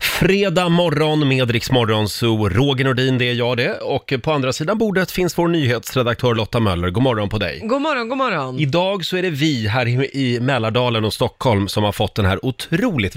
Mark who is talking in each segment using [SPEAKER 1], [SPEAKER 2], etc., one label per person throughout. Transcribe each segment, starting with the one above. [SPEAKER 1] Fredag morgon med Rix Morgonzoo. Roger Nordin, det är jag det. Och på andra sidan bordet finns vår nyhetsredaktör Lotta Möller. God morgon på dig.
[SPEAKER 2] God morgon, god morgon.
[SPEAKER 1] Idag så är det vi här i- i Mälardalen och Stockholm som har fått den här otroligt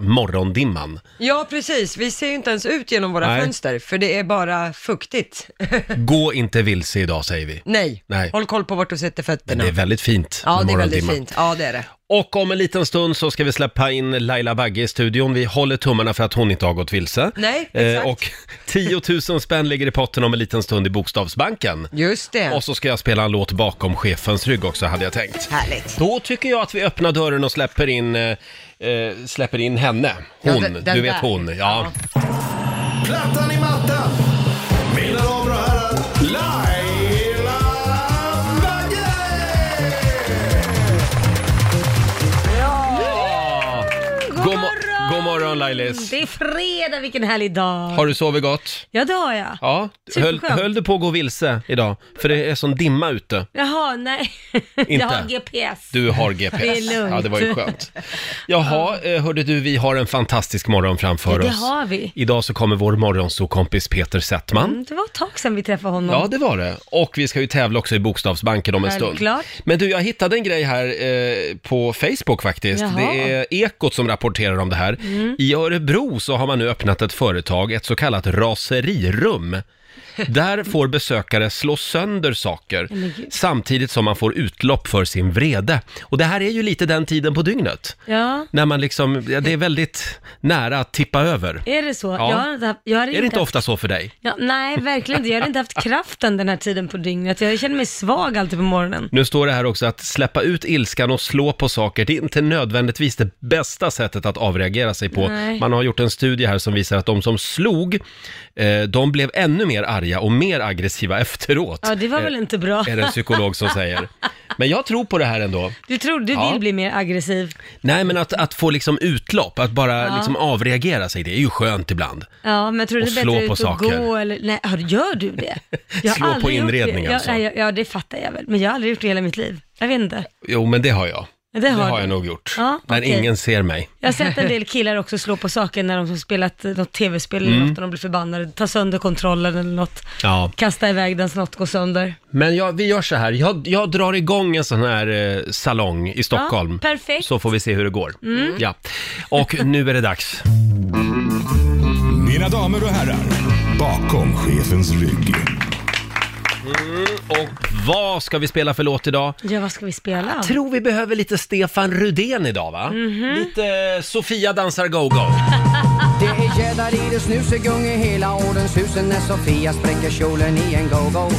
[SPEAKER 1] morgondimman.
[SPEAKER 2] Ja, precis. Vi ser ju inte ens ut genom våra
[SPEAKER 1] Nej.
[SPEAKER 2] fönster, för det är bara fuktigt.
[SPEAKER 1] Gå inte vilse idag säger vi.
[SPEAKER 2] Nej.
[SPEAKER 1] Nej.
[SPEAKER 2] håll koll på vart du sätter fötterna.
[SPEAKER 1] Det är väldigt fint
[SPEAKER 2] ja,
[SPEAKER 1] med
[SPEAKER 2] det är väldigt
[SPEAKER 1] morgondimma.
[SPEAKER 2] fint. Ja, det är det.
[SPEAKER 1] Och om en liten stund så ska vi släppa in Laila Bagge i studion. Vi håller tummarna för att hon inte har gått vilse.
[SPEAKER 2] Nej,
[SPEAKER 1] Eh,
[SPEAKER 2] exakt.
[SPEAKER 1] och 10 000 spänn ligger i potten om en liten stund i Bokstavsbanken.
[SPEAKER 2] Just det.
[SPEAKER 1] Och så ska jag spela en låt bakom chefens rygg också, hade jag tänkt.
[SPEAKER 2] Härligt.
[SPEAKER 1] Då tycker jag att vi öppnar dörren och släpper in, eh, eh, släpper in henne. Hon,
[SPEAKER 2] Ja, den- den
[SPEAKER 1] du vet
[SPEAKER 2] där.
[SPEAKER 1] hon. Ja.
[SPEAKER 3] Plattan i mattan. Mina damer och herrar, Laila Bagge!
[SPEAKER 1] God, mo- god morgon Lailis.
[SPEAKER 4] Det är fredag, vilken härlig dag.
[SPEAKER 1] Har du sovit gott?
[SPEAKER 4] Ja, det har jag.
[SPEAKER 1] Ja, höll,
[SPEAKER 4] Superskönt.
[SPEAKER 1] höll du på att gå vilse idag? För det är sån dimma ute.
[SPEAKER 4] Jaha, nej.
[SPEAKER 1] Inte.
[SPEAKER 4] Jag har GPS.
[SPEAKER 1] Du har GPS.
[SPEAKER 4] Det är lugnt.
[SPEAKER 1] Ja, det var ju skönt. Jaha, eh, hörde du, vi har en fantastisk morgon framför
[SPEAKER 4] Ja,
[SPEAKER 1] oss.
[SPEAKER 4] det har vi.
[SPEAKER 1] Idag så kommer vår morgonsokompis Peter Settman.
[SPEAKER 4] Mm, Det var ett tag sedan vi träffade honom.
[SPEAKER 1] Ja, det var det. Och vi ska ju tävla också i Bokstavsbanken om en stund.
[SPEAKER 4] Självklart.
[SPEAKER 1] Men du, jag hittade en grej här eh, på Facebook faktiskt.
[SPEAKER 4] Jaha. Mm.
[SPEAKER 1] Det är Ekot som rapporterar om det här. I Örebro så har man nu öppnat ett företag, ett så kallat raserirum. Där får besökare slå sönder saker samtidigt som man får utlopp för sin vrede. Och det här är ju lite den tiden på dygnet.
[SPEAKER 4] Ja,
[SPEAKER 1] När man liksom, ja, det är väldigt nära att tippa över.
[SPEAKER 4] är det så?
[SPEAKER 1] Ja.
[SPEAKER 4] Jag har inte haft, jag har
[SPEAKER 1] Är det inte
[SPEAKER 4] haft,
[SPEAKER 1] ofta så för dig?
[SPEAKER 4] ja, Nej, verkligen inte. Jag har inte haft kraften den här tiden på dygnet. Jag känner mig svag alltid på morgonen.
[SPEAKER 1] Nu står det här också att släppa ut ilskan och slå på saker, det är inte nödvändigtvis det bästa sättet att avreagera sig på.
[SPEAKER 4] Nej.
[SPEAKER 1] Man har gjort en studie här som visar att de som slog, eh, de blev ännu mer arga och mer aggressiva efteråt.
[SPEAKER 4] Ja, det var väl
[SPEAKER 1] Eh,
[SPEAKER 4] inte bra.
[SPEAKER 1] Är det en psykolog som säger. Men jag tror på det här ändå.
[SPEAKER 4] Du tror du
[SPEAKER 1] Ja.
[SPEAKER 4] vill bli mer aggressiv.
[SPEAKER 1] Nej, men att, att få liksom utlopp, att bara liksom avreagera sig, det är ju skönt ibland.
[SPEAKER 4] Ja, men jag tror du
[SPEAKER 1] Och
[SPEAKER 4] det är
[SPEAKER 1] slå
[SPEAKER 4] bättre
[SPEAKER 1] på
[SPEAKER 4] ut och
[SPEAKER 1] saker.
[SPEAKER 4] gå eller... Nej, hör- gör du det?
[SPEAKER 1] Slå på
[SPEAKER 4] aldrig gjort
[SPEAKER 1] inredning
[SPEAKER 4] det. Jag,
[SPEAKER 1] alltså.
[SPEAKER 4] nej, jag, ja, det fattar jag väl. Men jag har aldrig gjort det i hela mitt liv. Jag vet inte.
[SPEAKER 1] Jo, men det har jag.
[SPEAKER 4] Det har du.
[SPEAKER 1] jag nog gjort.
[SPEAKER 4] Ja,
[SPEAKER 1] När
[SPEAKER 4] okej.
[SPEAKER 1] ingen ser mig.
[SPEAKER 4] Jag har sett en del killar också slå på saker när de har spelat eh, något tv-spel eller
[SPEAKER 1] Mm.
[SPEAKER 4] något och de blir förbannade, ta sönder kontrollen eller något,
[SPEAKER 1] Ja.
[SPEAKER 4] kasta iväg den så något går sönder.
[SPEAKER 1] Men jag, vi gör så här, jag, jag drar igång en sån här eh, salong i Stockholm.
[SPEAKER 4] Ja, perfekt. Mm.
[SPEAKER 1] Så får vi se hur det går. Ja. Och nu är det dags.
[SPEAKER 3] Mina damer och herrar, bakom chefens rygg.
[SPEAKER 1] Och vad ska vi spela för låt idag?
[SPEAKER 4] Ja, vad ska vi spela?
[SPEAKER 1] Tror vi behöver lite Stefan Rudén idag va?
[SPEAKER 4] Mhm.
[SPEAKER 1] Lite eh, Sofia dansar go-go.
[SPEAKER 5] Det är tjädar i det snusegång i hela ordenshusen när Sofia spräcker kjolen i en go-go.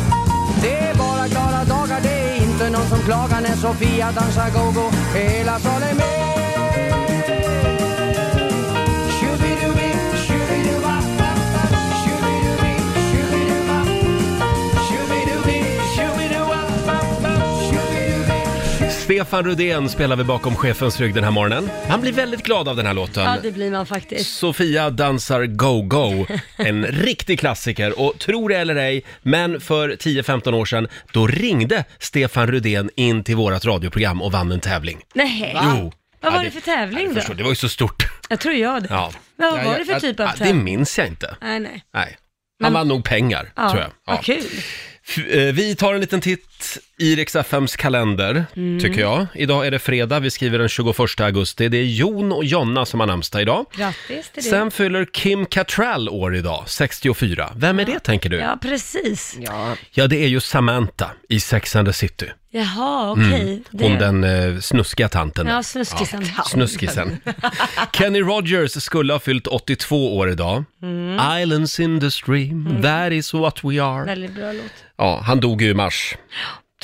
[SPEAKER 5] Det är bara glada dagar, det är inte någon som klagar när Sofia dansar go-go. Hela salen med. Tjubidubi, tjubiduba. Tjubidubi, tjubiduba. Tjubidubi, tjubiduba. Tjubidubi, tjubiduba.
[SPEAKER 1] Stefan Rudén spelar vi bakom chefens rygg den här morgonen. Han blir väldigt glad av den här låten.
[SPEAKER 4] Ja, det blir man faktiskt.
[SPEAKER 1] Sofia dansar go-go, en riktig klassiker. Och tro det eller ej, men för 10-15 år sedan, då ringde Stefan Rudén in till vårat radioprogram och vann en tävling.
[SPEAKER 4] Nej.
[SPEAKER 1] Jo.
[SPEAKER 4] Vad
[SPEAKER 1] Ja,
[SPEAKER 4] var det för
[SPEAKER 1] ja,
[SPEAKER 4] tävling
[SPEAKER 1] det förstår-
[SPEAKER 4] då?
[SPEAKER 1] Det var ju så stort.
[SPEAKER 4] Jag tror jag det.
[SPEAKER 1] Ja.
[SPEAKER 4] Men
[SPEAKER 1] Ja,
[SPEAKER 4] vad var det för
[SPEAKER 1] jag-
[SPEAKER 4] typ
[SPEAKER 1] ja,
[SPEAKER 4] av
[SPEAKER 1] Det
[SPEAKER 4] tävling?
[SPEAKER 1] minns jag inte.
[SPEAKER 4] Nej, nej.
[SPEAKER 1] Nej. Han
[SPEAKER 4] Men-
[SPEAKER 1] vann nog pengar,
[SPEAKER 4] Ja,
[SPEAKER 1] tror jag. Ja.
[SPEAKER 4] Vad kul.
[SPEAKER 1] F- eh, Vi tar en liten titt i Rix FMs kalender,
[SPEAKER 4] Mm.
[SPEAKER 1] tycker jag. Idag är det fredag, vi skriver den 21 augusti. Det är Jon och Jonna som har namnsdag idag.
[SPEAKER 4] Grattis till det.
[SPEAKER 1] Sen fyller Kim Cattrall år idag, 64. Vem är det, tänker du? Ja.
[SPEAKER 4] Ja, precis.
[SPEAKER 1] det är ju Samantha i Sex and the City.
[SPEAKER 4] Jaha, okej.
[SPEAKER 1] Mm. Hon
[SPEAKER 4] det.
[SPEAKER 1] den eh, snuskiga tanten.
[SPEAKER 4] Ja, snuskisen.
[SPEAKER 1] Snuskisen. Kenny Rogers skulle ha fyllt 82 år idag.
[SPEAKER 4] Mm.
[SPEAKER 1] Ah. Islands in the stream, that is what we are.
[SPEAKER 4] Väldigt bra låt.
[SPEAKER 1] Ja, han dog ju i mars.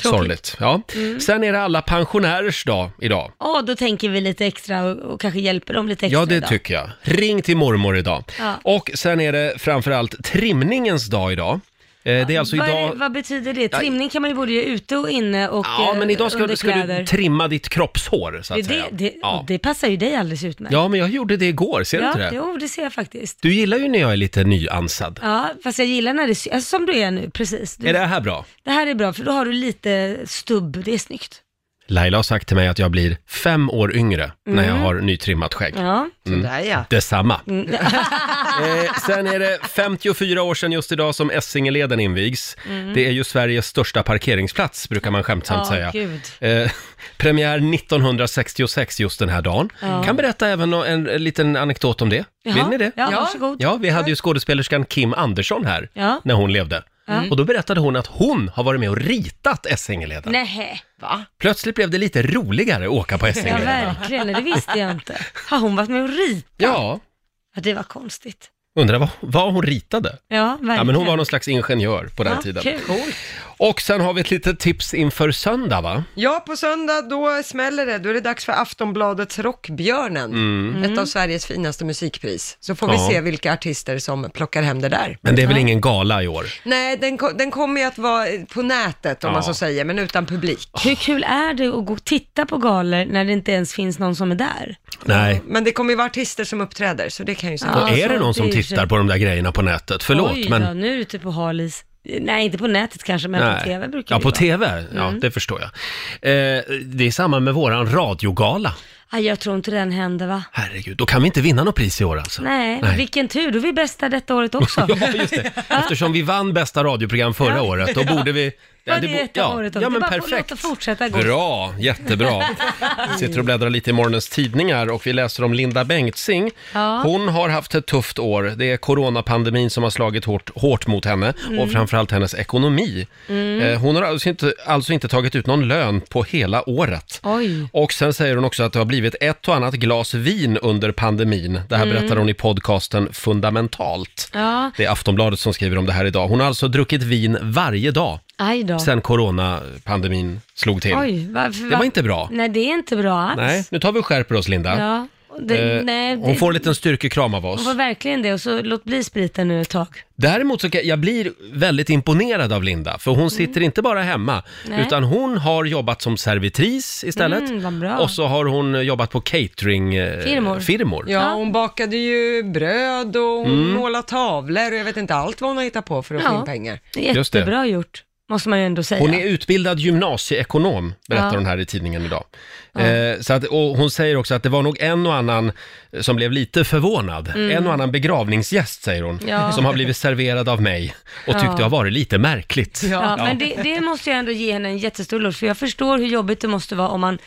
[SPEAKER 4] Tråkigt. Mm.
[SPEAKER 1] Sorgligt. Ja. Sen är det alla pensionärers dag idag.
[SPEAKER 4] Ja, då tänker vi lite extra och, och kanske hjälper dem lite extra
[SPEAKER 1] Ja, det
[SPEAKER 4] idag.
[SPEAKER 1] tycker jag. Ring till mormor idag.
[SPEAKER 4] Ja.
[SPEAKER 1] Och sen är det framförallt trimningens dag idag. Eh, Det är alltså
[SPEAKER 4] vad, är,
[SPEAKER 1] idag...
[SPEAKER 4] det- vad betyder det? Trimning kan man ju både göra ute och inne och
[SPEAKER 1] Ja, men idag ska,
[SPEAKER 4] under
[SPEAKER 1] du- ska
[SPEAKER 4] kläder.
[SPEAKER 1] du trimma ditt kroppshår, så att säga.
[SPEAKER 4] det, det,
[SPEAKER 1] ja.
[SPEAKER 4] det passar ju dig alldeles utmärkt.
[SPEAKER 1] ja, men jag gjorde det igår, ser du
[SPEAKER 4] ja
[SPEAKER 1] inte det?
[SPEAKER 4] Jo, det ser jag faktiskt.
[SPEAKER 1] Du gillar ju när jag är lite nyansad.
[SPEAKER 4] Ja, fast jag gillar när det sy- alltså, som du är nu, precis. Du,
[SPEAKER 1] Är det
[SPEAKER 4] det...
[SPEAKER 1] här bra?
[SPEAKER 4] här är bra, för då har du lite stubb, det är snyggt.
[SPEAKER 1] Laila har sagt till mig att jag blir fem år yngre när jag har nytrimmat skägg.
[SPEAKER 4] Mm.
[SPEAKER 1] Mm.
[SPEAKER 4] Ja.
[SPEAKER 2] Sådär ja.
[SPEAKER 1] Detsamma.
[SPEAKER 4] Mm.
[SPEAKER 1] Eh, sen är det 54 år sedan just idag som Essingeleden invigs. Det är ju Sveriges största parkeringsplats, brukar man skämtsamt
[SPEAKER 4] Mm. Ja,
[SPEAKER 1] säga.
[SPEAKER 4] gud.
[SPEAKER 1] Eh, premiär 1966 just den här dagen.
[SPEAKER 4] Ja.
[SPEAKER 1] Kan berätta även nå- en, en liten anekdot om det. Vill
[SPEAKER 4] Jaha.
[SPEAKER 1] ni det?
[SPEAKER 4] Ja,
[SPEAKER 2] Ja.
[SPEAKER 4] varsågod.
[SPEAKER 1] Ja, vi hade ju skådespelerskan Kim Andersson här
[SPEAKER 4] Ja.
[SPEAKER 1] när hon levde.
[SPEAKER 4] Ja.
[SPEAKER 1] Och då berättade hon att hon har varit med och ritat Essingeleden.
[SPEAKER 4] Nej,
[SPEAKER 1] Plötsligt blev det lite roligare att åka på
[SPEAKER 4] ja,
[SPEAKER 1] Essingeleden.
[SPEAKER 4] verkligen. Det visste jag inte. Har hon varit med och rit?
[SPEAKER 1] Ja,
[SPEAKER 4] Ja, det var konstigt.
[SPEAKER 1] undrar vad, vad hon ritade.
[SPEAKER 4] Ja, verkligen.
[SPEAKER 1] Ja, men hon var någon slags ingenjör på den
[SPEAKER 4] Ja,
[SPEAKER 1] tiden.
[SPEAKER 4] kul.
[SPEAKER 1] Och sen har vi ett litet tips inför söndag va?
[SPEAKER 2] Ja, på söndag då smäller det. Då är det dags för Aftonbladets Rockbjörnen. Ett av Sveriges finaste musikpris. Så får vi
[SPEAKER 1] Mm. Ja.
[SPEAKER 2] se vilka artister som plockar hem det där.
[SPEAKER 1] Men det är väl ingen gala i år?
[SPEAKER 2] Nej, den, ko- den kommer ju att vara på nätet om
[SPEAKER 1] Ja.
[SPEAKER 2] man så säger, men utan publik.
[SPEAKER 4] Hur kul är det att gå och titta på galor när det inte ens finns någon som är där?
[SPEAKER 1] Nej.
[SPEAKER 2] Men det kommer ju vara artister som uppträder, så det kan ju säga.
[SPEAKER 1] Och
[SPEAKER 4] Ja,
[SPEAKER 1] är det
[SPEAKER 4] så
[SPEAKER 1] någon som
[SPEAKER 4] det är ju
[SPEAKER 1] tittar
[SPEAKER 4] så.
[SPEAKER 1] på de där grejerna på nätet? Förlåt,
[SPEAKER 4] Oj,
[SPEAKER 1] men...
[SPEAKER 4] då, nu är du ute på halis. Nej, inte på nätet kanske, men på TV brukar
[SPEAKER 1] ja,
[SPEAKER 4] det
[SPEAKER 1] på
[SPEAKER 4] vara. Mm.
[SPEAKER 1] TV. Ja, det förstår jag. Eh, det är samma med våran radiogala.
[SPEAKER 4] Aj, jag tror inte den händer va?
[SPEAKER 1] Herregud, då kan vi inte vinna något pris i år alltså.
[SPEAKER 4] Nej, vilken tur. Då är vi bästa detta året också.
[SPEAKER 1] Ja, just det. Eftersom vi vann bästa radioprogram förra
[SPEAKER 4] Ja.
[SPEAKER 1] året, då borde vi...
[SPEAKER 4] Var det
[SPEAKER 1] bo-
[SPEAKER 4] detta året då?
[SPEAKER 1] ja,
[SPEAKER 4] Det
[SPEAKER 1] men
[SPEAKER 4] bara får-
[SPEAKER 1] perfekt.
[SPEAKER 4] låt det fortsätta gå.
[SPEAKER 1] Bra, jättebra. Sitter och bläddrar lite i morgonens tidningar och vi läser om Linda Bengtzing.
[SPEAKER 4] Ja.
[SPEAKER 1] Hon har haft ett tufft år. Det är coronapandemin som har slagit hårt, hårt mot henne
[SPEAKER 4] Mm.
[SPEAKER 1] och framförallt hennes ekonomi. Eh, Hon har alltså inte, alltså inte tagit ut någon lön på hela året.
[SPEAKER 4] Mm. Oj.
[SPEAKER 1] Och sen säger hon också att det har blivit ett och annat glas vin under pandemin. Det här
[SPEAKER 4] Mm.
[SPEAKER 1] berättar hon i podcasten Fundamentalt.
[SPEAKER 4] Ja,
[SPEAKER 1] Det är Aftonbladet som skriver om det här idag. Hon har alltså druckit vin varje dag
[SPEAKER 4] aj då.
[SPEAKER 1] sen coronapandemin slog till.
[SPEAKER 4] Oj, varför?
[SPEAKER 1] Det var inte bra.
[SPEAKER 4] Nej, det är inte bra alls.
[SPEAKER 1] Nej, nu tar vi och skärper oss Linda.
[SPEAKER 4] Ja, det,
[SPEAKER 1] Eh,
[SPEAKER 4] nej,
[SPEAKER 1] Hon
[SPEAKER 4] det,
[SPEAKER 1] får en liten styrkekram av oss.
[SPEAKER 4] hon får verkligen det och så låt bli spriten nu ett tag.
[SPEAKER 1] Däremot så kan, jag blir väldigt imponerad av Linda, för hon sitter inte bara hemma,
[SPEAKER 4] Mm. Nej.
[SPEAKER 1] utan hon har jobbat som servitris istället.
[SPEAKER 4] Mm, vad bra.
[SPEAKER 1] Och så har hon jobbat på
[SPEAKER 4] Firmor.
[SPEAKER 1] cateringfirmor. Eh, firmor. Mm.
[SPEAKER 2] Ja, hon bakade ju bröd och hon målade tavlor och jag vet inte allt vad hon har hittat på för att få
[SPEAKER 4] Ja.
[SPEAKER 2] in pengar.
[SPEAKER 4] Det är
[SPEAKER 1] Just det.
[SPEAKER 4] jättebra gjort, måste man ju ändå säga.
[SPEAKER 1] Hon är utbildad gymnasieekonom, berättar
[SPEAKER 4] Ja.
[SPEAKER 1] hon här i tidningen idag. Eh, så att, och hon säger också att det var nog en och annan som blev lite förvånad. En och annan begravningsgäst, säger hon,
[SPEAKER 4] Mm. Ja.
[SPEAKER 1] som har blivit serverad av mig och tyckte
[SPEAKER 4] Ja.
[SPEAKER 1] jag varit lite märkligt.
[SPEAKER 4] Ja, men det, det måste jag ändå ge henne en jättestor eloge för jag förstår hur jobbigt det måste vara om man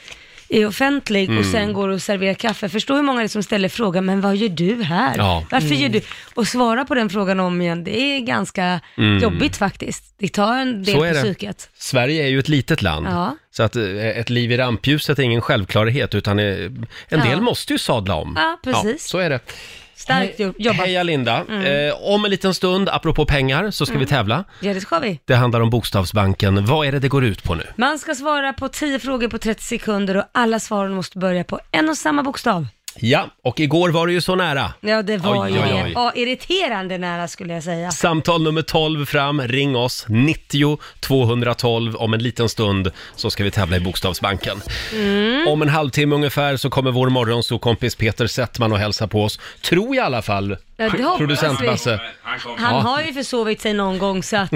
[SPEAKER 4] är offentlig och
[SPEAKER 1] Mm.
[SPEAKER 4] sen går och serverar kaffe. Förstår hur många det är som ställer frågan, men vad gör du här?
[SPEAKER 1] Ja.
[SPEAKER 4] Varför gör du? Och svara på den frågan om igen, det är ganska jobbigt faktiskt. Det tar en del
[SPEAKER 1] Mm. Så är
[SPEAKER 4] på
[SPEAKER 1] det.
[SPEAKER 4] psyket.
[SPEAKER 1] Sverige är ju ett litet land,
[SPEAKER 4] Ja.
[SPEAKER 1] så att eh, ett liv i rampljuset är ingen självklarhet, utan eh, en del måste ju sadla om.
[SPEAKER 4] Ja, precis.
[SPEAKER 1] så är det.
[SPEAKER 4] Starkt jo- jobbat. Mm.
[SPEAKER 1] Heja Linda! Eh, om en liten stund, apropå pengar, så ska vi tävla.
[SPEAKER 4] Ja, det ska vi.
[SPEAKER 1] Det handlar om Bokstavsbanken. Vad är det det går ut på nu?
[SPEAKER 4] Man ska svara på 10 frågor på 30 sekunder och alla svaren måste börja på en och samma bokstav.
[SPEAKER 1] Ja, och igår var det ju så nära.
[SPEAKER 4] Ja, det var
[SPEAKER 1] Oj,
[SPEAKER 4] ju
[SPEAKER 1] oj,
[SPEAKER 4] det.
[SPEAKER 1] oj.
[SPEAKER 4] Ja, irriterande nära skulle jag säga.
[SPEAKER 1] Samtal nummer 12 fram, ring oss, 90 212. Om en liten stund så ska vi tävla i Bokstavsbanken.
[SPEAKER 4] Mm.
[SPEAKER 1] Om en halvtimme ungefär så kommer vår morgonsokompis Peter Settman och hälsa på oss. Tror jag i alla fall,
[SPEAKER 4] Ja, det hoppas
[SPEAKER 1] producent
[SPEAKER 4] vi.
[SPEAKER 1] Basse.
[SPEAKER 6] Han kom.
[SPEAKER 4] Han
[SPEAKER 1] Ja.
[SPEAKER 4] har ju försovit sig någon gång så att...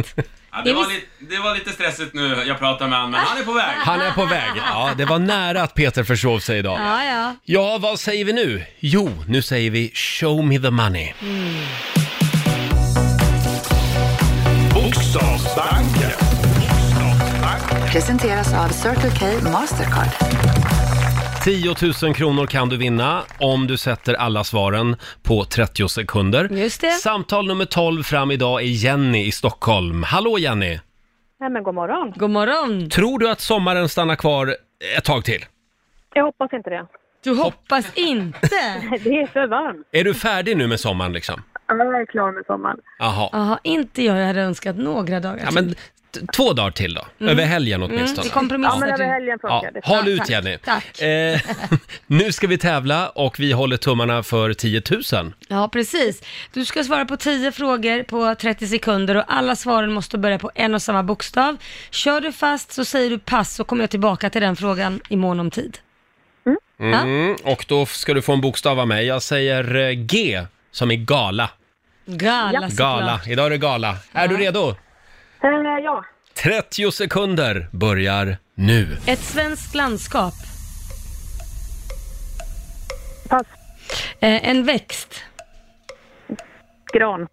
[SPEAKER 6] Ja,
[SPEAKER 4] det
[SPEAKER 6] det,
[SPEAKER 4] är
[SPEAKER 6] var
[SPEAKER 4] visst-
[SPEAKER 6] lite, det var lite stressigt nu, jag pratade med honom, men han är på väg.
[SPEAKER 1] Han är på väg. Ja, det var nära att Peter försov sig idag.
[SPEAKER 4] Ja, ja.
[SPEAKER 1] Ja, vad säger vi nu? Jo, nu säger vi show me the money.
[SPEAKER 3] Bokstavsbanken.
[SPEAKER 7] Presenteras av Circle K Mastercard.
[SPEAKER 1] 10 000 kronor kan du vinna om du sätter alla svaren på 30 sekunder.
[SPEAKER 4] Just det.
[SPEAKER 1] Samtal nummer 12 fram idag är Jenny i Stockholm. Hallå Jenny!
[SPEAKER 8] Nej men god morgon.
[SPEAKER 4] God morgon.
[SPEAKER 1] Tror du att sommaren stannar kvar ett tag till?
[SPEAKER 8] Jag hoppas inte det.
[SPEAKER 4] Du hoppas inte.
[SPEAKER 8] Det är för varmt.
[SPEAKER 1] Är du färdig nu med sommaren liksom?
[SPEAKER 8] Ja, jag är klar med sommaren.
[SPEAKER 1] Jaha.
[SPEAKER 4] Jaha, inte jag. Jag hade önskat några dagar
[SPEAKER 1] Ja, men t- två dagar till då. Över helgen
[SPEAKER 4] Mm,
[SPEAKER 1] åtminstone.
[SPEAKER 4] vi kompromissar.
[SPEAKER 8] Ja, men över
[SPEAKER 4] du.
[SPEAKER 8] helgen
[SPEAKER 1] Ja,
[SPEAKER 8] funkar det.
[SPEAKER 1] håll ut Jenny.
[SPEAKER 4] tack.
[SPEAKER 1] Eh, nu ska vi tävla och vi håller tummarna för 10 000.
[SPEAKER 4] ja, precis. Du ska svara på 10 frågor på 30 sekunder och alla svaren måste börja på en och samma bokstav. Kör du fast så säger du pass så kommer jag tillbaka till den frågan i mån om tid. Ja,
[SPEAKER 1] Mm, och då ska du få en bokstav av mig. Jag säger eh, G som i gala.
[SPEAKER 4] gala såklart.
[SPEAKER 1] Gala. Idag är det gala. Är du redo?
[SPEAKER 8] Eh, Ja,
[SPEAKER 1] 30 sekunder börjar nu.
[SPEAKER 4] Ett svenskt landskap.
[SPEAKER 8] Pass.
[SPEAKER 4] Eh, en växt.
[SPEAKER 8] Gran.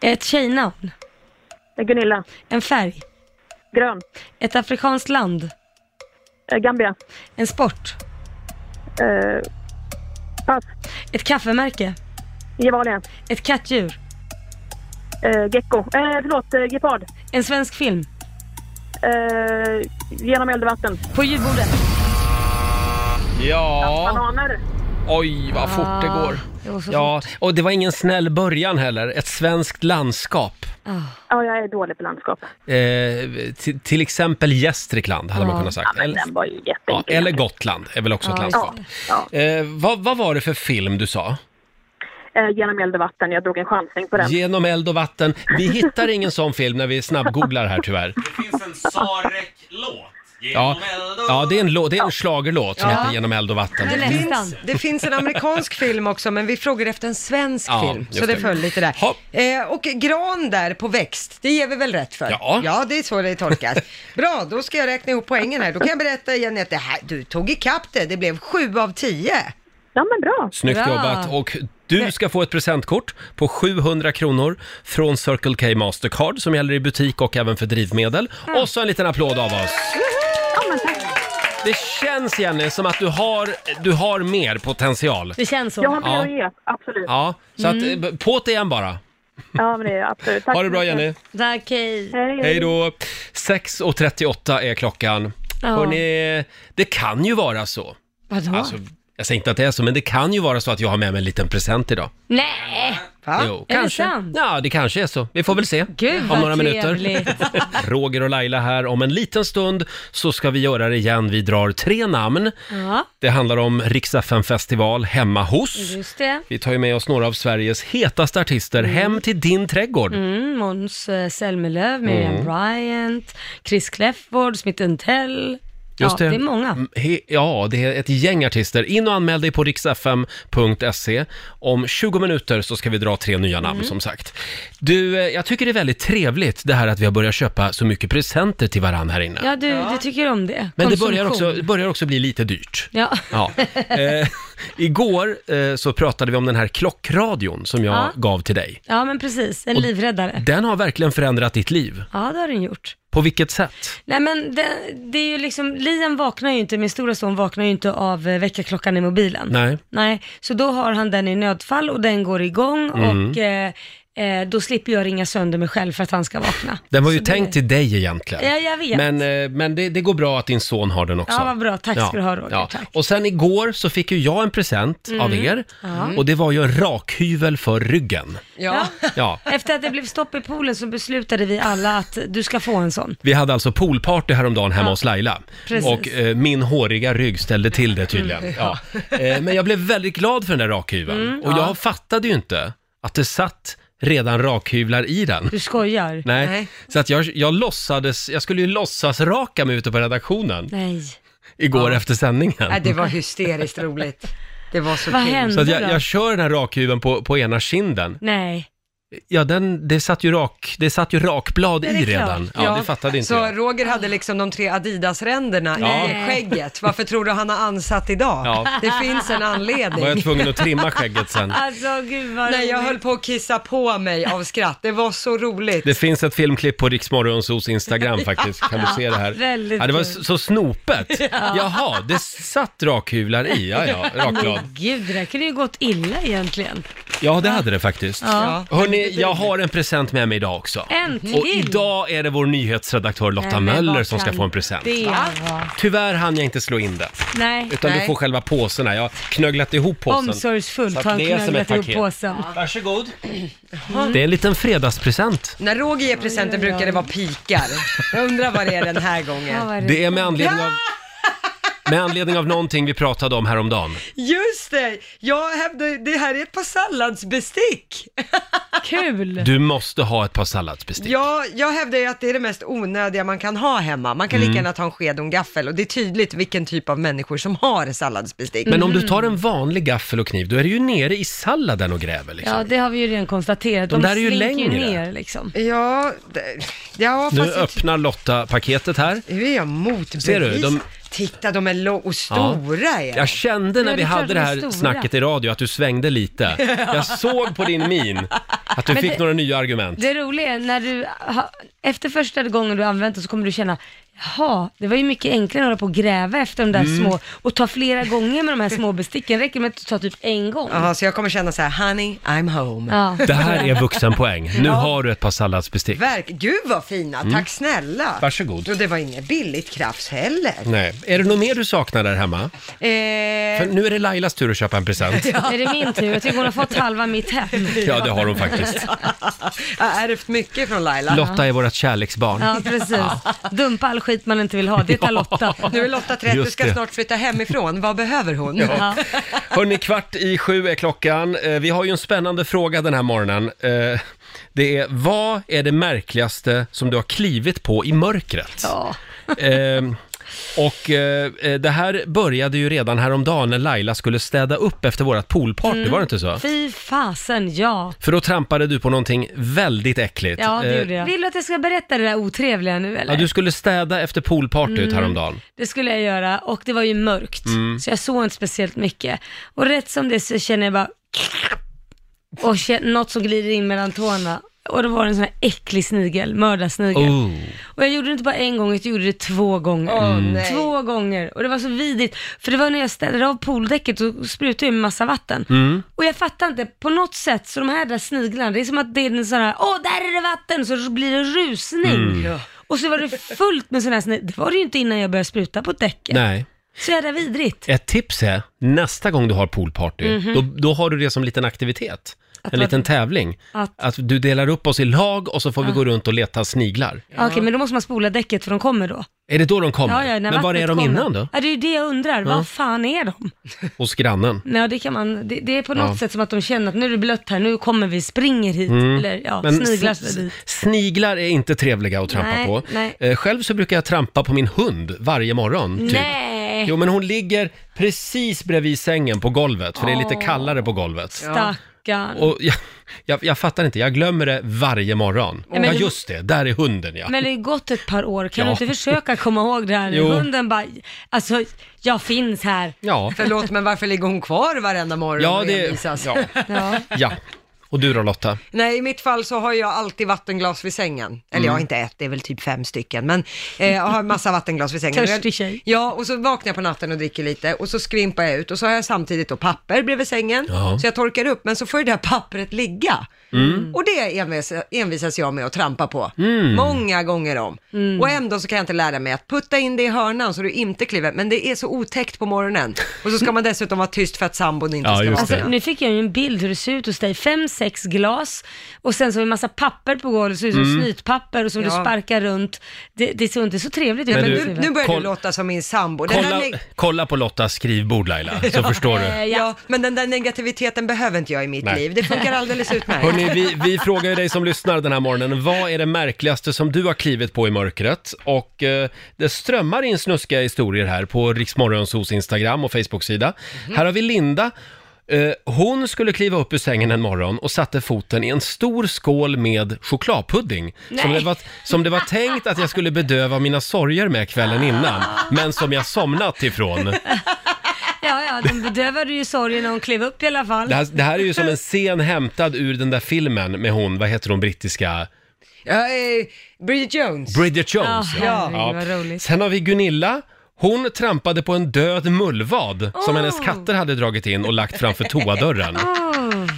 [SPEAKER 4] Ett tjejnamn.
[SPEAKER 8] Eh, Gunilla.
[SPEAKER 4] En färg.
[SPEAKER 8] Grön.
[SPEAKER 4] Ett afrikanskt land.
[SPEAKER 8] Eh, Gambia.
[SPEAKER 4] En sport.
[SPEAKER 8] Eh, pass.
[SPEAKER 4] Ett kaffemärke.
[SPEAKER 8] Gevalia.
[SPEAKER 4] Ett kattdjur.
[SPEAKER 8] Eh, gecko. Eh, förlåt, eh, gepard.
[SPEAKER 4] En svensk film.
[SPEAKER 8] Eh, genom eld och vatten.
[SPEAKER 4] På julbordet.
[SPEAKER 1] Ja,
[SPEAKER 8] Bananer.
[SPEAKER 1] oj vad fort det går.
[SPEAKER 4] Ah. Det var så
[SPEAKER 1] Ja, och det var ingen snäll början heller. Ett svenskt landskap.
[SPEAKER 4] Ah.
[SPEAKER 8] Ja, jag är dålig på landskap.
[SPEAKER 1] Eh, till, till exempel Gästrikland hade man kunnat sagt. Eller,
[SPEAKER 8] Den var ju
[SPEAKER 1] ja,
[SPEAKER 8] jätteenkel.
[SPEAKER 1] eller Gotland är väl också ett
[SPEAKER 4] Ja,
[SPEAKER 1] landskap.
[SPEAKER 8] Ja.
[SPEAKER 1] Eh, vad, vad var det för film du sa?
[SPEAKER 8] Eh, genom eld och vatten. Jag drog en chansning på den.
[SPEAKER 1] Genom eld och vatten. Vi hittar ingen sån film när vi snabbgooglar här tyvärr.
[SPEAKER 6] Det finns en Sarek-låt.
[SPEAKER 1] Ja,
[SPEAKER 6] Genom eld och-
[SPEAKER 1] ja det är en, lå- det är en schlagerlåt som heter Genom eld och vatten.
[SPEAKER 4] Det är
[SPEAKER 2] Det
[SPEAKER 4] nästan.
[SPEAKER 2] finns, det finns en amerikansk film också, men vi frågade efter en svensk
[SPEAKER 1] Ja,
[SPEAKER 2] film.
[SPEAKER 1] just
[SPEAKER 2] Så det,
[SPEAKER 1] det.
[SPEAKER 2] föll lite där.
[SPEAKER 1] Hopp.
[SPEAKER 2] Eh, och gran där på växt, det ger vi väl rätt för?
[SPEAKER 1] Ja.
[SPEAKER 2] ja det är så det tolkas. Bra, då ska jag räkna ihop poängen här. Då kan jag berätta igen att det här, du tog ikapp det. Det blev sju av tio.
[SPEAKER 8] Ja, men bra.
[SPEAKER 1] Snyggt
[SPEAKER 4] Bra.
[SPEAKER 1] jobbat! Och du ska få ett presentkort på 700 kronor från Circle K Mastercard som gäller i butik och även för drivmedel.
[SPEAKER 4] Mm.
[SPEAKER 1] Och så en liten applåd av oss!
[SPEAKER 8] Ja, men tack.
[SPEAKER 1] Det känns Jenny som att du har, du har mer potential.
[SPEAKER 4] Det känns så. Mm.
[SPEAKER 8] Jag har mer
[SPEAKER 1] Ja.
[SPEAKER 8] att ge, absolut. Ja,
[SPEAKER 1] Ja, så att, eh, på det igen bara.
[SPEAKER 8] men det är jag, absolut. Tack
[SPEAKER 1] Ha det
[SPEAKER 8] så
[SPEAKER 1] bra
[SPEAKER 8] mycket.
[SPEAKER 1] Jenny.
[SPEAKER 4] Tack, hej.
[SPEAKER 8] Hej,
[SPEAKER 1] Hej då. 6.38 är klockan.
[SPEAKER 4] Ja.
[SPEAKER 1] Hörrni, det kan ju vara så.
[SPEAKER 4] Vadå?
[SPEAKER 1] Alltså, jag säger inte att det är så, men det kan ju vara så att jag har med mig en liten present idag.
[SPEAKER 4] Nej!
[SPEAKER 2] Va?
[SPEAKER 1] Jo,
[SPEAKER 4] Är det sant?
[SPEAKER 1] Ja, det kanske är så. Vi får väl se
[SPEAKER 4] Gud
[SPEAKER 1] om
[SPEAKER 4] vad
[SPEAKER 1] några minuter.
[SPEAKER 4] trevligt.
[SPEAKER 1] Roger och Laila här. Om en liten stund så ska vi göra det igen. Vi drar tre namn.
[SPEAKER 4] Ja,
[SPEAKER 1] Det handlar om Rix festival hemma hos.
[SPEAKER 4] just det.
[SPEAKER 1] Vi tar ju med oss några av Sveriges hetaste artister hem till din trädgård.
[SPEAKER 4] Mm, Måns eh, Zelmerlöw, Miriam
[SPEAKER 1] Mm.
[SPEAKER 4] Bryant, Chris Kläfford, Smith Tell.
[SPEAKER 1] Just
[SPEAKER 4] ja, det. är många.
[SPEAKER 1] Mm, he- Ja, det är ett gäng artister. In och anmäl dig på riksfm.se. E. Om 20 minuter så ska vi dra tre nya namn
[SPEAKER 4] Mm.
[SPEAKER 1] som sagt. Du, eh, jag tycker det är väldigt trevligt det här att vi har börjat köpa så mycket presenter till varandra här inne.
[SPEAKER 4] Ja, du, du tycker om det.
[SPEAKER 1] Men det
[SPEAKER 4] Konsumtion.
[SPEAKER 1] börjar också, det börjar också bli lite dyrt.
[SPEAKER 4] Ja.
[SPEAKER 1] Ja. Eh, igår eh, så pratade vi om den här klockradion som jag
[SPEAKER 4] Ja.
[SPEAKER 1] gav till dig.
[SPEAKER 4] ja, men precis. En livräddare.
[SPEAKER 1] Den har verkligen förändrat ditt liv.
[SPEAKER 4] Ja, det har den gjort.
[SPEAKER 1] På vilket sätt?
[SPEAKER 4] Nej men det, det är ju liksom, Liam vaknar ju inte, min stora son vaknar ju inte av eh, väckarklockan i mobilen.
[SPEAKER 1] Nej.
[SPEAKER 4] Nej, så då har han den i nödfall och den går igång
[SPEAKER 1] Mm.
[SPEAKER 4] och eh, eh, då slipper jag ringa sönder mig själv för att han ska vakna.
[SPEAKER 1] Den var ju
[SPEAKER 4] så
[SPEAKER 1] tänkt till dig egentligen.
[SPEAKER 4] Alltså, Ja, jag vet.
[SPEAKER 1] Men, eh, men det, det går bra att din son har den också.
[SPEAKER 4] Ja, vad bra. Tack ska du ha, Roger. Tack. Mm.
[SPEAKER 1] Och sen igår så fick ju jag en present av er och det var ju en rakhyvel för ryggen.
[SPEAKER 2] Ja.
[SPEAKER 1] Ja.
[SPEAKER 4] Efter att det blev stopp i poolen så beslutade vi alla att du ska få en sån.
[SPEAKER 1] Vi hade alltså poolparty häromdagen hemma
[SPEAKER 4] Ja.
[SPEAKER 1] hos Laila.
[SPEAKER 4] Precis. Mm.
[SPEAKER 1] Och eh, min håriga rygg ställde till det tydligen. Ja. Eh, men jag blev väldigt glad för den där rakhyveln. och jag fattade ju inte att det satt redan rakhyvlar i den.
[SPEAKER 4] Du skojar?
[SPEAKER 1] Nej.
[SPEAKER 2] Nej.
[SPEAKER 1] Så att jag, jag låtsades, jag skulle ju låtsas raka mig ute på redaktionen
[SPEAKER 4] Nej.
[SPEAKER 1] igår efter sändningen.
[SPEAKER 2] Nej, det var hysteriskt roligt. Det var så
[SPEAKER 4] Vad
[SPEAKER 2] kul.
[SPEAKER 4] hände
[SPEAKER 1] Så att jag,
[SPEAKER 4] då?
[SPEAKER 1] jag kör den här rakhyveln på, på ena kinden.
[SPEAKER 4] Nej.
[SPEAKER 1] Ja, den, det, satt ju rak, det satt ju rakblad
[SPEAKER 4] är
[SPEAKER 1] i
[SPEAKER 4] klart.
[SPEAKER 1] redan. Ja, det fattade inte
[SPEAKER 2] Så
[SPEAKER 1] jag.
[SPEAKER 2] Roger hade liksom de tre Adidas-ränderna
[SPEAKER 1] Ja.
[SPEAKER 2] i skägget. Varför tror du han har ansatt idag?
[SPEAKER 1] Ja.
[SPEAKER 2] Det finns en anledning.
[SPEAKER 1] Var jag tvungen att trimma skägget sen.
[SPEAKER 4] Alltså gud vad
[SPEAKER 2] Nej, jag
[SPEAKER 4] roligt.
[SPEAKER 2] höll på att kissa på mig av skratt. Det var så roligt.
[SPEAKER 1] Det finns ett filmklipp på Riksmorgonsos Instagram faktiskt, kan du se det här?
[SPEAKER 4] väldigt
[SPEAKER 1] ja, det var
[SPEAKER 4] kul.
[SPEAKER 1] så, så snopet. Jaha, det satt rakhyvlar i, ja ja, rakblad.
[SPEAKER 4] Men gud, det där kunde ju gått illa egentligen.
[SPEAKER 1] Ja, det hade det faktiskt.
[SPEAKER 2] Ja.
[SPEAKER 1] Hörni, jag har en present med mig idag också.
[SPEAKER 4] En till!
[SPEAKER 1] Och idag är det vår nyhetsredaktör Lotta
[SPEAKER 4] Nej, men
[SPEAKER 1] Möller
[SPEAKER 4] vad
[SPEAKER 1] som ska
[SPEAKER 4] kan
[SPEAKER 1] få en present.
[SPEAKER 4] Det var...
[SPEAKER 1] Tyvärr hann jag inte slå in det,
[SPEAKER 4] Nej.
[SPEAKER 1] utan du
[SPEAKER 2] Nej.
[SPEAKER 1] får själva påsen här. Jag har knögglat ihop påsen.
[SPEAKER 4] Omsorgsfullt
[SPEAKER 1] Så
[SPEAKER 4] har
[SPEAKER 1] att
[SPEAKER 4] han
[SPEAKER 1] det är som ett
[SPEAKER 4] knögglat ihop
[SPEAKER 1] paket.
[SPEAKER 4] påsen.
[SPEAKER 1] Varsågod. Det är en liten fredagspresent.
[SPEAKER 2] När Roger ger presenter brukar det vara pikar. Jag undrar vad det är den här
[SPEAKER 4] Ja,
[SPEAKER 2] gången.
[SPEAKER 4] vad är det?
[SPEAKER 1] Det är med anledning av... med anledning av någonting vi pratade om häromdagen.
[SPEAKER 2] Just det! Jag hävdar, det här är ett par salladsbestick.
[SPEAKER 4] Kul!
[SPEAKER 1] Du måste ha ett par salladsbestick.
[SPEAKER 2] Jag, jag hävdar ju att det är det mest onödiga man kan ha hemma. Man kan
[SPEAKER 1] Mm.
[SPEAKER 2] lika gärna ta en sked och en gaffel och det är tydligt vilken typ av människor som har salladsbestick.
[SPEAKER 1] Men om
[SPEAKER 4] Mm.
[SPEAKER 1] du tar en vanlig gaffel och kniv, då är du ju nere i salladen och gräver liksom.
[SPEAKER 4] Ja, det har vi ju redan konstaterat.
[SPEAKER 1] De
[SPEAKER 4] De,
[SPEAKER 1] där är ju
[SPEAKER 4] slinker
[SPEAKER 1] längre.
[SPEAKER 4] ner liksom.
[SPEAKER 2] Ja, det, typ ja
[SPEAKER 1] Nu
[SPEAKER 2] fast jag ty-
[SPEAKER 1] öppnar Lotta paketet här.
[SPEAKER 2] nu är jag motbevis.
[SPEAKER 1] Ser du, de-
[SPEAKER 2] Titta, de är långa och stora är
[SPEAKER 1] Jag kände när
[SPEAKER 4] Ja,
[SPEAKER 1] vi
[SPEAKER 4] det är klart
[SPEAKER 1] hade
[SPEAKER 4] de
[SPEAKER 1] det
[SPEAKER 4] är
[SPEAKER 1] här
[SPEAKER 4] stora.
[SPEAKER 1] snacket i radio att du svängde lite. Jag såg på din min att du
[SPEAKER 4] Men
[SPEAKER 1] fick
[SPEAKER 4] det-
[SPEAKER 1] några nya argument.
[SPEAKER 4] Det roliga är när du, ha, efter första gången du använt det så kommer du känna, jaha, det var ju mycket enklare att hålla på och gräva efter de där
[SPEAKER 1] Mm.
[SPEAKER 4] små och ta flera gånger med de här små besticken. Räcker med att ta typ en gång.
[SPEAKER 2] Jaha, så jag kommer känna så här, honey, I'm home.
[SPEAKER 4] Ja.
[SPEAKER 1] Det här är vuxenpoäng. Nu har du ett par salladsbestick.
[SPEAKER 2] Verk, gud vad fina, tack snälla.
[SPEAKER 1] Mm. Varsågod.
[SPEAKER 2] Och det var inget billigt krafs heller.
[SPEAKER 1] Nej. Är det något mer du saknar där hemma?
[SPEAKER 2] Eh,
[SPEAKER 1] För nu är det Lailas tur att köpa en present.
[SPEAKER 4] Är det min tur? Jag tycker hon har fått halva mitt hem.
[SPEAKER 1] Ja, det har hon faktiskt.
[SPEAKER 2] jag har ärvt mycket från Laila.
[SPEAKER 1] Lotta är vårt kärleksbarn.
[SPEAKER 4] Ja, precis. Dumpa all skit man inte vill ha. Det tar Lotta.
[SPEAKER 2] nu är Lotta 30,
[SPEAKER 1] Just
[SPEAKER 2] ska
[SPEAKER 1] det.
[SPEAKER 2] snart flytta hemifrån. Vad behöver hon?
[SPEAKER 4] Ja.
[SPEAKER 1] Hörni, kvart i sju är klockan. Eh, Vi har ju en spännande fråga den här morgonen. Eh, Det är, vad är det märkligaste som du har klivit på i mörkret?
[SPEAKER 4] Ja.
[SPEAKER 1] Eh, och eh, eh, det här började ju redan häromdagen när Laila skulle städa upp efter vårt poolparty, var det inte så?
[SPEAKER 4] Mm, Fy fasen, ja.
[SPEAKER 1] För då trampade du på någonting väldigt äckligt.
[SPEAKER 4] Ja, det
[SPEAKER 1] Eh,
[SPEAKER 4] gjorde jag. Vill du att jag ska berätta det där otrevliga nu eller? Mm.
[SPEAKER 1] Ja, du skulle städa efter poolpartyt häromdagen. Mm.
[SPEAKER 4] Det skulle jag göra och det var ju mörkt, så jag såg inte speciellt mycket. Och rätt som det så känner jag bara och kä- något som glider in mellan tårna. Och då var det en sån här äcklig snigel, mördarsnigel.
[SPEAKER 1] Oh. Mm.
[SPEAKER 4] Och jag gjorde det inte bara en gång, utan jag gjorde det två gånger.
[SPEAKER 2] nej.
[SPEAKER 4] Två gånger. Och det var så vidrigt. För det var när jag ställde av pooldäcket och sprutade ju en massa vatten.
[SPEAKER 1] Mm.
[SPEAKER 4] Och jag fattar inte, på något sätt, så de här där sniglarna, det är som att det är en sån här, åh där är det vatten, så blir det
[SPEAKER 1] Mm.
[SPEAKER 4] rusning. Och så var det fullt med sån här sniglar. Det var det ju inte innan jag började spruta på däcket.
[SPEAKER 1] Nej.
[SPEAKER 4] Så jävla vidrigt.
[SPEAKER 1] Ett tips är, nästa gång du har poolparty,
[SPEAKER 4] Mhm.
[SPEAKER 1] då, då har du det som liten aktivitet. en
[SPEAKER 4] vad-
[SPEAKER 1] liten tävling. Att...
[SPEAKER 4] Att-
[SPEAKER 1] du delar upp oss i lag och så får vi gå runt och leta sniglar.
[SPEAKER 4] Ja. Okej, men då måste man spola däcket för de kommer då.
[SPEAKER 1] Är det då de kommer? Men var
[SPEAKER 4] vattnet
[SPEAKER 1] är de
[SPEAKER 4] kommer.
[SPEAKER 1] innan då?
[SPEAKER 4] Ja, det är ju det jag undrar. Var fan är de?
[SPEAKER 1] Hos grannen?
[SPEAKER 4] Nej, det kan man. Det, det är på något
[SPEAKER 1] Ja. Mm.
[SPEAKER 4] sätt som att de känner att nu är det blött här, nu kommer vi, springer hit. Eller ja,
[SPEAKER 1] Men
[SPEAKER 4] sniglar
[SPEAKER 1] s-
[SPEAKER 4] sig dit.
[SPEAKER 1] sniglar är inte trevliga att trampa
[SPEAKER 4] Nej,
[SPEAKER 1] på.
[SPEAKER 4] nej.
[SPEAKER 1] Eh, Själv så brukar jag trampa på min hund varje morgon. Typ.
[SPEAKER 4] Nej,
[SPEAKER 1] Jo, men hon ligger precis bredvid sängen på golvet, för det är lite kallare på golvet.
[SPEAKER 4] stackarn.
[SPEAKER 1] Och jag, jag, jag fattar inte, jag glömmer det varje morgon.
[SPEAKER 4] men
[SPEAKER 1] ja,
[SPEAKER 4] du-
[SPEAKER 1] just det, där är hunden ja.
[SPEAKER 4] Men det har ju gått ett par år, kan
[SPEAKER 1] Ja.
[SPEAKER 4] du inte försöka komma ihåg det här nu?
[SPEAKER 1] Jo.
[SPEAKER 4] Hunden bara, alltså jag finns här.
[SPEAKER 1] Ja,
[SPEAKER 2] Förlåt, men varför ligger hon kvar varenda morgon
[SPEAKER 1] ja,
[SPEAKER 2] och
[SPEAKER 1] det,
[SPEAKER 2] envisas?
[SPEAKER 1] ja.
[SPEAKER 4] Ja.
[SPEAKER 1] ja. Och du då Lotta?
[SPEAKER 2] Nej, i mitt fall så har jag alltid vattenglas vid sängen. Eller
[SPEAKER 1] Mm.
[SPEAKER 2] jag har inte ett, det är väl typ fem stycken, men eh, jag har massa vattenglas vid sängen.
[SPEAKER 4] Törstig tjej.
[SPEAKER 2] Ja, och så vaknar jag på natten och dricker lite och så skvimpar jag ut och så har jag samtidigt då papper bredvid sängen.
[SPEAKER 1] Ja.
[SPEAKER 2] Så jag torkar upp, men så får ju det här pappret ligga.
[SPEAKER 1] Mm.
[SPEAKER 4] Mm.
[SPEAKER 2] Och det envis, envisas jag med att trampa på.
[SPEAKER 1] Mm.
[SPEAKER 2] Många gånger om.
[SPEAKER 4] Mm.
[SPEAKER 2] Och ändå så kan jag inte lära mig att putta in det i hörnan så du inte kliver, men det är så otäckt på morgonen. Och så ska man dessutom vara tyst för att sambon inte
[SPEAKER 1] Ja,
[SPEAKER 2] ska
[SPEAKER 1] just
[SPEAKER 2] vara
[SPEAKER 1] det.
[SPEAKER 4] Alltså, nu fick jag ju en bild hur det ser ut hos dig. Fem, sex glas och sen så har vi massa papper på golvet, så det ser
[SPEAKER 1] Mm.
[SPEAKER 4] ut som snytpapper och som du
[SPEAKER 2] Ja.
[SPEAKER 4] sparkar runt. Det, det ser inte så trevligt ut.
[SPEAKER 1] Men
[SPEAKER 4] på
[SPEAKER 1] du-
[SPEAKER 2] Nu,
[SPEAKER 4] sidan.
[SPEAKER 2] nu börjar
[SPEAKER 1] Koll-
[SPEAKER 2] du låta som min sambo. Den här
[SPEAKER 1] Kolla,
[SPEAKER 2] neg-
[SPEAKER 1] kolla på Lottas skrivbord Laila, så förstår du.
[SPEAKER 4] Eh,
[SPEAKER 2] Ja.
[SPEAKER 4] ja.
[SPEAKER 2] men den där negativiteten behöver inte jag i mitt
[SPEAKER 1] Nej.
[SPEAKER 2] liv. Det funkar alldeles utmärkt.
[SPEAKER 1] Hörrni, vi, vi frågar ju dig som lyssnar den här morgonen, vad är det märkligaste som du har klivit på i mörkret? Och eh, det strömmar in snuskiga historier här på Riksmorgonsos Instagram och Facebook-sida. Här har vi Linda. Eh, hon skulle kliva upp ur sängen en morgon och satte foten i en stor skål med chokladpudding. Som
[SPEAKER 4] Nej.
[SPEAKER 1] det, var, som det var tänkt att jag skulle bedöva mina sorger med kvällen innan, men som jag somnat ifrån.
[SPEAKER 4] Ja, ja, den bedövade ju sorgen när hon klev upp i alla fall.
[SPEAKER 1] Det här, det här är ju som en scen hämtad ur den där filmen med hon, vad heter hon, brittiska...
[SPEAKER 2] Ja, eh, Bridget Jones.
[SPEAKER 1] Bridget Jones.
[SPEAKER 4] Ja, Ah, herregud, vad roligt.
[SPEAKER 1] Sen har vi Gunilla. Hon trampade på en död mullvad som
[SPEAKER 4] Oh.
[SPEAKER 1] hennes katter hade dragit in och lagt framför toadörren.
[SPEAKER 4] Ah.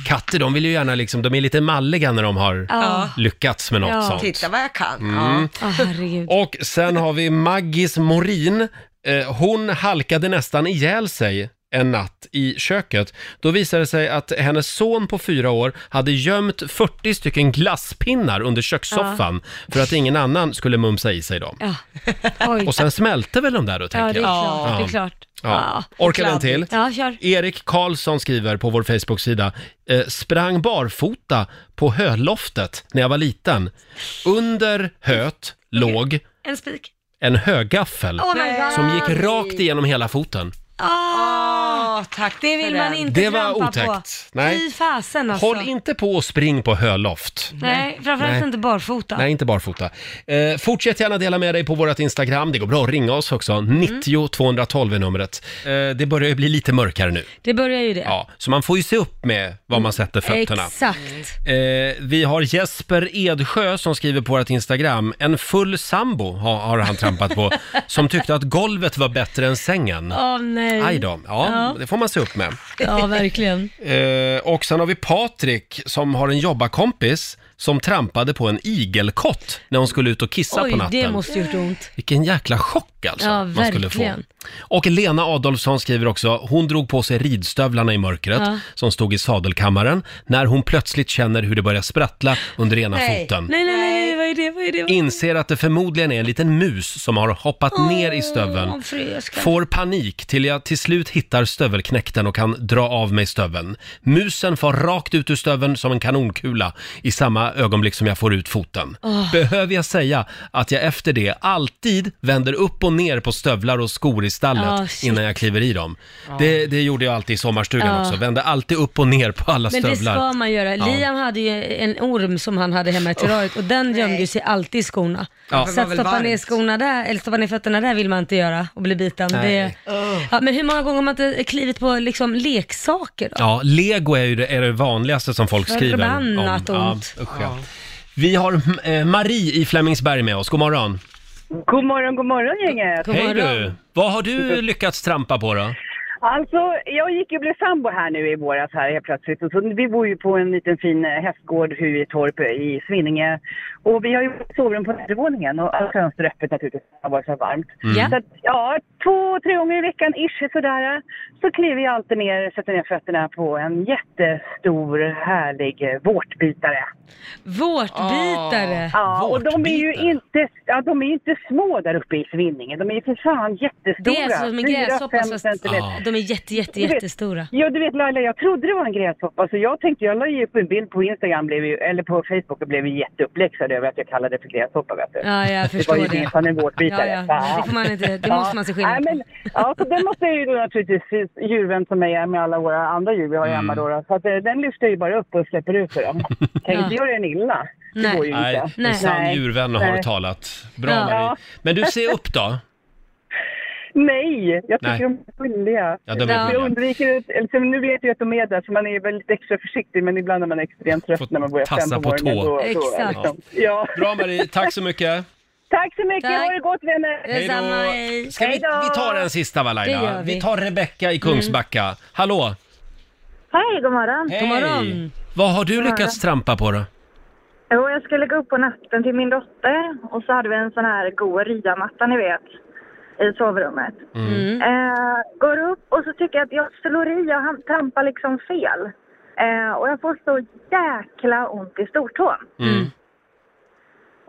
[SPEAKER 1] Katter, de vill ju gärna liksom, de är lite malliga när de har
[SPEAKER 4] Ja.
[SPEAKER 1] lyckats med något
[SPEAKER 4] Ja.
[SPEAKER 1] sånt. Mm.
[SPEAKER 2] Titta vad jag kan. Ja.
[SPEAKER 4] Åh, herregud.
[SPEAKER 1] Och sen har vi Maggis Morin. Eh, Hon halkade nästan ihjäl sig en natt i köket. Då visade det sig att hennes son på fyra år hade gömt 40 stycken glasspinnar under kökssoffan för att ingen annan skulle mumsa i sig dem.
[SPEAKER 4] Ja. Oj.
[SPEAKER 1] Och sen smälte väl de där då, tänker
[SPEAKER 4] ja, det är klart. Det är
[SPEAKER 1] jag. Ja.
[SPEAKER 4] klart.
[SPEAKER 1] Ja.
[SPEAKER 4] Ja.
[SPEAKER 1] Orkar vi en till?
[SPEAKER 4] Ja, kör.
[SPEAKER 1] Erik Karlsson skriver på vår Facebook-sida eh, “Sprang barfota på höloftet när jag var liten. Under höet låg
[SPEAKER 4] En spik.
[SPEAKER 1] en högaffel
[SPEAKER 4] Oh my god.
[SPEAKER 1] som gick rakt igenom hela foten.
[SPEAKER 4] Ah,
[SPEAKER 2] Ja, tack.
[SPEAKER 4] det vill
[SPEAKER 2] för
[SPEAKER 4] man
[SPEAKER 2] den.
[SPEAKER 4] inte
[SPEAKER 1] Det var
[SPEAKER 4] trampa
[SPEAKER 1] otäckt.
[SPEAKER 4] på.
[SPEAKER 1] Nej.
[SPEAKER 4] Fy fasen alltså.
[SPEAKER 1] Håll inte på och spring på höloft.
[SPEAKER 4] Nej, framförallt
[SPEAKER 1] Nej.
[SPEAKER 4] inte barfota.
[SPEAKER 1] Nej, inte barfota. Eh, fortsätt gärna dela med dig på vårt Instagram. Det går bra att ringa oss också.
[SPEAKER 4] Mm.
[SPEAKER 1] 90 212 är numret. Eh, det börjar ju bli lite mörkare nu.
[SPEAKER 4] Det börjar ju det.
[SPEAKER 1] Ja, så man får ju se upp med var man sätter fötterna.
[SPEAKER 4] Exakt.
[SPEAKER 1] Eh, vi har Jesper Edsjö som skriver på vårt Instagram. En full sambo har, har han trampat på, som tyckte att golvet var bättre än sängen.
[SPEAKER 4] Åh nej.
[SPEAKER 1] Mm. Aj då, ja, det får man se upp med.
[SPEAKER 4] Ja, verkligen.
[SPEAKER 1] Eh, och sen har vi Patrik som har en jobbarkompis som trampade på en igelkott när hon skulle ut och kissa
[SPEAKER 4] Oj,
[SPEAKER 1] på natten.
[SPEAKER 4] det måste gjort ont.
[SPEAKER 1] Vilken jäkla chock alltså
[SPEAKER 4] Ja,
[SPEAKER 1] man skulle få.
[SPEAKER 4] verkligen.
[SPEAKER 1] Och Lena Adolfsson skriver också, hon drog på sig ridstövlarna i mörkret
[SPEAKER 4] Ja.
[SPEAKER 1] som stod i sadelkammaren när hon plötsligt känner hur det börjar sprattla under ena
[SPEAKER 2] Nej.
[SPEAKER 1] foten.
[SPEAKER 4] Nej, nej, nej, nej, vad är det? Vad är det? Vad är det?
[SPEAKER 1] Inser att det förmodligen är en liten mus som har hoppat ner i
[SPEAKER 4] Åh,
[SPEAKER 1] stöveln.
[SPEAKER 4] fröskar.
[SPEAKER 1] Får panik till jag till slut hittar stövelknäkten och kan dra av mig stöveln. Musen far rakt ut ur stöveln som en kanonkula i samma ögonblick som jag får ut foten. Behöver jag säga att jag efter det alltid vänder upp och ner på stövlar och skor i stallet
[SPEAKER 4] Ah, shit.
[SPEAKER 1] innan jag kliver i dem. Det, det gjorde jag alltid i sommarstugan
[SPEAKER 4] Ah.
[SPEAKER 1] också. Vände alltid upp och ner på alla
[SPEAKER 4] Men det
[SPEAKER 1] stövlar.
[SPEAKER 4] ska man göra. Liam hade ju en orm som han hade hemma i terrariet och den gömde ju sig alltid i skorna.
[SPEAKER 1] Ja.
[SPEAKER 4] Så
[SPEAKER 2] Det var
[SPEAKER 4] att
[SPEAKER 2] väl
[SPEAKER 4] stoppa ner
[SPEAKER 2] varmt.
[SPEAKER 4] skorna där, eller stoppa ner fötterna där vill man inte göra och bli biten. Det,
[SPEAKER 1] Nej.
[SPEAKER 4] ja, men hur många gånger har man inte klivit på liksom leksaker då?
[SPEAKER 1] Ja, lego är ju det, är det vanligaste som folk skriver
[SPEAKER 4] Förbannat ont.
[SPEAKER 1] Ja, usch, ja. Vi har mm, eh, Marie i Flemingsberg med oss. God morgon.
[SPEAKER 8] God morgon, god morgon gänget.
[SPEAKER 4] God
[SPEAKER 1] Hej
[SPEAKER 4] morgon.
[SPEAKER 1] du! Vad har du lyckats trampa på då?
[SPEAKER 8] Alltså, jag gick ju blev sambo här nu i våras här helt plötsligt. Och så, vi bor ju på en liten fin eh, hästgård i Torp eh, i Svinninge. Och vi har ju sovrum på nedervåningen och alla fönster är öppet naturligtvis. Det har varit så varmt.
[SPEAKER 1] Mm.
[SPEAKER 9] Mm.
[SPEAKER 4] Ja.
[SPEAKER 8] Så att, ja, två, tre gånger i veckan ish sådär. Så kliver jag alltid ner, sätter ner fötterna på en jättestor härlig eh, vårtbitare.
[SPEAKER 4] Vårtbitare.
[SPEAKER 8] Ja, och de är ju
[SPEAKER 1] Vårtbitare?
[SPEAKER 8] inte, ja, de är ju inte små där uppe i Svinninge. De är ju för fan jättestora.
[SPEAKER 4] Det är som en
[SPEAKER 8] Fyra,
[SPEAKER 4] gräshoppa
[SPEAKER 8] fem
[SPEAKER 4] fast
[SPEAKER 8] centimeter.
[SPEAKER 1] Ja.
[SPEAKER 4] de är jätte, jätte,
[SPEAKER 8] Du vet-
[SPEAKER 4] jättestora.
[SPEAKER 8] Ja, du vet Laila, jag trodde det var en gräshoppa så jag tänkte, jag la ju upp en bild på Instagram, blev ju, eller på Facebook och blev ju jätteuppläxad över att jag kallade det för gräshoppa vet du.
[SPEAKER 4] Ja, jag
[SPEAKER 8] det var
[SPEAKER 4] förstår
[SPEAKER 8] ju
[SPEAKER 4] det.
[SPEAKER 8] minsann en vårtbitare.
[SPEAKER 4] Ja, ja. Det får man inte- det måste man se skillnad
[SPEAKER 8] på.
[SPEAKER 4] på.
[SPEAKER 8] Men, ja, så den måste jag ju då naturligtvis, djurvän som jag är med alla våra andra djur vi har hemma
[SPEAKER 1] Mm.
[SPEAKER 8] då, då, så att, eh, den lyfter jag ju bara upp och släpper ut för dem. Kan ju inte göra den illa. Det
[SPEAKER 4] Nej.
[SPEAKER 8] går ju
[SPEAKER 1] Nej,
[SPEAKER 8] inte.
[SPEAKER 1] en
[SPEAKER 4] Nej.
[SPEAKER 1] sann djurvän har
[SPEAKER 8] Nej.
[SPEAKER 1] talat. Bra
[SPEAKER 4] Ja.
[SPEAKER 1] Marie. Men du, se upp då.
[SPEAKER 8] Nej, jag tycker
[SPEAKER 1] Nej.
[SPEAKER 8] de är skyldiga.
[SPEAKER 1] Ja, de
[SPEAKER 4] Ja.
[SPEAKER 1] är
[SPEAKER 8] Jag
[SPEAKER 1] ja.
[SPEAKER 8] undviker, att- eller, så nu vet jag att de är där så man är väl lite extra försiktig men ibland är man extremt trött
[SPEAKER 1] Får
[SPEAKER 8] när man börjar fem
[SPEAKER 1] tassa
[SPEAKER 8] på
[SPEAKER 1] på
[SPEAKER 8] morgonen.
[SPEAKER 1] tå.
[SPEAKER 8] Då,
[SPEAKER 4] Exakt.
[SPEAKER 8] Då, liksom. ja.
[SPEAKER 1] Bra Marie, tack så mycket.
[SPEAKER 8] Tack så mycket,
[SPEAKER 4] Tack.
[SPEAKER 8] ha det gott vänner!
[SPEAKER 1] Hej då.
[SPEAKER 4] Detsamma, hej.
[SPEAKER 1] Ska vi,
[SPEAKER 8] Hej då.
[SPEAKER 1] vi tar en sista va
[SPEAKER 4] Det
[SPEAKER 1] Laila?
[SPEAKER 4] gör vi. Mm.
[SPEAKER 1] Vi tar Rebecka i Kungsbacka. Hallå!
[SPEAKER 8] Hej, god morgon!
[SPEAKER 1] Hej!
[SPEAKER 4] God morgon.
[SPEAKER 1] Vad har du lyckats trampa på då?
[SPEAKER 8] Jo, jag skulle gå upp på natten till min dotter och så hade vi en sån här god riddarmatta ni vet i sovrummet.
[SPEAKER 9] Mm.
[SPEAKER 4] Mm.
[SPEAKER 1] Mm.
[SPEAKER 8] Eh, går upp och så tycker jag att jag slår i, jag han- trampar liksom fel. Eh, och jag får så jäkla ont i stortån.
[SPEAKER 1] Mm.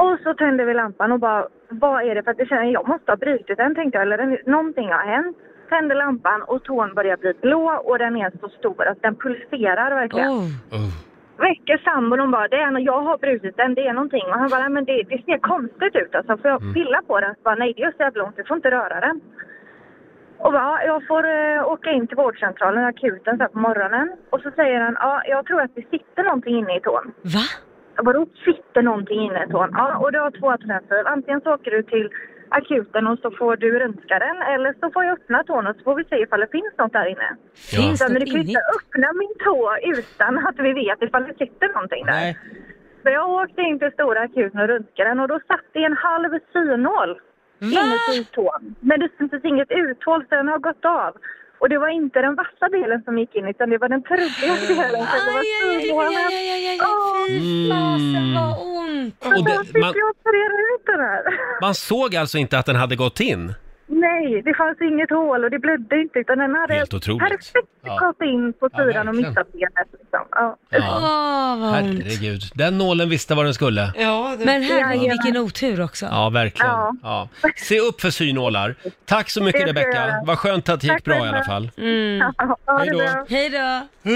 [SPEAKER 8] Och så tände vi lampan och bara, vad är det? För att jag känner, jag måste ha brutit den tänkte jag, eller den, någonting har hänt. Tände lampan och tån börjar bli blå och den är så stor att den pulserar verkligen.
[SPEAKER 4] Oh.
[SPEAKER 1] Oh.
[SPEAKER 8] Väcker sambon och bara, det är, nå- jag har brutit den, det är någonting. Och han bara, nej, men det, det ser konstigt ut alltså. Får jag pilla på den? Så bara, nej det gör så jävla ont, du får inte röra den. Och bara, "Ja, jag får eh, åka in till vårdcentralen, akuten, så här på morgonen. Och så säger han, ja, jag tror att det sitter någonting inne i tån.
[SPEAKER 4] Va?
[SPEAKER 8] Vadå sitter någonting inne i tån? Ja, och du har två alternativ. Antingen så åker du till akuten och så får du röntga den eller så får jag öppna tån och så får vi se ifall det finns något där inne.
[SPEAKER 1] Ja.
[SPEAKER 4] Finns
[SPEAKER 8] Så, men
[SPEAKER 4] det
[SPEAKER 8] du kan ju
[SPEAKER 4] inne?
[SPEAKER 8] inte öppna min tå utan att vi vet ifall det sitter någonting där.
[SPEAKER 1] Nej.
[SPEAKER 8] Så jag åkte in till stora akuten och röntgade den och då satt det en halv synål inuti tån. Men det syntes inget uthåll så den har gått av. Och det var inte den vassa delen som gick in utan det var den trubbiga delen. Så det
[SPEAKER 4] Aj,
[SPEAKER 8] var
[SPEAKER 4] aj, aj, aj,
[SPEAKER 8] synålen.
[SPEAKER 4] aj, aj, aj,
[SPEAKER 8] Åh.
[SPEAKER 4] fy
[SPEAKER 1] Mm.
[SPEAKER 4] fasen vad ont.
[SPEAKER 1] Och
[SPEAKER 8] Och
[SPEAKER 1] det,
[SPEAKER 8] fick
[SPEAKER 1] man,
[SPEAKER 8] jag operera ut den här.
[SPEAKER 1] man såg alltså inte att den hade gått in?
[SPEAKER 9] Nej, det fanns inget hål och det blödde inte utan den hade
[SPEAKER 1] Helt otroligt.
[SPEAKER 9] perfekt
[SPEAKER 10] Ja.
[SPEAKER 9] gått in på
[SPEAKER 10] Ja,
[SPEAKER 9] sidan
[SPEAKER 10] verkligen.
[SPEAKER 9] och missat benet. Liksom. Ja.
[SPEAKER 4] Åh,
[SPEAKER 1] Ja,
[SPEAKER 4] vad ont.
[SPEAKER 1] herregud. Den nålen visste vad den skulle.
[SPEAKER 11] Ja, det...
[SPEAKER 4] Men herregud, vilken otur också.
[SPEAKER 1] Ja, verkligen.
[SPEAKER 9] Ja.
[SPEAKER 1] Ja. Se upp för synålar. Tack så mycket
[SPEAKER 9] Det ska jag
[SPEAKER 1] Rebecka.
[SPEAKER 9] göra.
[SPEAKER 1] Vad skönt att det gick
[SPEAKER 9] Tack
[SPEAKER 1] bra i
[SPEAKER 9] själva.
[SPEAKER 1] alla fall.
[SPEAKER 4] Mm.
[SPEAKER 9] Ja, ha
[SPEAKER 1] Hej
[SPEAKER 9] det
[SPEAKER 1] då.
[SPEAKER 9] bra.
[SPEAKER 4] Hej då.
[SPEAKER 1] Uh.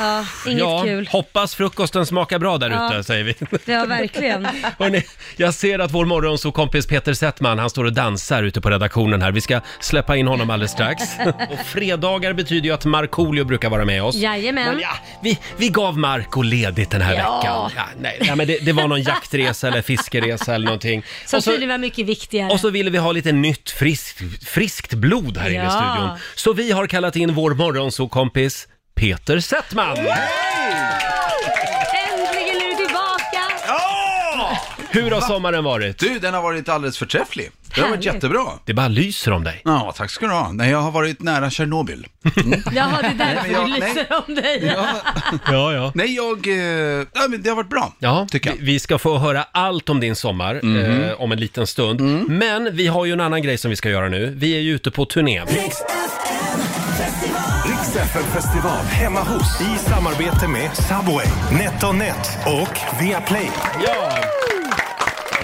[SPEAKER 4] Ja, inget
[SPEAKER 1] Ja,
[SPEAKER 4] kul.
[SPEAKER 1] hoppas frukosten smakar bra där ute,
[SPEAKER 4] Ja.
[SPEAKER 1] säger vi.
[SPEAKER 4] Ja, verkligen.
[SPEAKER 1] Hörrni, jag ser att vår morgonsåkompis Peter Settman, han står och dansar ute på redaktionen här. Vi ska släppa in honom alldeles strax. Och fredagar betyder ju att Markoolio brukar vara med oss.
[SPEAKER 4] Jajamän.
[SPEAKER 1] Men ja, vi, vi gav Marco ledigt den här veckan. Ja, nej, nej, men det, det var någon jaktresa eller fiskeresa eller någonting.
[SPEAKER 4] Som
[SPEAKER 1] Och så-
[SPEAKER 4] tydligen var mycket viktigare.
[SPEAKER 1] och så ville vi ha lite nytt friskt, friskt blod här inne i
[SPEAKER 4] Ja.
[SPEAKER 1] studion. Så vi har kallat in vår morgonsåkompis Peter Settman.
[SPEAKER 4] Äntligen är du tillbaka!
[SPEAKER 1] Hur har sommaren varit?
[SPEAKER 10] Du, den har varit alldeles förträfflig. Den har varit
[SPEAKER 4] Härligt.
[SPEAKER 10] jättebra.
[SPEAKER 1] Det bara lyser om dig.
[SPEAKER 10] Ja, tack ska du ha. Nej, jag har varit nära Tjernobyl.
[SPEAKER 4] Jaha, det är därför
[SPEAKER 10] men jag-
[SPEAKER 4] du lyser om dig.
[SPEAKER 1] Ja, ja.
[SPEAKER 10] Nej, jag... Eh, ja, men det har varit bra,
[SPEAKER 1] Ja,
[SPEAKER 10] tycker jag. Mhm.
[SPEAKER 1] vi- vi ska få höra allt om din sommar eh, om en liten stund.
[SPEAKER 10] Mm.
[SPEAKER 1] Men vi har ju en annan grej som vi ska göra nu. Vi är ju ute på turné.
[SPEAKER 12] Rix FM festival hemma hos i samarbete med Subway, NetOnNet och Viaplay.
[SPEAKER 1] Ja.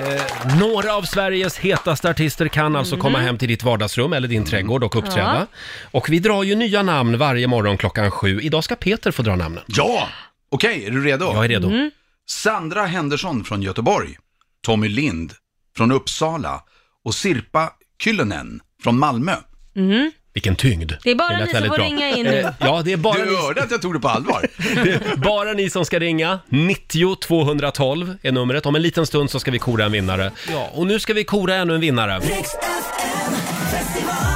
[SPEAKER 1] Eh, några av Sveriges hetaste artister kan alltså komma
[SPEAKER 10] Mhm.
[SPEAKER 1] hem till ditt vardagsrum eller
[SPEAKER 10] Mm.
[SPEAKER 1] din trädgård och uppträda. Och vi drar ju nya namn varje morgon klockan sju. Idag ska Peter få dra namnen.
[SPEAKER 10] Ja! Okej, är du redo?
[SPEAKER 1] Jag är redo.
[SPEAKER 4] Mm.
[SPEAKER 10] Sandra Henderson från Göteborg, Tommy Lind från Uppsala och Sirpa Kyllönen från Malmö.
[SPEAKER 1] Vilken tyngd.
[SPEAKER 4] Mm-hmm. Det är bara ni
[SPEAKER 1] lät
[SPEAKER 4] som
[SPEAKER 1] väldigt
[SPEAKER 4] får
[SPEAKER 1] bra.
[SPEAKER 4] ringa in nu.
[SPEAKER 1] Eh, ja, det är bara
[SPEAKER 10] Du
[SPEAKER 1] ni,
[SPEAKER 10] hörde att jag tog det på allvar.
[SPEAKER 1] det är bara ni som ska ringa. 90 212 är numret. Om en liten stund så ska vi kora en vinnare. Ja, och nu ska vi kora ännu en vinnare.
[SPEAKER 12] Mm.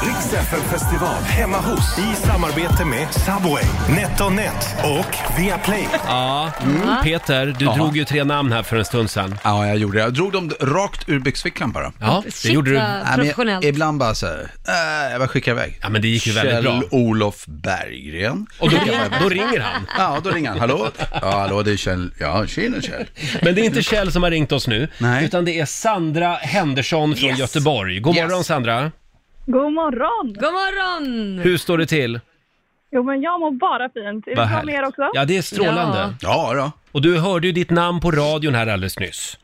[SPEAKER 12] Rix FM festival hemma hos i samarbete med Subway, NetOnNet och Viaplay.
[SPEAKER 1] Ja, Mm. Peter, du drog ju tre namn här för en stund sedan.
[SPEAKER 10] ja, jag gjorde det. Jag drog dem rakt ur byxfickan bara.
[SPEAKER 1] Ja, det
[SPEAKER 4] Shit,
[SPEAKER 1] gjorde du.
[SPEAKER 4] vad
[SPEAKER 10] Nej, men
[SPEAKER 4] professionellt.
[SPEAKER 10] ibland bara så här, äh, jag bara skickar iväg.
[SPEAKER 1] Ja, men det gick ju väldigt bra.
[SPEAKER 10] Kjell-Olof Berggren.
[SPEAKER 1] Och då, då ringer han.
[SPEAKER 10] Ja, då ringer han. Hallå? Ja, hallå, det är Kjell. Ja, tjena Kjell.
[SPEAKER 1] Men det är inte Kjell som har ringt oss nu,
[SPEAKER 10] Nej.
[SPEAKER 1] utan det är Sandra Henderson från
[SPEAKER 10] Yes.
[SPEAKER 1] Göteborg. God
[SPEAKER 10] Yes.
[SPEAKER 1] morgon Sandra!
[SPEAKER 9] God morgon!
[SPEAKER 4] God morgon!
[SPEAKER 1] Hur står det till?
[SPEAKER 9] Jo, men jag mår bara fint. Är
[SPEAKER 1] Vad
[SPEAKER 9] det bra
[SPEAKER 1] härligt.
[SPEAKER 9] med er också?
[SPEAKER 1] Ja, det är strålande.
[SPEAKER 4] Ja.
[SPEAKER 10] Ja, då.
[SPEAKER 1] Och du hörde ju ditt namn på radion här alldeles nyss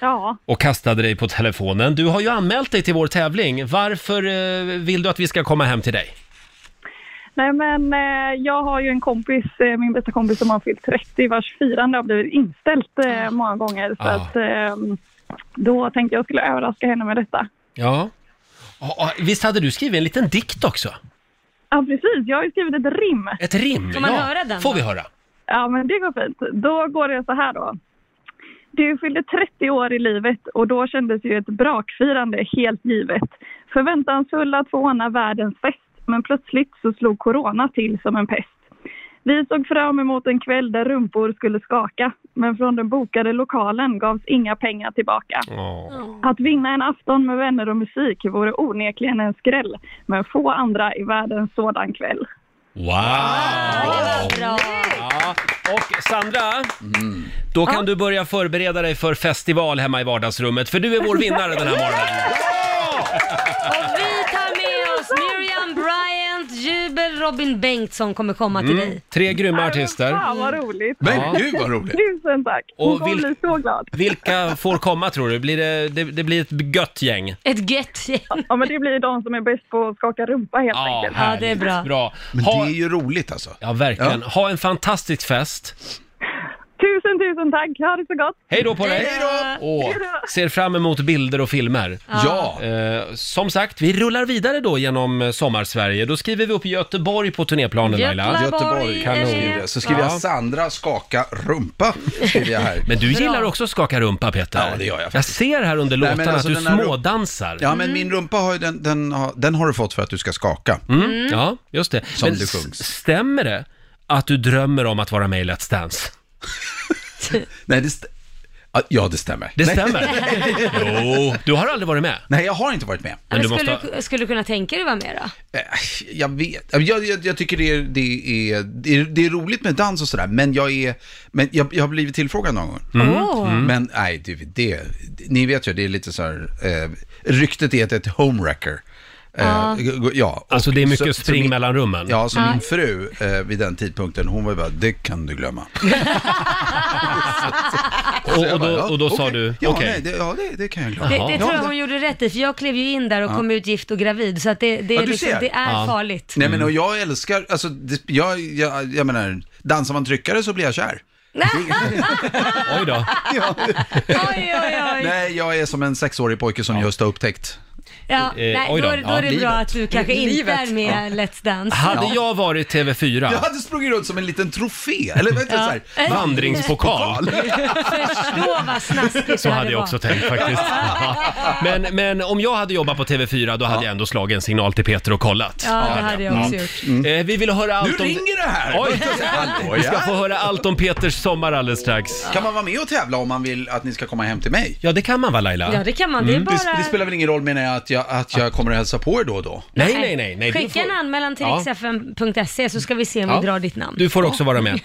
[SPEAKER 9] Ja.
[SPEAKER 1] och kastade dig på telefonen. Du har ju anmält dig till vår tävling. Varför eh, vill du att vi ska komma hem till dig?
[SPEAKER 9] Nej, men eh, jag har ju en kompis, eh, min bästa kompis som har fyllt 30 vars firande har blivit inställt eh, många gånger. Så
[SPEAKER 1] Ah.
[SPEAKER 9] att, eh, då tänkte jag skulle överraska henne med detta.
[SPEAKER 1] Ja. Ja, Visst hade du skrivit en liten dikt också?
[SPEAKER 9] Ja, precis. Jag har ju skrivit ett rim.
[SPEAKER 1] Ett rim?
[SPEAKER 4] Får man
[SPEAKER 1] ja.
[SPEAKER 4] höra den
[SPEAKER 1] Får
[SPEAKER 4] då?
[SPEAKER 1] vi höra?
[SPEAKER 9] Ja, men det går fint. Då går det så här då. Du fyllde 30 år i livet och då kändes ju ett brakfirande helt givet. Förväntansfull att få ordna världens fest, men plötsligt så slog corona till som en pest. Vi såg fram emot en kväll där rumpor skulle skaka, men från den bokade lokalen gavs inga pengar tillbaka.
[SPEAKER 1] Åh.
[SPEAKER 9] Att vinna en afton med vänner och musik vore onekligen en skräll, men få andra i världen sådan kväll.
[SPEAKER 1] Wow!
[SPEAKER 4] Bra.
[SPEAKER 1] Ja, och Sandra, då kan du börja förbereda dig för festival hemma i vardagsrummet, för du är vår vinnare den här morgonen.
[SPEAKER 4] Och vi tar med oss Miriam Bryant, Jubel, Robin Bengtsson kommer komma till dig.
[SPEAKER 1] Mm. Tre grymma artister.
[SPEAKER 9] Fan vad roligt!
[SPEAKER 10] Men
[SPEAKER 1] Ja.
[SPEAKER 10] gud vad roligt.
[SPEAKER 9] Tusen tack! Hon
[SPEAKER 1] Och
[SPEAKER 9] kommer
[SPEAKER 1] vil-
[SPEAKER 9] bli så glad.
[SPEAKER 1] Vilka får komma tror du? Blir det, det, det blir ett gött gäng?
[SPEAKER 4] Ett gött gäng.
[SPEAKER 9] Ja, men det blir ju de som är bäst på att skaka rumpa helt enkelt.
[SPEAKER 4] Ja, det är
[SPEAKER 1] härligt.
[SPEAKER 4] bra.
[SPEAKER 10] Men
[SPEAKER 1] Ha,
[SPEAKER 10] det är ju roligt alltså.
[SPEAKER 1] ja, verkligen. Ha en fantastisk fest.
[SPEAKER 9] Tusen, tusen tack. Ha det så gott.
[SPEAKER 1] Hej då på dig!
[SPEAKER 4] Hej då!
[SPEAKER 1] Och ser fram emot bilder och filmer.
[SPEAKER 10] Ja.
[SPEAKER 1] Eh, som sagt, vi rullar vidare då genom eh, sommarsverige. Då skriver vi upp Göteborg på turnéplanen Laila.
[SPEAKER 4] Göteborg.
[SPEAKER 10] Göteborg kan
[SPEAKER 4] är
[SPEAKER 10] jag
[SPEAKER 4] det.
[SPEAKER 10] skriva. Så skriver
[SPEAKER 1] Ja.
[SPEAKER 10] jag Sandra skaka rumpa. Skriver jag här.
[SPEAKER 1] Men du gillar också skaka rumpa Peter.
[SPEAKER 10] Ja, det gör jag
[SPEAKER 1] Jag
[SPEAKER 10] faktiskt.
[SPEAKER 1] ser här under
[SPEAKER 10] Nej, men
[SPEAKER 1] låtarna
[SPEAKER 10] alltså,
[SPEAKER 1] att du
[SPEAKER 10] den här rum-
[SPEAKER 1] smådansar.
[SPEAKER 10] Ja, men min rumpa har ju den, den, har, den har du fått för att du ska skaka.
[SPEAKER 1] Mm. Ja, just det.
[SPEAKER 10] Som
[SPEAKER 1] men
[SPEAKER 10] det sjungs.
[SPEAKER 1] s- stämmer det att du drömmer om att vara med i Let's Dance?
[SPEAKER 10] Nej, det st- Ja, det stämmer.
[SPEAKER 1] Det
[SPEAKER 10] Nej.
[SPEAKER 1] stämmer. jo, du har aldrig varit med.
[SPEAKER 10] Nej, jag har inte varit med.
[SPEAKER 1] Men
[SPEAKER 4] Men
[SPEAKER 1] du
[SPEAKER 4] skulle,
[SPEAKER 1] måste
[SPEAKER 4] du, skulle du kunna tänka dig vara med då?
[SPEAKER 10] Eh, Jag vet, jag, jag, jag tycker det är, det, är, det, är, det är roligt med dans och sådär, men jag är, men jag, jag har blivit tillfrågad någon gång.
[SPEAKER 1] Mm.
[SPEAKER 4] Åh.
[SPEAKER 10] Men nej, det, det, ni vet ju, det är lite så här, eh, ryktet är att det är ett homewrecker. Eh, g- g- ja.
[SPEAKER 1] Alltså
[SPEAKER 10] och
[SPEAKER 1] det är mycket
[SPEAKER 10] så-
[SPEAKER 1] spring
[SPEAKER 10] så min,
[SPEAKER 1] mellan rummen.
[SPEAKER 10] Ja, så
[SPEAKER 4] Ja.
[SPEAKER 10] min fru eh, vid den tidpunkten, hon var ju bara, det kan du glömma. Så
[SPEAKER 1] och,
[SPEAKER 10] jag
[SPEAKER 1] och,
[SPEAKER 10] bara,
[SPEAKER 1] då,
[SPEAKER 10] ja,
[SPEAKER 1] och då sa
[SPEAKER 10] okej.
[SPEAKER 1] du,
[SPEAKER 10] Ja,
[SPEAKER 1] okej.
[SPEAKER 10] nej, det, ja det, det kan jag glömma.
[SPEAKER 4] Det,
[SPEAKER 1] Jaha.
[SPEAKER 4] det tror jag hon gjorde rätt i, för jag klev ju in där och kom ut gift och gravid. Så att det, det, är
[SPEAKER 10] Ja, du
[SPEAKER 4] liksom,
[SPEAKER 10] ser.
[SPEAKER 4] det är
[SPEAKER 1] Ja. Mm.
[SPEAKER 4] farligt.
[SPEAKER 10] Nej men och jag älskar, alltså det, jag, jag, jag menar, dansar man tryckare så blir jag kär.
[SPEAKER 1] Oj då.
[SPEAKER 4] Oj, oj, oj.
[SPEAKER 10] Nej, jag är som en sexårig pojke som just har upptäckt.
[SPEAKER 4] Ja,
[SPEAKER 1] Eh,
[SPEAKER 4] nej,
[SPEAKER 1] oj
[SPEAKER 4] då,
[SPEAKER 1] då.
[SPEAKER 4] är- då
[SPEAKER 1] Ja,
[SPEAKER 4] är det bra
[SPEAKER 10] livet.
[SPEAKER 4] att du kanske inte
[SPEAKER 2] Livet.
[SPEAKER 4] är med Let's Dance.
[SPEAKER 1] Hade jag varit TV4,
[SPEAKER 10] Jag hade sprungit runt som en liten trofé, eller vet du, så här,
[SPEAKER 4] Eh,
[SPEAKER 1] vandringspokal,
[SPEAKER 4] Förstå vad snaskigt
[SPEAKER 1] så
[SPEAKER 4] det
[SPEAKER 1] hade jag
[SPEAKER 4] varit.
[SPEAKER 1] också tänkt faktiskt. Ja. Men, men om jag hade jobbat på TV4, då hade jag ändå slagit en signal till Peter och kollat.
[SPEAKER 4] Ja, det hade jag också gjort.
[SPEAKER 1] Eh, vi vill höra
[SPEAKER 10] Mm. Nu
[SPEAKER 1] allt om...
[SPEAKER 10] ringer det här!
[SPEAKER 1] Oj.
[SPEAKER 10] Hallå,
[SPEAKER 1] Vi ska
[SPEAKER 10] ja.
[SPEAKER 1] få höra allt om Peters sommar alldeles strax.
[SPEAKER 10] Kan man vara med och tävla om man vill att ni ska komma hem till mig?
[SPEAKER 1] Ja, det kan man va Laila? Mm.
[SPEAKER 4] Ja, det kan man. Det är
[SPEAKER 10] Det, det
[SPEAKER 4] bara...
[SPEAKER 10] spelar väl ingen roll menar jag att jag, att jag kommer att hälsa på er då och då?
[SPEAKER 1] Nej, nej, nej. nej. du
[SPEAKER 4] Skicka en
[SPEAKER 1] får-
[SPEAKER 4] anmälan till
[SPEAKER 1] Ja.
[SPEAKER 4] riksfn.se så ska vi se om
[SPEAKER 1] Ja.
[SPEAKER 4] vi drar ditt namn.
[SPEAKER 1] Du får också vara med.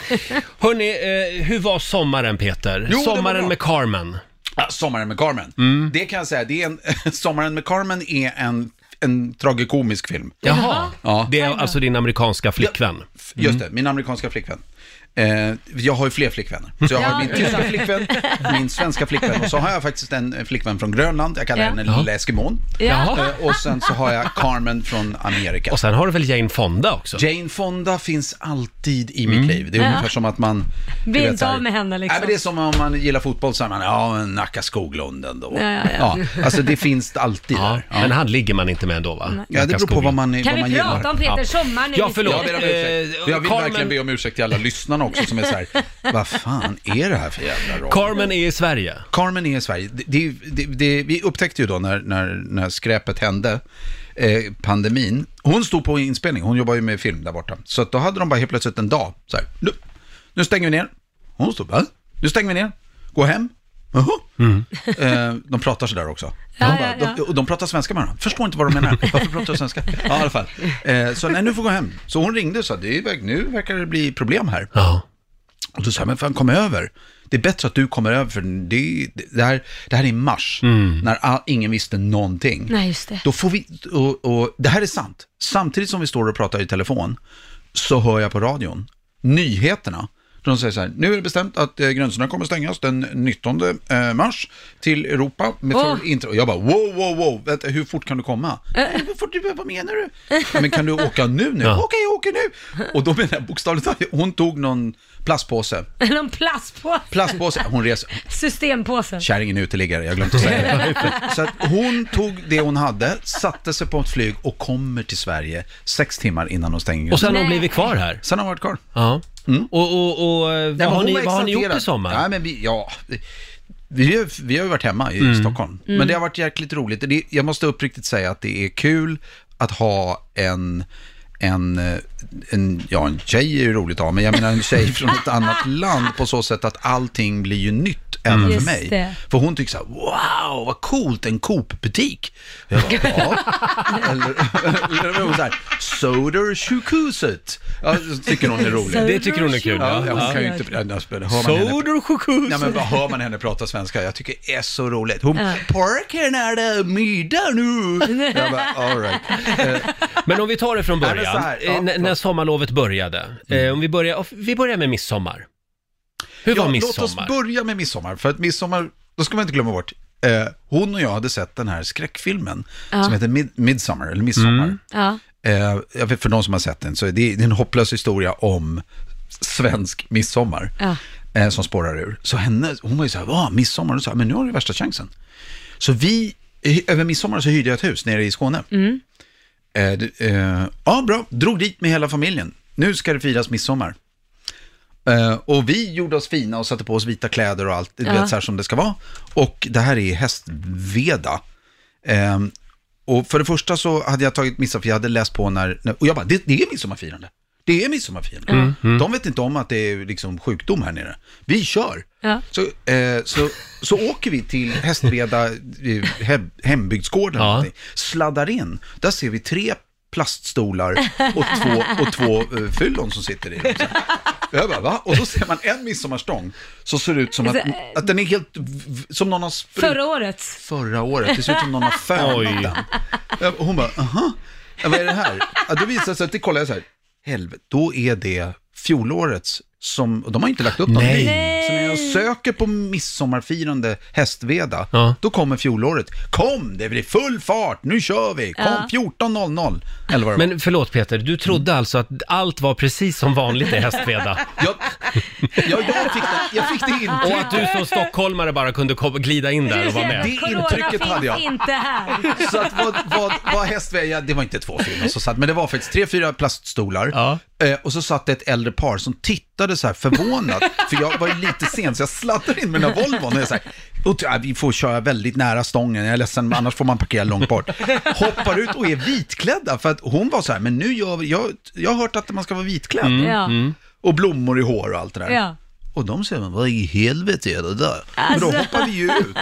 [SPEAKER 1] Hörni, eh, hur var sommaren Peter?
[SPEAKER 10] det var
[SPEAKER 1] sommaren
[SPEAKER 10] bra.
[SPEAKER 1] med Carmen. Mm.
[SPEAKER 10] Ja, Sommaren med Carmen. Det kan jag säga, det är en, Sommaren med Carmen är en, en tragikomisk film.
[SPEAKER 1] Jaha,
[SPEAKER 10] Ja.
[SPEAKER 1] det är Mm. alltså din amerikanska flickvän.
[SPEAKER 10] Just det, min amerikanska flickvän. Eh, jag har ju fler flickvänner. Så jag har min tyska flickvän, min svenska flickvän och så har jag faktiskt en eh, flickvän från Grönland, jag kallar
[SPEAKER 4] Ja.
[SPEAKER 10] henne Lilla Eskimon.
[SPEAKER 1] Jaha.
[SPEAKER 10] Eh, och sen så har jag Carmen från Amerika.
[SPEAKER 1] Och sen har du väl Jane Fonda också? Mm.
[SPEAKER 10] Jane Fonda finns alltid i mitt liv. Det är ungefär som att man... du
[SPEAKER 4] Blir
[SPEAKER 10] vet,
[SPEAKER 4] inte
[SPEAKER 10] så här-
[SPEAKER 4] av med henne, liksom.
[SPEAKER 10] Nej, men det är som om man gillar fotboll så är man, ja, men Nacka Skoglund ändå.
[SPEAKER 4] Ja, ja, ja.
[SPEAKER 10] alltså det finns alltid
[SPEAKER 1] Ja,
[SPEAKER 10] där. Ja.
[SPEAKER 1] men han ligger man inte med ändå va?
[SPEAKER 10] Ja, det beror på vad
[SPEAKER 4] Kan
[SPEAKER 10] man, vad man
[SPEAKER 4] vi
[SPEAKER 10] gillar.
[SPEAKER 4] prata om Peter Sommar nu?
[SPEAKER 1] Ja,
[SPEAKER 10] Jag
[SPEAKER 1] förlåt.
[SPEAKER 10] ber om ursäkt.
[SPEAKER 1] Eh,
[SPEAKER 10] Jag vill
[SPEAKER 1] Carmen-
[SPEAKER 10] verkligen be om ursäkt till alla lyssnarna också som är så här, vad fan är det här för jävla radio?
[SPEAKER 1] Carmen är i Sverige.
[SPEAKER 10] Carmen är i Sverige. Det, det, det, det, vi upptäckte ju då när, när, när skräpet hände, eh, pandemin. Hon stod på inspelning, hon jobbar ju med film där borta. Så att då hade de bara helt plötsligt en dag, så här, nu, nu stänger vi ner. Hon stod, va? Nu stänger vi ner, gå hem. Jaha. Eh, de pratar sådär också.
[SPEAKER 4] Ja,
[SPEAKER 10] De
[SPEAKER 4] ja,
[SPEAKER 10] bara, De, och de pratar svenska med varandra. Förstår inte vad de menar. Varför pratar de svenska? Ja, i alla fall. Eh, så nej, nu får gå hem. Så hon ringde och sa, det är, verk- nu verkar det bli problem här.
[SPEAKER 1] Ja.
[SPEAKER 10] Och då sa jag, men fan kom över. Det är bättre att du kommer över, för det, det, här, det här är i mars, när all, ingen visste någonting.
[SPEAKER 4] Nej, just det.
[SPEAKER 10] Då får vi, och, och det här är sant. Samtidigt som vi står och pratar i telefon, så hör jag på radion nyheterna. De säger så här, nu är det bestämt att eh, gränserna kommer stängas den 19 eh, mars till Europa. Med
[SPEAKER 4] Åh.
[SPEAKER 10] full intro. Och jag bara, wow, wow, wow, vänta, hur fort kan du komma? Hur fort, du- vad menar du? "Ja, Men kan du åka nu? nu? Okej, jag åker nu. Och då menar jag bokstavligt talat, hon tog någon plastpåse
[SPEAKER 4] Någon plastpåse,
[SPEAKER 10] plastpåse, hon res,
[SPEAKER 4] systempåse.
[SPEAKER 10] kärringen är uteliggare, jag glömde att säga det. Så att hon tog det hon hade, satte sig på ett flyg och kommer till Sverige sex timmar innan de stänger.
[SPEAKER 1] Och sen har hon
[SPEAKER 4] Nej.
[SPEAKER 1] blivit kvar här.
[SPEAKER 10] sen har hon varit kvar.
[SPEAKER 1] Ja. Och, och, och eh, vad,
[SPEAKER 10] men
[SPEAKER 1] har
[SPEAKER 10] hon
[SPEAKER 1] ni,
[SPEAKER 10] var
[SPEAKER 1] vad har ni gjort i
[SPEAKER 10] exalterad.
[SPEAKER 1] sommar?
[SPEAKER 10] Nej, men vi, ja, vi- vi, har ju- vi har ju varit hemma i
[SPEAKER 1] Mm.
[SPEAKER 10] Stockholm. Men det har varit jäkligt roligt. Det, jag måste uppriktigt säga att det är kul att ha en en, eh, en, ja, en tjej är ju roligt att ha, men jag menar en tjej från ett annat land på så sätt att allting blir ju nytt även
[SPEAKER 4] Just
[SPEAKER 1] Mm.
[SPEAKER 10] för mig.
[SPEAKER 4] det.
[SPEAKER 10] För hon tyckte så här, wow, vad coolt, en Coop-butik. Jag bara, ja. eller, eller, eller hon så här, Soder Sjukuset. Ja, så tycker hon är roligt.
[SPEAKER 1] Det tycker hon är kul.
[SPEAKER 10] Ja,
[SPEAKER 1] Ja,
[SPEAKER 10] hon kan ju
[SPEAKER 4] Ja.
[SPEAKER 10] inte... Ja, alltså, hör man henne,
[SPEAKER 1] Soder sjukhus.
[SPEAKER 10] ja, men bara hör man henne prata svenska, jag tycker det är så roligt. Hon, parken är det middag nu. Jag bara, all right. Eh,
[SPEAKER 1] Men om vi tar det från
[SPEAKER 10] Nej, men
[SPEAKER 1] början,
[SPEAKER 10] så här, ja,
[SPEAKER 1] eh, n- när
[SPEAKER 10] förlåt. Mm.
[SPEAKER 1] sommarlovet började. Eh, om vi, börjar, vi börjar med midsommar. Hur var midsommar?
[SPEAKER 10] Låt oss börja med midsommar, för att midsommar, då ska man inte glömma bort, eh, hon och jag hade sett den här skräckfilmen som heter Mid- Midsommar, eller Midsommar.
[SPEAKER 1] Mm.
[SPEAKER 4] Ja.
[SPEAKER 10] Eh, jag vet, för de som har sett den, så är det, det är en hopplös historia om svensk midsommar
[SPEAKER 4] Ja.
[SPEAKER 10] eh, som spårar ur. Så henne, hon var ju så här, va, midsommar? Och så här, men nu har du värsta chansen. Så vi, eh, över midsommar så hyrde jag ett hus nere i Skåne. Eh, du- eh, ja, bra, drog dit med hela familjen. Nu ska det firas midsommar. Eh, och vi gjorde oss fina och satte på oss vita kläder och allt, du
[SPEAKER 4] Ja.
[SPEAKER 10] vet, så här som det ska vara. Och det här är hästveda. Ehm, och för det första så hade jag tagit midsommar, för jag hade läst på när, när- och jag bara, det, det är midsommarfirande. Det är midsommarfirande. De vet inte om att det är liksom sjukdom här nere. Vi kör.
[SPEAKER 4] Ja.
[SPEAKER 10] Så, eh, så, så åker vi till Hästveda eh, hem, hembygdsgården,
[SPEAKER 1] Ja.
[SPEAKER 10] ja. sladdar in. Där ser vi tre plaststolar och två, och två eh, fyllon som sitter i. dem. Så här. Jag bara, va? Och så ser man en midsommarstång som ser ut som att, att den är helt, v- som någon har sprutit
[SPEAKER 4] Förra årets.
[SPEAKER 10] förra året. Det ser ut som någon har fönat
[SPEAKER 1] Oj.
[SPEAKER 10] den. Jag- Hon bara, aha, ja, vad är det här? Ja, då visade det sig att det kollade jag så här, helvete, då är det fjolårets som, och de har ju inte lagt upp någon
[SPEAKER 1] Nej.
[SPEAKER 10] bild. Så när jag söker på midsommarfirande Hästveda,
[SPEAKER 1] Ja.
[SPEAKER 10] då kommer fjolåret. Kom, det blir full fart, nu kör vi! Kom,
[SPEAKER 4] Ja.
[SPEAKER 10] 14.00! Eller vad det var.
[SPEAKER 1] Men förlåt Peter, du trodde
[SPEAKER 10] Mm.
[SPEAKER 1] alltså att allt var precis som vanligt i Hästveda?
[SPEAKER 10] Jag, jag, jag, fick det, jag fick det
[SPEAKER 1] Och
[SPEAKER 10] intrycket.
[SPEAKER 1] att du som stockholmare bara kunde kom- glida in där och vara med?
[SPEAKER 10] Det intrycket
[SPEAKER 4] finns
[SPEAKER 10] hade jag.
[SPEAKER 4] inte här.
[SPEAKER 10] Så att vad, vad, vad Hästveja, det var inte två filmer som satt, men det var faktiskt tre, fyra plaststolar.
[SPEAKER 1] Ja.
[SPEAKER 10] Eh, och så satt det ett äldre par som tittade så här förvånat, för jag var ju lite sen så jag sladdade in med den här Volvon och jag så här, och, ja, vi får köra väldigt nära stången, jag är ledsen, men annars får man parkera långt bort. Hoppar ut och är vitklädda, för att hon var så här, men nu gör vi, jag, jag har hört att man ska vara vitklädd.
[SPEAKER 4] Ja.
[SPEAKER 10] Och blommor i hår och allt det där.
[SPEAKER 4] Ja.
[SPEAKER 10] Och de säger, men vad i helvete är det där? Men då
[SPEAKER 4] Alltså.
[SPEAKER 10] hoppar vi ju ut.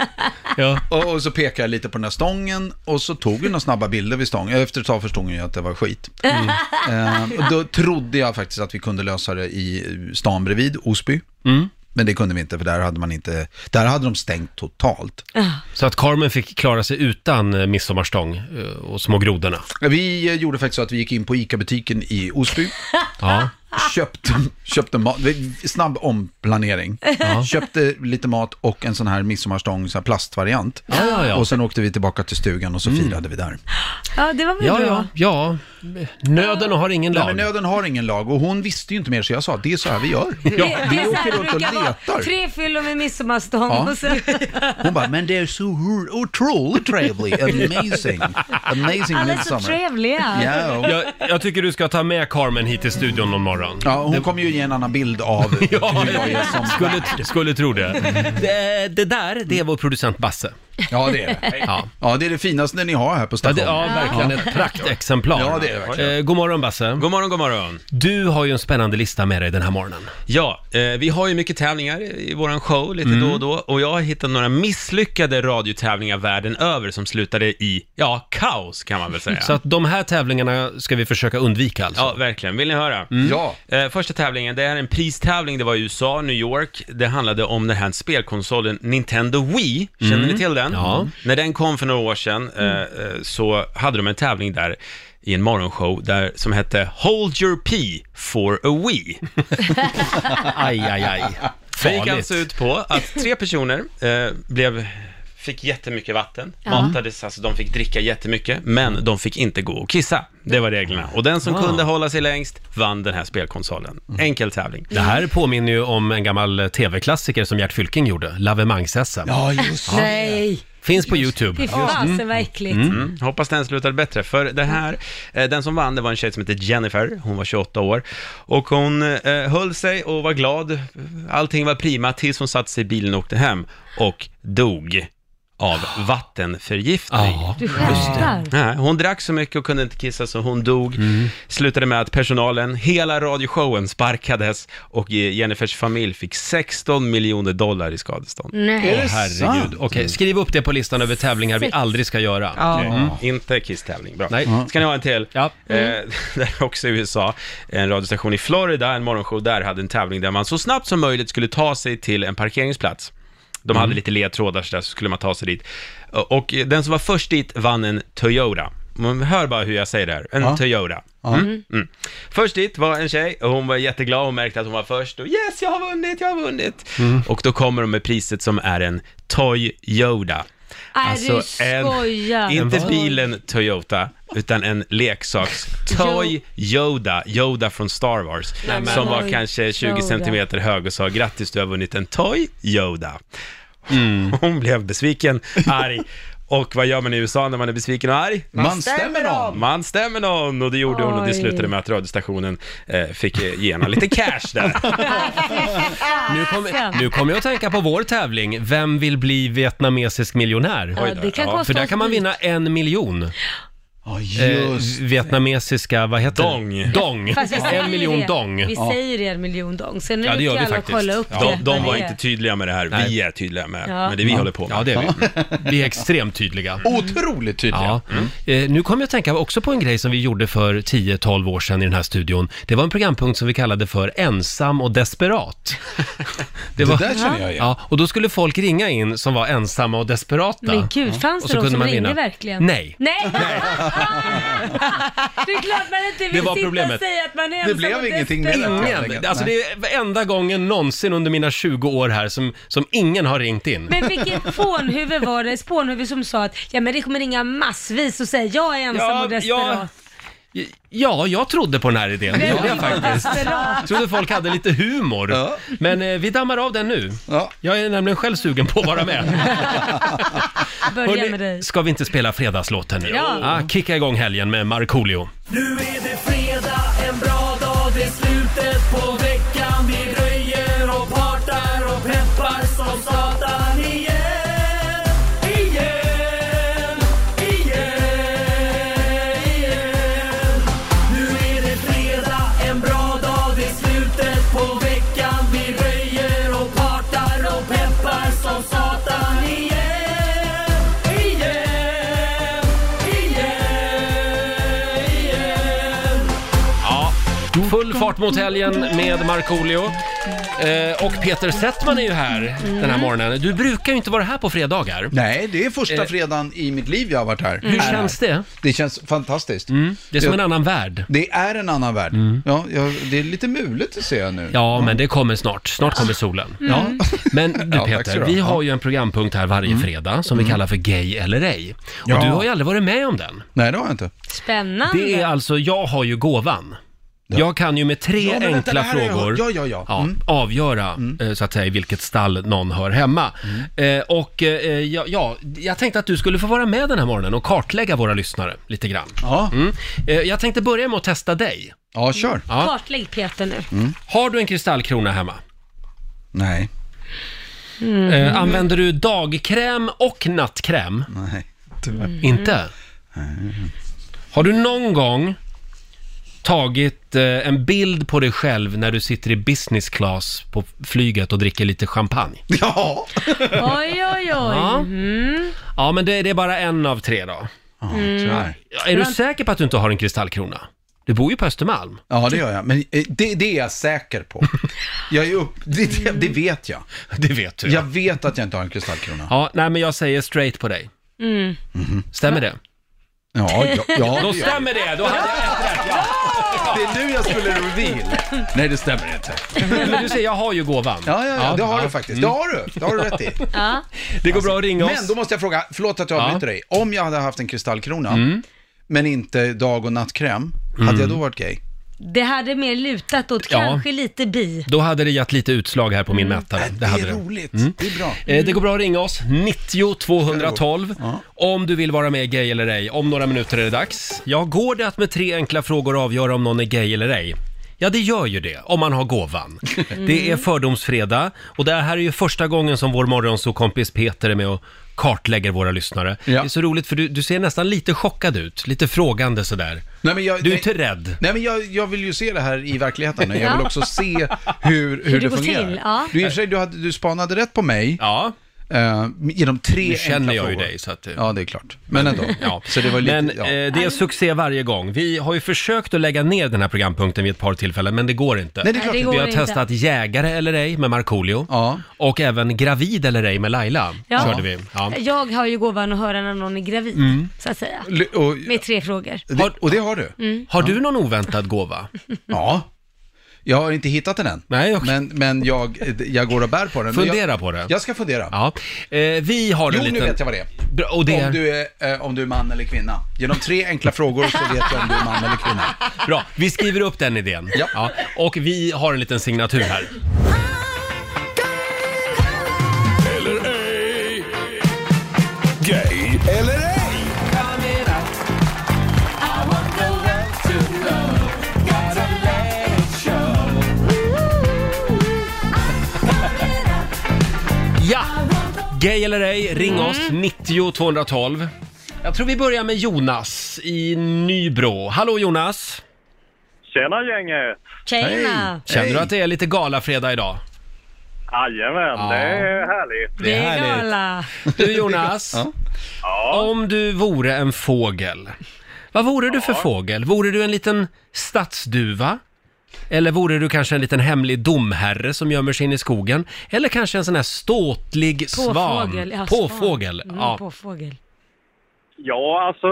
[SPEAKER 1] Ja.
[SPEAKER 10] Och, och så pekade jag lite på den här stången och så tog vi några snabba bilder vid stången. Efter ett tag förstod jag att det var skit. Ehm, och då trodde jag faktiskt att vi kunde lösa det i stan bredvid, Osby.
[SPEAKER 1] Mm.
[SPEAKER 10] Men det kunde vi inte för där hade man inte, där hade de stängt totalt.
[SPEAKER 1] Så att Carmen fick klara sig utan eh, midsommarstång eh, och små grodorna?
[SPEAKER 10] Vi eh, gjorde faktiskt så att vi gick in på ICA-butiken i Osby,
[SPEAKER 1] Ja.
[SPEAKER 10] köpte, köpte mat, vi- snabb omplanering, köpte lite mat och en sån här midsommarstång, sån här plastvariant.
[SPEAKER 1] Ja, ja, ja. Mm.
[SPEAKER 10] Och sen åkte vi tillbaka till stugan och så firade vi där.
[SPEAKER 4] ja, det var väl
[SPEAKER 1] Ja,
[SPEAKER 4] bra.
[SPEAKER 1] ja, ja. Nöden har ingen
[SPEAKER 10] Nej, men
[SPEAKER 1] lag.
[SPEAKER 10] nöden har ingen lag och hon visste ju inte mer så jag sa det är så här vi gör.
[SPEAKER 4] det,
[SPEAKER 10] vi
[SPEAKER 4] är så här det
[SPEAKER 10] åker runt och
[SPEAKER 4] brukar vara.
[SPEAKER 10] letar.
[SPEAKER 4] Tre fyllon med midsommarstång
[SPEAKER 10] Ja.
[SPEAKER 4] och sen
[SPEAKER 10] Hon bara, men det är så hur- otroligt trevligt, amazing, amazing
[SPEAKER 4] alla är så
[SPEAKER 10] midsommar.
[SPEAKER 4] trevliga.
[SPEAKER 10] Ja, och-
[SPEAKER 1] Jag, jag tycker du ska ta med Carmen hit till studion någon morgon.
[SPEAKER 10] ja, hon kommer ju ge en annan bild av
[SPEAKER 1] Ja,
[SPEAKER 10] hur jag är som Mm.
[SPEAKER 1] skulle, skulle tro det. det. Det där, det är vår producent Basse.
[SPEAKER 10] Ja, det är det.
[SPEAKER 1] Ja.
[SPEAKER 10] Ja, det är det finaste ni har här på
[SPEAKER 1] Ja,
[SPEAKER 10] stationen.
[SPEAKER 1] det, ja, verkligen ett praktexemplar.
[SPEAKER 10] Ja, det är det verkligen.
[SPEAKER 1] Eh, god morgon Basse.
[SPEAKER 6] God morgon, god morgon.
[SPEAKER 1] Du har ju en spännande lista med dig den här morgonen.
[SPEAKER 6] Ja, eh, vi har ju mycket tävlingar i våran show lite
[SPEAKER 1] Mm.
[SPEAKER 6] då och då och jag har hittat några misslyckade radiotävlingar världen över som slutade i, ja, kaos kan man väl säga.
[SPEAKER 1] Så att de här tävlingarna ska vi försöka undvika alltså. Mm.
[SPEAKER 6] Ja, verkligen. Vill ni höra?
[SPEAKER 10] Ja.
[SPEAKER 6] Eh, första tävlingen, det här är en pristävling, det var i USA, New York. Det handlade om den här spelkonsolen Nintendo Wii. Känner ni till den?
[SPEAKER 1] Mm. Ja. Mm.
[SPEAKER 6] När den kom för några år sedan eh, eh, så hade de en tävling där i en morgonshow där, som hette Hold your pee for a Wii.
[SPEAKER 1] Aj, aj, aj.
[SPEAKER 6] Det gick
[SPEAKER 1] Farligt.
[SPEAKER 6] alltså ut på att tre personer eh, blev fick jättemycket vatten, matades, alltså de fick dricka jättemycket, men de fick inte gå och kissa. Det var reglerna. Och den som kunde hålla sig längst vann den här spelkonsolen. Enkel tävling.
[SPEAKER 1] Det här påminner ju om en gammal eh, tv-klassiker som Gert Fylking gjorde, Lavemangs-SM.
[SPEAKER 10] Ja, just det.
[SPEAKER 4] Nej,
[SPEAKER 1] Finns på
[SPEAKER 4] fy
[SPEAKER 1] YouTube.
[SPEAKER 4] fasen vad äckligt.
[SPEAKER 6] Mm. Hoppas den slutade bättre, för det här, eh, den som vann, det var en tjej som hette Jennifer, hon var 28 år, och hon eh, höll sig och var glad, allting var prima, tills hon satte sig i bilen och åkte hem, och dog av vattenförgiftning.
[SPEAKER 1] Ja.
[SPEAKER 4] Du skämtar.
[SPEAKER 6] Nej, hon drack så mycket och kunde inte kissa så hon dog. Slutade med att personalen, hela radioshowen sparkades och eh, Jennifers familj fick 16 miljoner dollar i skadestånd.
[SPEAKER 4] Nej.
[SPEAKER 10] Är det sant?
[SPEAKER 1] Herregud. Okej, skriv upp det på listan över tävlingar vi aldrig ska göra.
[SPEAKER 6] Mm. Inte kisstävling, bra.
[SPEAKER 1] Nej.
[SPEAKER 6] Ska ni ha en till?
[SPEAKER 1] Ja.
[SPEAKER 6] Eh, där också i USA, en radiostation i Florida, en morgonshow där hade en tävling där man så snabbt som möjligt skulle ta sig till en parkeringsplats. De
[SPEAKER 1] Mm.
[SPEAKER 6] hade lite ledtrådar så där, så skulle man ta sig dit. Och eh, den som var först dit vann en Toyota. Man hör bara hur jag säger det här, en Toyota. Mm. Mm. Först dit var en tjej och hon var jätteglad, hon märkte att hon var först och yes, jag har vunnit, jag har vunnit.
[SPEAKER 1] Mm.
[SPEAKER 6] Och då kommer de med priset som är en Toyota.
[SPEAKER 4] Nej, du
[SPEAKER 6] Alltså
[SPEAKER 4] skojar.
[SPEAKER 6] en, inte bilen Toyota, utan en leksaks Toy Yoda, Yoda från Star Wars,
[SPEAKER 1] men-
[SPEAKER 6] som var
[SPEAKER 4] Toy
[SPEAKER 6] kanske 20
[SPEAKER 4] Yoda.
[SPEAKER 6] centimeter hög och sa grattis, du har vunnit en Toy Yoda. Hon blev besviken, arg. Och vad gör man i USA när man är besviken och arg?
[SPEAKER 10] Man stämmer av.
[SPEAKER 6] Man stämmer någon! Och det gjorde hon och det
[SPEAKER 4] Oj.
[SPEAKER 6] slutade med att radiostationen eh, fick eh, ge henne lite cash där.
[SPEAKER 4] Ah.
[SPEAKER 1] Nu kommer nu kommer jag att tänka på vår tävling, Vem vill bli vietnamesisk miljonär?
[SPEAKER 4] Ja, det kan
[SPEAKER 6] Ja,
[SPEAKER 4] kosta
[SPEAKER 1] För där
[SPEAKER 4] oss
[SPEAKER 1] kan man
[SPEAKER 4] dyrt.
[SPEAKER 1] vinna en miljon.
[SPEAKER 10] Ja,
[SPEAKER 1] eh,
[SPEAKER 10] just.
[SPEAKER 1] vietnamesiska, vad heter
[SPEAKER 6] Dong.
[SPEAKER 1] det? Dong.
[SPEAKER 4] Fast vi säger
[SPEAKER 1] En miljon
[SPEAKER 4] det.
[SPEAKER 1] dong.
[SPEAKER 4] Vi säger en miljon dong. Sen
[SPEAKER 1] Ja,
[SPEAKER 4] är
[SPEAKER 1] det
[SPEAKER 4] det
[SPEAKER 1] gör
[SPEAKER 4] upp
[SPEAKER 1] vi
[SPEAKER 4] till alla att
[SPEAKER 1] faktiskt.
[SPEAKER 4] kolla upp
[SPEAKER 1] Ja,
[SPEAKER 4] det.
[SPEAKER 6] De, de
[SPEAKER 4] vad
[SPEAKER 6] var
[SPEAKER 4] det är.
[SPEAKER 6] inte tydliga med det här, vi
[SPEAKER 1] Nej.
[SPEAKER 6] är tydliga med,
[SPEAKER 4] Ja.
[SPEAKER 6] med det vi håller på med.
[SPEAKER 1] Ja, det är vi. Vi är extremt tydliga.
[SPEAKER 10] Otroligt tydliga. Mm.
[SPEAKER 1] Ja. Eh, nu kommer jag att tänka också på en grej som vi gjorde för 10-12 år sedan i den här studion. Det var en programpunkt som vi kallade för ensam och desperat.
[SPEAKER 10] Det, där känner jag igen.
[SPEAKER 1] Ja, och då skulle folk ringa in som var ensamma och desperata.
[SPEAKER 4] Men gud, fanns det
[SPEAKER 1] Och så
[SPEAKER 4] de
[SPEAKER 1] kunde
[SPEAKER 4] som
[SPEAKER 1] man
[SPEAKER 4] ringde
[SPEAKER 1] vinna.
[SPEAKER 4] verkligen?
[SPEAKER 1] Nej.
[SPEAKER 4] Nej! det är klart man inte vill
[SPEAKER 1] Det var
[SPEAKER 4] sitta
[SPEAKER 1] problemet.
[SPEAKER 4] och säga att man är
[SPEAKER 10] Det
[SPEAKER 4] ensam
[SPEAKER 10] blev
[SPEAKER 4] och
[SPEAKER 10] ingenting med
[SPEAKER 4] desperat.
[SPEAKER 10] det. helt
[SPEAKER 1] Ingen!
[SPEAKER 10] enkelt.
[SPEAKER 1] Alltså
[SPEAKER 10] Nej.
[SPEAKER 1] det är enda gången någonsin under mina 20 år här som, som ingen har ringt in.
[SPEAKER 4] Men vilket fånhuvud var det? Spånhuvud som sa att ja men det kommer ringa massvis och säga jag är ensam
[SPEAKER 1] Ja,
[SPEAKER 4] och desperat.
[SPEAKER 1] Ja, jag trodde på den här idén. Det gjorde jag faktiskt.
[SPEAKER 4] desperat.
[SPEAKER 1] Jag trodde folk hade lite humor.
[SPEAKER 10] Ja.
[SPEAKER 1] Men eh, vi dammar av den nu.
[SPEAKER 10] Ja.
[SPEAKER 1] Jag är nämligen själv sugen på att vara med.
[SPEAKER 4] Börja med dig.
[SPEAKER 1] ska vi inte spela fredagslåten nu?
[SPEAKER 4] Ja.
[SPEAKER 1] Ah, kicka igång helgen med Markoolio.
[SPEAKER 11] Nu är det fredag, en bra dag, det är slutet på veckan Vi röjer och partar och peppar som satan igen Igen, igen, igen Nu är det fredag, en bra dag, det är slutet på veckan Vi röjer och partar och peppar som satan igen Igen, igen, igen
[SPEAKER 1] Ja. Full fart mot helgen med Markoolio. Eh, och Peter Settman är ju här den här morgonen. Du brukar ju inte vara här på fredagar.
[SPEAKER 10] Nej, det är första
[SPEAKER 1] Eh.
[SPEAKER 10] fredagen i mitt liv jag har varit här.
[SPEAKER 1] Hur känns det? Mm.
[SPEAKER 10] Det känns fantastiskt.
[SPEAKER 1] Det är som
[SPEAKER 10] Jag-
[SPEAKER 1] en annan värld. Mm.
[SPEAKER 10] Det är en annan värld. Ja, jag, det är lite mulet att se nu. Mm.
[SPEAKER 1] Ja, men det kommer snart. Snart kommer solen. Ja. Men du
[SPEAKER 10] Ja, tack så
[SPEAKER 1] Peter,
[SPEAKER 10] bra.
[SPEAKER 1] vi
[SPEAKER 10] Ja. Mm.
[SPEAKER 1] har ju en programpunkt här varje fredag som vi kallar för Gay eller ej. Och
[SPEAKER 10] Ja.
[SPEAKER 1] du har ju aldrig varit med om den.
[SPEAKER 10] Nej, det har jag inte.
[SPEAKER 4] Spännande.
[SPEAKER 1] Det är alltså, jag har ju gåvan. Jag kan ju med tre
[SPEAKER 10] Ja, men vänta,
[SPEAKER 1] enkla
[SPEAKER 10] det här har jag
[SPEAKER 1] frågor
[SPEAKER 10] hört. Ja, ja, ja. Mm. Mm.
[SPEAKER 1] avgöra eh, så att säga i vilket stall någon hör hemma. Eh, och eh, ja, ja, jag tänkte att du skulle få vara med den här morgonen och kartlägga våra lyssnare lite grann.
[SPEAKER 10] Ja,
[SPEAKER 1] Mm. Eh, jag tänkte börja med att testa dig.
[SPEAKER 10] ja kör.
[SPEAKER 1] Ja.
[SPEAKER 4] Kartlägg Peter nu.
[SPEAKER 1] Har du en kristallkrona hemma?
[SPEAKER 10] Nej,
[SPEAKER 1] Eh, använder du dagkräm och nattkräm? Mm.
[SPEAKER 10] nej. Tyvärr.
[SPEAKER 1] Inte? Har du någon gång tagit eh, en bild på dig själv när du sitter i business class på flyget och dricker lite champagne?
[SPEAKER 10] Ja,
[SPEAKER 4] Oj, oj, oj. Mm.
[SPEAKER 1] Ja. Ja, men det, det är bara en av tre då.
[SPEAKER 10] ja Mm. tyvärr.
[SPEAKER 1] Ja, Är du säker på att du inte har en kristallkrona? Du bor ju på Östermalm.
[SPEAKER 10] Ja, det gör jag. Men eh, det, det är jag säker på. Jag är upp, det, det, det vet jag.
[SPEAKER 1] Mm. Det vet du.
[SPEAKER 10] Jag
[SPEAKER 1] Ja,
[SPEAKER 10] vet att jag inte har en kristallkrona.
[SPEAKER 1] ja nej men jag säger straight på dig. Stämmer det?
[SPEAKER 10] Mhm. Ja, ja, ja
[SPEAKER 1] Då
[SPEAKER 10] det, gör
[SPEAKER 1] stämmer det! Då hade jag ett rätt,
[SPEAKER 10] jag. det är nu jag skulle reveal. Nej, det stämmer inte.
[SPEAKER 1] ja. Men du ser, jag har ju gåvan.
[SPEAKER 10] Ja, ja, ja det har du faktiskt. Det
[SPEAKER 1] Mm.
[SPEAKER 10] har du. Det har du rätt i.
[SPEAKER 4] Ja.
[SPEAKER 1] Det går bra att ringa
[SPEAKER 10] Men
[SPEAKER 1] oss.
[SPEAKER 10] då måste jag fråga, förlåt att jag
[SPEAKER 1] Ja. Mm.
[SPEAKER 10] avbryter dig. Om jag hade haft en kristallkrona, men inte dag och nattkräm, hade jag då varit gay?
[SPEAKER 4] Det hade mer lutat åt
[SPEAKER 1] Ja.
[SPEAKER 4] kanske lite bi.
[SPEAKER 1] Då hade det gett lite utslag här på min mätare.
[SPEAKER 10] Mm. Nej,
[SPEAKER 1] Det,
[SPEAKER 10] det
[SPEAKER 1] hade
[SPEAKER 10] är
[SPEAKER 1] det.
[SPEAKER 10] roligt. Det är bra.
[SPEAKER 1] Eh, Det går bra att ringa oss, 90 212, om du vill vara med Gay eller ej. Om några minuter är det dags. Ja, går det att med tre enkla frågor avgöra om någon är gay eller ej? Ja, det gör ju det, om man har gåvan.
[SPEAKER 10] Mm.
[SPEAKER 1] Det är Fördomsfredag och det här är ju första gången som vår morgonsåkompis Peter är med och kartlägger våra lyssnare.
[SPEAKER 10] Ja.
[SPEAKER 1] Det är så roligt för du, du ser nästan lite chockad ut, lite frågande sådär.
[SPEAKER 10] Nej, men jag,
[SPEAKER 1] Du är
[SPEAKER 10] nej,
[SPEAKER 1] inte rädd?
[SPEAKER 10] nej, men jag, jag vill ju se det här i verkligheten. Jag vill också se hur, hur
[SPEAKER 4] det
[SPEAKER 10] det
[SPEAKER 4] går
[SPEAKER 10] fungerar.
[SPEAKER 4] till, ja.
[SPEAKER 10] Du, i och för sig, du, hade, du spanade rätt på mig
[SPEAKER 1] Ja.
[SPEAKER 10] eh, genom tre
[SPEAKER 1] Nu känner
[SPEAKER 10] enkla
[SPEAKER 1] jag ju
[SPEAKER 10] frågor.
[SPEAKER 1] dig, så att det-
[SPEAKER 10] Ja, det är klart. Men ändå.
[SPEAKER 1] Ja.
[SPEAKER 10] Så det var lite,
[SPEAKER 1] men
[SPEAKER 10] ja.
[SPEAKER 1] eh, det är succé varje gång. Vi har ju försökt att lägga ner den här programpunkten vid ett par tillfällen, men det går inte.
[SPEAKER 10] Nej, det är klart.
[SPEAKER 4] det
[SPEAKER 10] inte.
[SPEAKER 4] går
[SPEAKER 1] Vi har
[SPEAKER 4] inte.
[SPEAKER 1] testat jägare eller ej med Markoolio.
[SPEAKER 10] Ja.
[SPEAKER 1] Och även gravid eller ej med Laila.
[SPEAKER 4] Ja.
[SPEAKER 1] Körde vi. Ja.
[SPEAKER 4] Jag har ju gåvan att höra när någon är gravid,
[SPEAKER 1] Mm.
[SPEAKER 4] så att säga.
[SPEAKER 10] L- Och,
[SPEAKER 4] Med tre frågor.
[SPEAKER 10] det, och det har du?
[SPEAKER 1] Har du någon oväntad gåva?
[SPEAKER 10] Ja. Jag har inte hittat den än.
[SPEAKER 1] Nej, okej.
[SPEAKER 10] Men, men jag, jag går och bär på den. Men
[SPEAKER 1] Fundera
[SPEAKER 10] jag,
[SPEAKER 1] på det.
[SPEAKER 10] Jag ska fundera.
[SPEAKER 1] Ja. Eh, vi har
[SPEAKER 10] Jo,
[SPEAKER 1] en liten...
[SPEAKER 10] nu vet jag vad det är.
[SPEAKER 1] Bra, Och det är...
[SPEAKER 10] Om, du är eh, om du är man eller kvinna. Genom tre enkla frågor så vet jag om du är man eller kvinna.
[SPEAKER 1] Bra, vi skriver upp den idén.
[SPEAKER 10] Ja.
[SPEAKER 1] Och vi har en liten signatur här.
[SPEAKER 3] Gay eller ej?
[SPEAKER 1] Ja! Gay eller ej, ring oss, 90 212. Jag tror vi börjar med Jonas Jonas i Nybro. Hallå Jonas!
[SPEAKER 12] Tjena gänget!
[SPEAKER 4] Tjena!
[SPEAKER 1] Känner du att det är lite galafredag idag?
[SPEAKER 12] Jajamän,
[SPEAKER 1] Ja.
[SPEAKER 12] det är härligt.
[SPEAKER 1] Det är härligt.
[SPEAKER 4] Gala.
[SPEAKER 1] Du Jonas, om du vore en fågel, vad vore du för fågel? Vore du en liten stadsduva? Eller vore du kanske en liten hemlig domherre som gömmer sig in i skogen? Eller kanske en sån här ståtlig svan?
[SPEAKER 4] Påfågel. Ja, svan.
[SPEAKER 1] Påfågel.
[SPEAKER 4] Mm,
[SPEAKER 1] Ja.
[SPEAKER 4] Påfågel.
[SPEAKER 12] Ja, alltså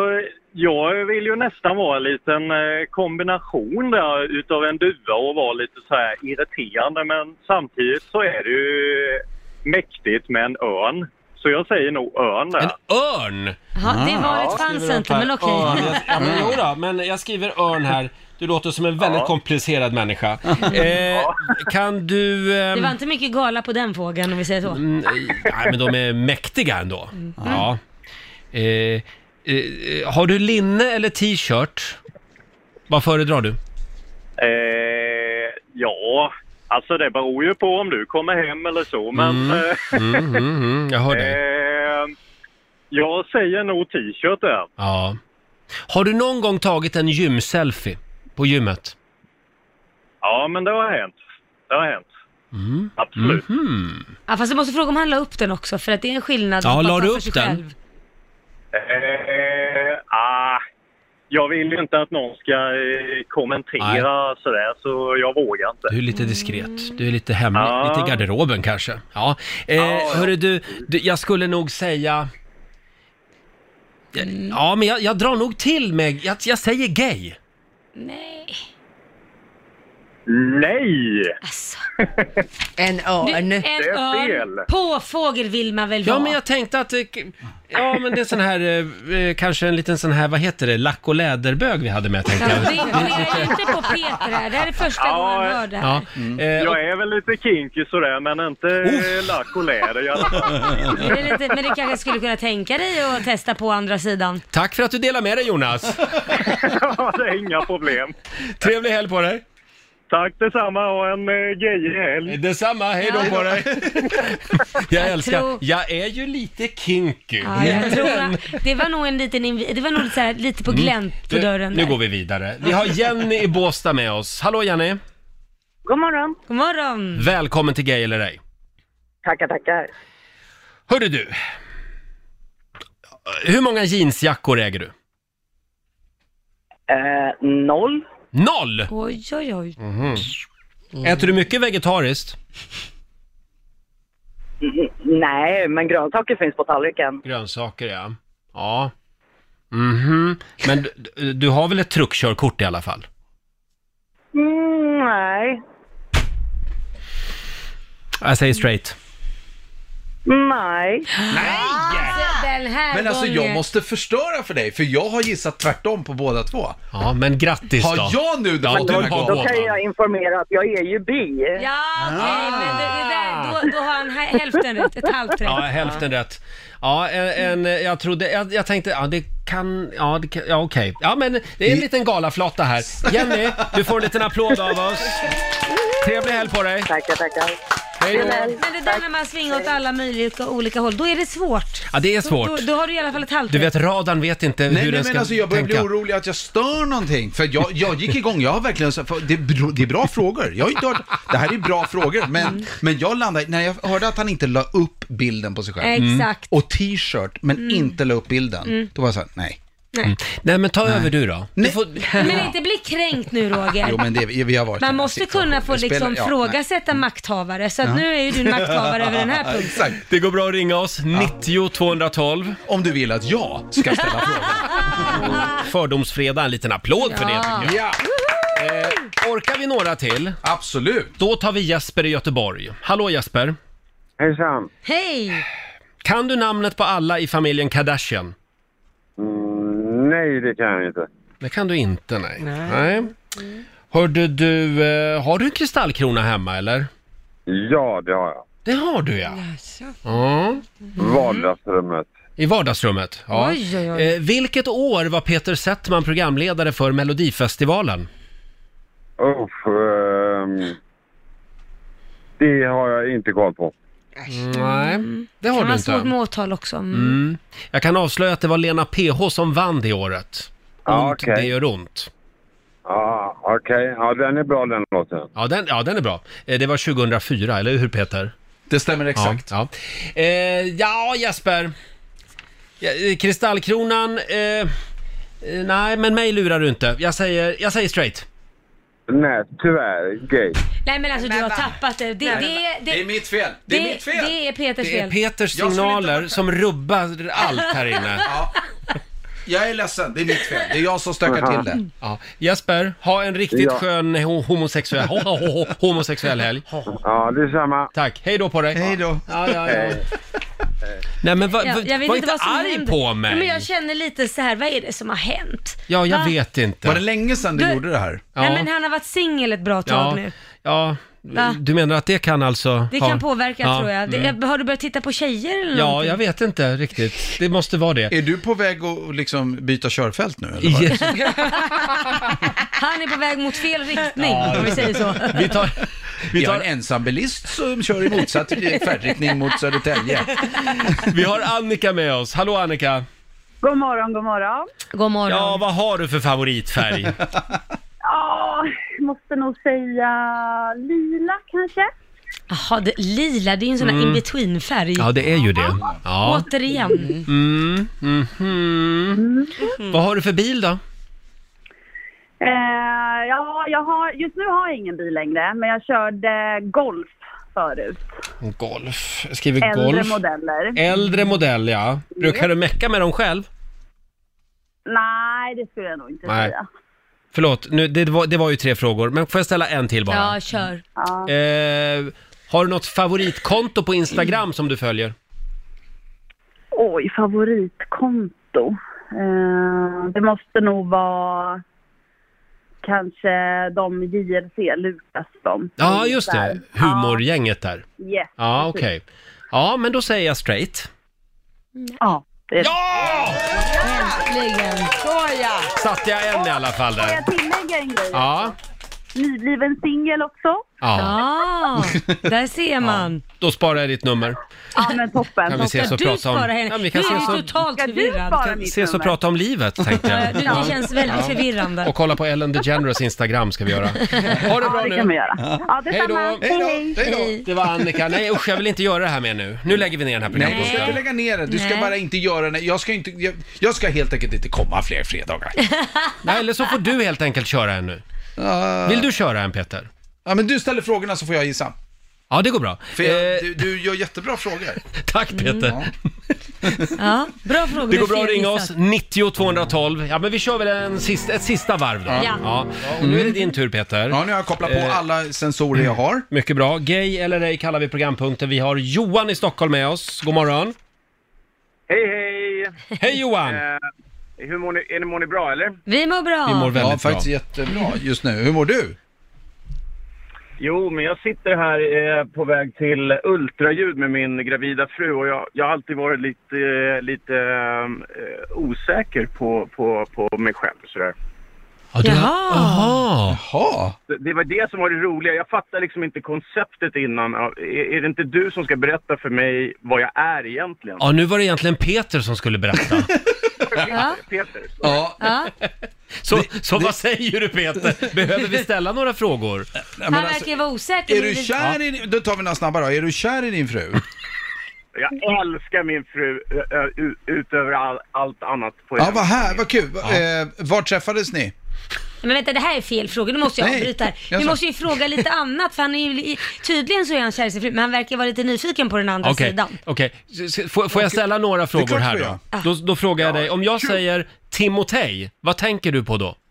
[SPEAKER 12] jag vill ju nästan vara en liten eh, kombination där utav en duva och vara lite så här irriterande men samtidigt så är det ju mäktigt med en örn. Så jag säger nog örn där.
[SPEAKER 1] En örn!
[SPEAKER 4] Jaha, det valet
[SPEAKER 12] Ja,
[SPEAKER 4] fanns inte, men okej. Mm.
[SPEAKER 1] Örn. Jag- Ja, men, jo då, men jag skriver örn här. Du låter som en väldigt komplicerad människa. Eh, kan du...
[SPEAKER 4] Det
[SPEAKER 1] ehm,
[SPEAKER 4] var inte mycket gala på den frågan om vi säger så.
[SPEAKER 1] Mm, nej, men de är mäktiga ändå. Ja. Eh, eh, har du linne eller t-shirt? Vad föredrar du?
[SPEAKER 12] Eh, ja, alltså det beror ju på om du kommer hem eller så men eh,
[SPEAKER 1] Mm, mm, mm, jag hör dig.
[SPEAKER 12] eh, jag säger nog t-shirt där.
[SPEAKER 1] Ja. Har du någon gång tagit en gymselfie på gymmet?
[SPEAKER 12] Ja, men det har hänt. Det har hänt. Absolut.
[SPEAKER 1] Mhm.
[SPEAKER 4] Ja, fast jag måste fråga om han la upp den också, för att det är en skillnad.
[SPEAKER 1] Ja,
[SPEAKER 4] att
[SPEAKER 1] la
[SPEAKER 4] bara
[SPEAKER 1] du
[SPEAKER 4] ta för
[SPEAKER 1] upp
[SPEAKER 4] sig
[SPEAKER 1] den?
[SPEAKER 4] själv.
[SPEAKER 12] Eh, ah, jag vill ju inte att någon ska eh, kommentera sådär, så jag vågar inte.
[SPEAKER 1] Du är lite diskret. Du är lite hemlig.
[SPEAKER 12] Ja.
[SPEAKER 1] Lite i garderoben kanske. Ja. Eh,
[SPEAKER 12] Ja.
[SPEAKER 1] Hörru du, du, jag skulle nog säga... Ja, men jag, jag drar nog till med... Jag, jag säger gay.
[SPEAKER 4] Nej,
[SPEAKER 12] Nej!
[SPEAKER 4] alltså.
[SPEAKER 2] En
[SPEAKER 4] Du, en
[SPEAKER 2] örn.
[SPEAKER 12] är fel.
[SPEAKER 4] örn. Påfågel vill man väl
[SPEAKER 1] Ja,
[SPEAKER 4] vara?
[SPEAKER 1] men jag tänkte att... eh, k- Ja, men det är sån här, eh, eh, kanske en liten sån här, vad heter det, lack och läderbög vi hade med tänkte
[SPEAKER 4] Ja,
[SPEAKER 1] jag.
[SPEAKER 4] vi imponerar ju inte på Peter här. Det här är första
[SPEAKER 12] Ja,
[SPEAKER 4] gången han hör det här.
[SPEAKER 1] Ja, eh, och,
[SPEAKER 12] Jag är väl lite kinky sådär, men inte eh, lack och läder i alla fall.
[SPEAKER 4] Är det lite, men du kanske skulle kunna tänka dig att testa på andra sidan?
[SPEAKER 1] tack för att du delar med dig Jonas.
[SPEAKER 12] Ja, det är inga problem.
[SPEAKER 1] Trevlig helg på dig.
[SPEAKER 12] Tack detsamma och en eh, gejig helg.
[SPEAKER 1] Detsamma, hej då på dig. Jag älskar,
[SPEAKER 4] tror-
[SPEAKER 1] jag är ju lite kinky.
[SPEAKER 4] Ja, jag tror att- det var nog en liten invi- det var nog så här, lite på glänt på dörren
[SPEAKER 1] Mm. Nu
[SPEAKER 4] där.
[SPEAKER 1] går vi vidare. Vi har Jenny i Båstad med oss. Hallå Jenny!
[SPEAKER 8] God morgon.
[SPEAKER 4] God morgon!
[SPEAKER 1] Välkommen till Gay eller ej.
[SPEAKER 8] Tackar, tackar.
[SPEAKER 1] Hörru du. Hur många jeansjackor äger du?
[SPEAKER 8] Eh, noll.
[SPEAKER 1] Noll! Mhm.
[SPEAKER 4] Oj, oj, oj.
[SPEAKER 1] Äter du mycket vegetariskt?
[SPEAKER 8] Mm, Nej, men grönsaker finns på tallriken.
[SPEAKER 1] Grönsaker, ja. Ja. Mhm. Men du- du, du har väl ett truckkörkort i alla fall?
[SPEAKER 8] Mm, nej.
[SPEAKER 1] Jag säger straight.
[SPEAKER 8] Nej.
[SPEAKER 4] Den här
[SPEAKER 10] Men alltså jag
[SPEAKER 4] gången.
[SPEAKER 10] måste förstöra för dig, för jag har gissat tvärtom på båda två.
[SPEAKER 1] Ja, men grattis då.
[SPEAKER 10] Har jag nu då
[SPEAKER 1] Ja,
[SPEAKER 10] fått
[SPEAKER 1] du
[SPEAKER 10] den här
[SPEAKER 1] har
[SPEAKER 10] gången?
[SPEAKER 8] Då kan jag informera att jag är ju bi.
[SPEAKER 4] Ja, okej,
[SPEAKER 1] Ah.
[SPEAKER 4] men det, det där, då, då har han hä- hälften rätt, ett halvt rätt.
[SPEAKER 1] Ja, hälften rätt. Ja, en, en, jag trodde, jag, jag tänkte, ja det kan, ja, det kan, ja okej. Ja men det är en liten galaflata här. Jenny, du får en liten applåd av oss. Trevlig helg på dig.
[SPEAKER 8] Tackar, tackar.
[SPEAKER 1] Hej då.
[SPEAKER 4] Men det där när man svingar åt alla möjliga olika håll, då är det svårt.
[SPEAKER 1] Ja, det är
[SPEAKER 4] Då,
[SPEAKER 1] svårt.
[SPEAKER 4] då har du i alla fall ett halvt
[SPEAKER 1] Du
[SPEAKER 4] rätt.
[SPEAKER 1] vet, radarn vet inte Eh, hur
[SPEAKER 10] Nej, nej
[SPEAKER 1] den
[SPEAKER 10] men
[SPEAKER 1] ska
[SPEAKER 10] alltså jag börjar
[SPEAKER 1] tänka.
[SPEAKER 10] bli orolig att jag stör någonting. För jag, jag gick igång, jag har verkligen så- för det, är bra- det är bra frågor. Jag har inte hört, det här är bra frågor, men,
[SPEAKER 4] Mm.
[SPEAKER 10] men jag landade, när jag hörde att han inte la upp bilden på sig själv.
[SPEAKER 4] Mm. Exakt. Mm.
[SPEAKER 10] Och t-shirt, men inte la upp bilden. Då var jag såhär, nej.
[SPEAKER 1] Mm. Nej men ta över du då. Du
[SPEAKER 10] Nej.
[SPEAKER 1] får,
[SPEAKER 4] Men inte bli kränkt nu Roger.
[SPEAKER 10] Jo men det, vi har varit i
[SPEAKER 4] Man
[SPEAKER 10] den här
[SPEAKER 4] måste
[SPEAKER 10] situationen.
[SPEAKER 4] kunna få
[SPEAKER 10] Det spelar-
[SPEAKER 4] liksom
[SPEAKER 10] ja, nej.
[SPEAKER 4] frågasätta
[SPEAKER 1] Mm.
[SPEAKER 4] makthavare, så att nu är ju du en makthavare över den här punkten.
[SPEAKER 10] Exakt.
[SPEAKER 1] det går bra att ringa oss, 90 212.
[SPEAKER 10] Om du vill att jag ska ställa frågan.
[SPEAKER 1] Fördomsfredag, en liten applåd för det
[SPEAKER 4] Ja.
[SPEAKER 1] tycker jag. Eh,
[SPEAKER 10] Ja,
[SPEAKER 1] Orkar vi några till?
[SPEAKER 10] absolut.
[SPEAKER 1] Då tar vi Jesper i Göteborg. Hallå Jesper!
[SPEAKER 12] Hejsan.
[SPEAKER 4] Hej!
[SPEAKER 1] Kan du namnet på alla i familjen Kardashian?
[SPEAKER 13] Mm,
[SPEAKER 12] Nej, det kan jag inte.
[SPEAKER 1] Det kan du inte, nej. nej. Hörde du, eh, har du en kristallkrona hemma eller?
[SPEAKER 12] Ja, det har jag.
[SPEAKER 1] Det har du ja.
[SPEAKER 13] Mm.
[SPEAKER 1] ja.
[SPEAKER 12] Vardagsrummet.
[SPEAKER 1] I vardagsrummet. Ja.
[SPEAKER 4] Oj, oj, oj.
[SPEAKER 1] Eh, vilket år var Peter Settman programledare för Melodifestivalen?
[SPEAKER 12] Uff, ehm, det har jag inte koll på.
[SPEAKER 1] Nej, det har
[SPEAKER 4] Kan
[SPEAKER 1] du
[SPEAKER 4] vara svårt med
[SPEAKER 1] inte.
[SPEAKER 4] åtal också. Mm.
[SPEAKER 1] Jag kan avslöja att det var Lena PH som vann det året.
[SPEAKER 13] Ja,
[SPEAKER 1] Ont,
[SPEAKER 13] okej.
[SPEAKER 1] det gör ont.
[SPEAKER 13] Ja, okej. Ja, den är bra den låten.
[SPEAKER 1] Ja den, ja, den är bra. Eh, Det var 2004, eller hur Peter?
[SPEAKER 10] Det stämmer
[SPEAKER 1] exakt. Ja, ja. Eh, ja Jesper. Ja, eh, kristallkronan, eh, eh, nej men mig lurar du inte. Jag säger, jag säger straight.
[SPEAKER 13] Nej, tyvärr. Gay.
[SPEAKER 4] Nej men alltså du har tappat det. Det, det, det,
[SPEAKER 10] Det är mitt fel.
[SPEAKER 4] det, det, är Peters
[SPEAKER 1] Det är
[SPEAKER 4] fel.
[SPEAKER 1] Peters
[SPEAKER 10] Jag skulle inte
[SPEAKER 1] signaler som rubbar allt här inne.
[SPEAKER 10] Ja. Jag är ledsen, det är mitt fel. Det är jag som stökar till det.
[SPEAKER 1] Ja. Jesper, ha en riktigt
[SPEAKER 10] Ja.
[SPEAKER 1] skön ho- homosexuell, ho- ho- ho- homosexuell helg.
[SPEAKER 13] Ja, detsamma.
[SPEAKER 1] Tack, hej då på dig. Hej
[SPEAKER 10] då.
[SPEAKER 1] Ja, ja, ja. Nej men va, va,
[SPEAKER 4] Ja, jag vet inte
[SPEAKER 1] var inte
[SPEAKER 4] vad som
[SPEAKER 1] arg
[SPEAKER 4] händer.
[SPEAKER 1] på
[SPEAKER 4] Ja, Men
[SPEAKER 1] mig.
[SPEAKER 4] jag känner lite så här, vad är det som har hänt?
[SPEAKER 1] Ja, jag
[SPEAKER 4] Va?
[SPEAKER 1] vet inte. Var det
[SPEAKER 10] länge sedan
[SPEAKER 4] du Du- gjorde
[SPEAKER 10] det här?
[SPEAKER 4] Nej men han har varit singel ett bra tag
[SPEAKER 1] ja,
[SPEAKER 4] nu.
[SPEAKER 1] ja.
[SPEAKER 4] Va?
[SPEAKER 1] Du menar att det kan alltså...
[SPEAKER 4] Det
[SPEAKER 1] ha-
[SPEAKER 4] kan påverka
[SPEAKER 1] Ja,
[SPEAKER 4] tror jag. Det,
[SPEAKER 1] mm.
[SPEAKER 4] Har du börjat titta på tjejer eller
[SPEAKER 1] Ja,
[SPEAKER 4] någonting?
[SPEAKER 1] jag vet inte riktigt. Det måste vara det.
[SPEAKER 10] Är du på väg att liksom byta körfält nu? Eller vad?
[SPEAKER 1] Yes.
[SPEAKER 4] Han är på väg mot fel riktning om vi säger så.
[SPEAKER 1] Vi tar,
[SPEAKER 10] vi har en ensambilist som kör i motsatt färdriktning mot Södertälje.
[SPEAKER 1] Vi har Annika med oss. Hallå Annika!
[SPEAKER 14] God morgon, god morgon.
[SPEAKER 4] God
[SPEAKER 1] Ja, vad har du för favoritfärg?
[SPEAKER 14] Ja, måste nog säga lila kanske.
[SPEAKER 4] Jaha, det, lila det är ju en sån här
[SPEAKER 1] Mm.
[SPEAKER 4] in-between-färg.
[SPEAKER 1] Ja, det är ju det. Ja.
[SPEAKER 4] Återigen.
[SPEAKER 1] Mm, mhm. Vad har du för bil då?
[SPEAKER 14] Eh, ja, jag har, just nu har jag ingen bil längre, men jag körde golf förut.
[SPEAKER 1] Golf. Jag skriver
[SPEAKER 14] Äldre
[SPEAKER 1] golf.
[SPEAKER 14] modeller.
[SPEAKER 1] Äldre modell, ja. Brukar du mecka med dem själv?
[SPEAKER 14] Nej, det skulle jag nog inte
[SPEAKER 1] Nej.
[SPEAKER 14] säga.
[SPEAKER 1] Förlåt, nu, det, var, det var ju tre frågor, men får jag ställa en till bara?
[SPEAKER 4] Ja, kör.
[SPEAKER 1] Eh, har du något favoritkonto på Instagram som du följer?
[SPEAKER 14] Oj, favoritkonto. Eh, det måste nog vara kanske de JLC, Lukas de.
[SPEAKER 1] Ja, just det.
[SPEAKER 14] Där.
[SPEAKER 1] Humorgänget där.
[SPEAKER 14] Yes,
[SPEAKER 1] Ja,
[SPEAKER 14] precis.
[SPEAKER 1] okej. Ja, men då säger jag straight.
[SPEAKER 14] Ja! Det...
[SPEAKER 1] Ja!
[SPEAKER 4] Äntligen!
[SPEAKER 14] Såja!
[SPEAKER 1] Satte jag en i alla fall
[SPEAKER 14] Får
[SPEAKER 1] där.
[SPEAKER 14] jag tillägga en grej?
[SPEAKER 1] Ja,
[SPEAKER 14] Nybliven singel också.
[SPEAKER 1] ja.
[SPEAKER 4] Ah, där ser man.
[SPEAKER 1] Då sparar jag ditt nummer.
[SPEAKER 14] Ja, men toppen.
[SPEAKER 1] Kan vi ses och
[SPEAKER 4] du
[SPEAKER 1] prata om...
[SPEAKER 4] spara henne?
[SPEAKER 1] Ja, vi kan
[SPEAKER 4] Nu är
[SPEAKER 1] ses
[SPEAKER 4] du
[SPEAKER 1] och...
[SPEAKER 4] totalt
[SPEAKER 14] Ska du
[SPEAKER 4] förvirrad.
[SPEAKER 14] spara mitt
[SPEAKER 1] ses och
[SPEAKER 14] nummer?
[SPEAKER 1] prata om livet, tänkte
[SPEAKER 4] Ja,
[SPEAKER 1] jag.
[SPEAKER 4] du-
[SPEAKER 1] Ja.
[SPEAKER 4] det känns väldigt förvirrande.
[SPEAKER 1] Och kolla på Ellen DeGeneres Instagram ska vi göra. Ha det bra
[SPEAKER 14] ja, det
[SPEAKER 1] nu!
[SPEAKER 14] kan vi göra. Ja,
[SPEAKER 1] Hej då.
[SPEAKER 14] detsamma.
[SPEAKER 1] Hej då.
[SPEAKER 14] Hej,
[SPEAKER 10] Hej då.
[SPEAKER 1] Det var Annika. Nej usch, jag vill inte göra det här med nu. Nu lägger vi ner den
[SPEAKER 10] Nej,
[SPEAKER 1] här
[SPEAKER 10] du ska inte
[SPEAKER 1] programpunkten.
[SPEAKER 10] lägga ner det. Du ska
[SPEAKER 4] Nej.
[SPEAKER 10] bara inte göra det. Jag ska, inte, jag, jag ska helt enkelt inte komma fler fredagar.
[SPEAKER 1] Nej, eller så får du helt enkelt köra en nu.
[SPEAKER 10] Ah.
[SPEAKER 1] Vill du köra en Peter?
[SPEAKER 10] Ja, men du ställer frågorna så får jag gissa.
[SPEAKER 1] Ja, det går bra.
[SPEAKER 10] För jag,
[SPEAKER 1] Eh,
[SPEAKER 10] du, du gör jättebra frågor.
[SPEAKER 1] Tack
[SPEAKER 4] Mm.
[SPEAKER 1] Peter.
[SPEAKER 4] Ja, bra fråga.
[SPEAKER 1] Det går bra att
[SPEAKER 4] Fel
[SPEAKER 1] ringa oss,
[SPEAKER 4] gissat.
[SPEAKER 1] 90 212. Ja men vi kör väl en sista, ett sista varv då.
[SPEAKER 4] Ja.
[SPEAKER 1] och nu är det din tur Peter.
[SPEAKER 10] Ja, nu har jag kopplat på
[SPEAKER 1] Eh.
[SPEAKER 10] alla sensorer jag har.
[SPEAKER 1] Mycket bra. Gay eller ej kallar vi programpunkten. Vi har Johan i Stockholm med oss. God morgon.
[SPEAKER 15] Hej, hej!
[SPEAKER 1] Hej Johan!
[SPEAKER 15] Eh, hur mår ni? Är ni, mår ni bra, eller?
[SPEAKER 4] Vi mår bra.
[SPEAKER 1] Vi mår väldigt
[SPEAKER 10] ja, faktiskt
[SPEAKER 1] bra.
[SPEAKER 10] jättebra just nu. Hur mår du?
[SPEAKER 15] Jo, men jag sitter här eh, på väg till ultraljud med min gravida fru och jag, jag har alltid varit lite, eh, lite eh, osäker på, på, på mig själv. Sådär.
[SPEAKER 1] Ja, du
[SPEAKER 4] Jaha.
[SPEAKER 1] Jaha.
[SPEAKER 10] Jaha.
[SPEAKER 15] Det, det var det som var det roliga. Jag fattade liksom inte konceptet innan. Ja, Är, är det inte du som ska berätta för mig vad jag är egentligen?
[SPEAKER 1] Ja, nu var det egentligen Peter som skulle berätta.
[SPEAKER 4] Ja.
[SPEAKER 15] Peter?
[SPEAKER 10] Ja,
[SPEAKER 4] Ja.
[SPEAKER 1] Så, så vad säger du Peter? Behöver vi ställa några frågor?
[SPEAKER 10] nej,
[SPEAKER 4] Han
[SPEAKER 10] men
[SPEAKER 4] verkar
[SPEAKER 10] alltså,
[SPEAKER 4] ju vara osäker.
[SPEAKER 10] är
[SPEAKER 4] men
[SPEAKER 10] du
[SPEAKER 4] det-
[SPEAKER 10] kär i din... Då tar vi några snabba då. Är du kär i din fru?
[SPEAKER 4] Mm.
[SPEAKER 15] Jag älskar min fru eh, eh, ut- utöver all, allt annat. På
[SPEAKER 10] Ja,
[SPEAKER 15] henne.
[SPEAKER 10] vad här, vad kul. Eh, var träffades ni?
[SPEAKER 4] Men vänta, det här är fel fråga. Nu måste jag
[SPEAKER 10] Nej,
[SPEAKER 4] avbryta här.
[SPEAKER 10] jag
[SPEAKER 4] Vi
[SPEAKER 10] sa-
[SPEAKER 4] måste ju fråga lite annat, för han är ju, i- tydligen så är han kär i sin fru, men han verkar vara lite nyfiken på den andra
[SPEAKER 1] Okej,
[SPEAKER 4] sidan.
[SPEAKER 1] okej. S- s- Får, får jag ställa några
[SPEAKER 10] klart
[SPEAKER 1] frågor här
[SPEAKER 10] du
[SPEAKER 1] då?
[SPEAKER 10] gör.
[SPEAKER 1] Då, då frågar jag dig, om jag säger Timotej, vad tänker du på då?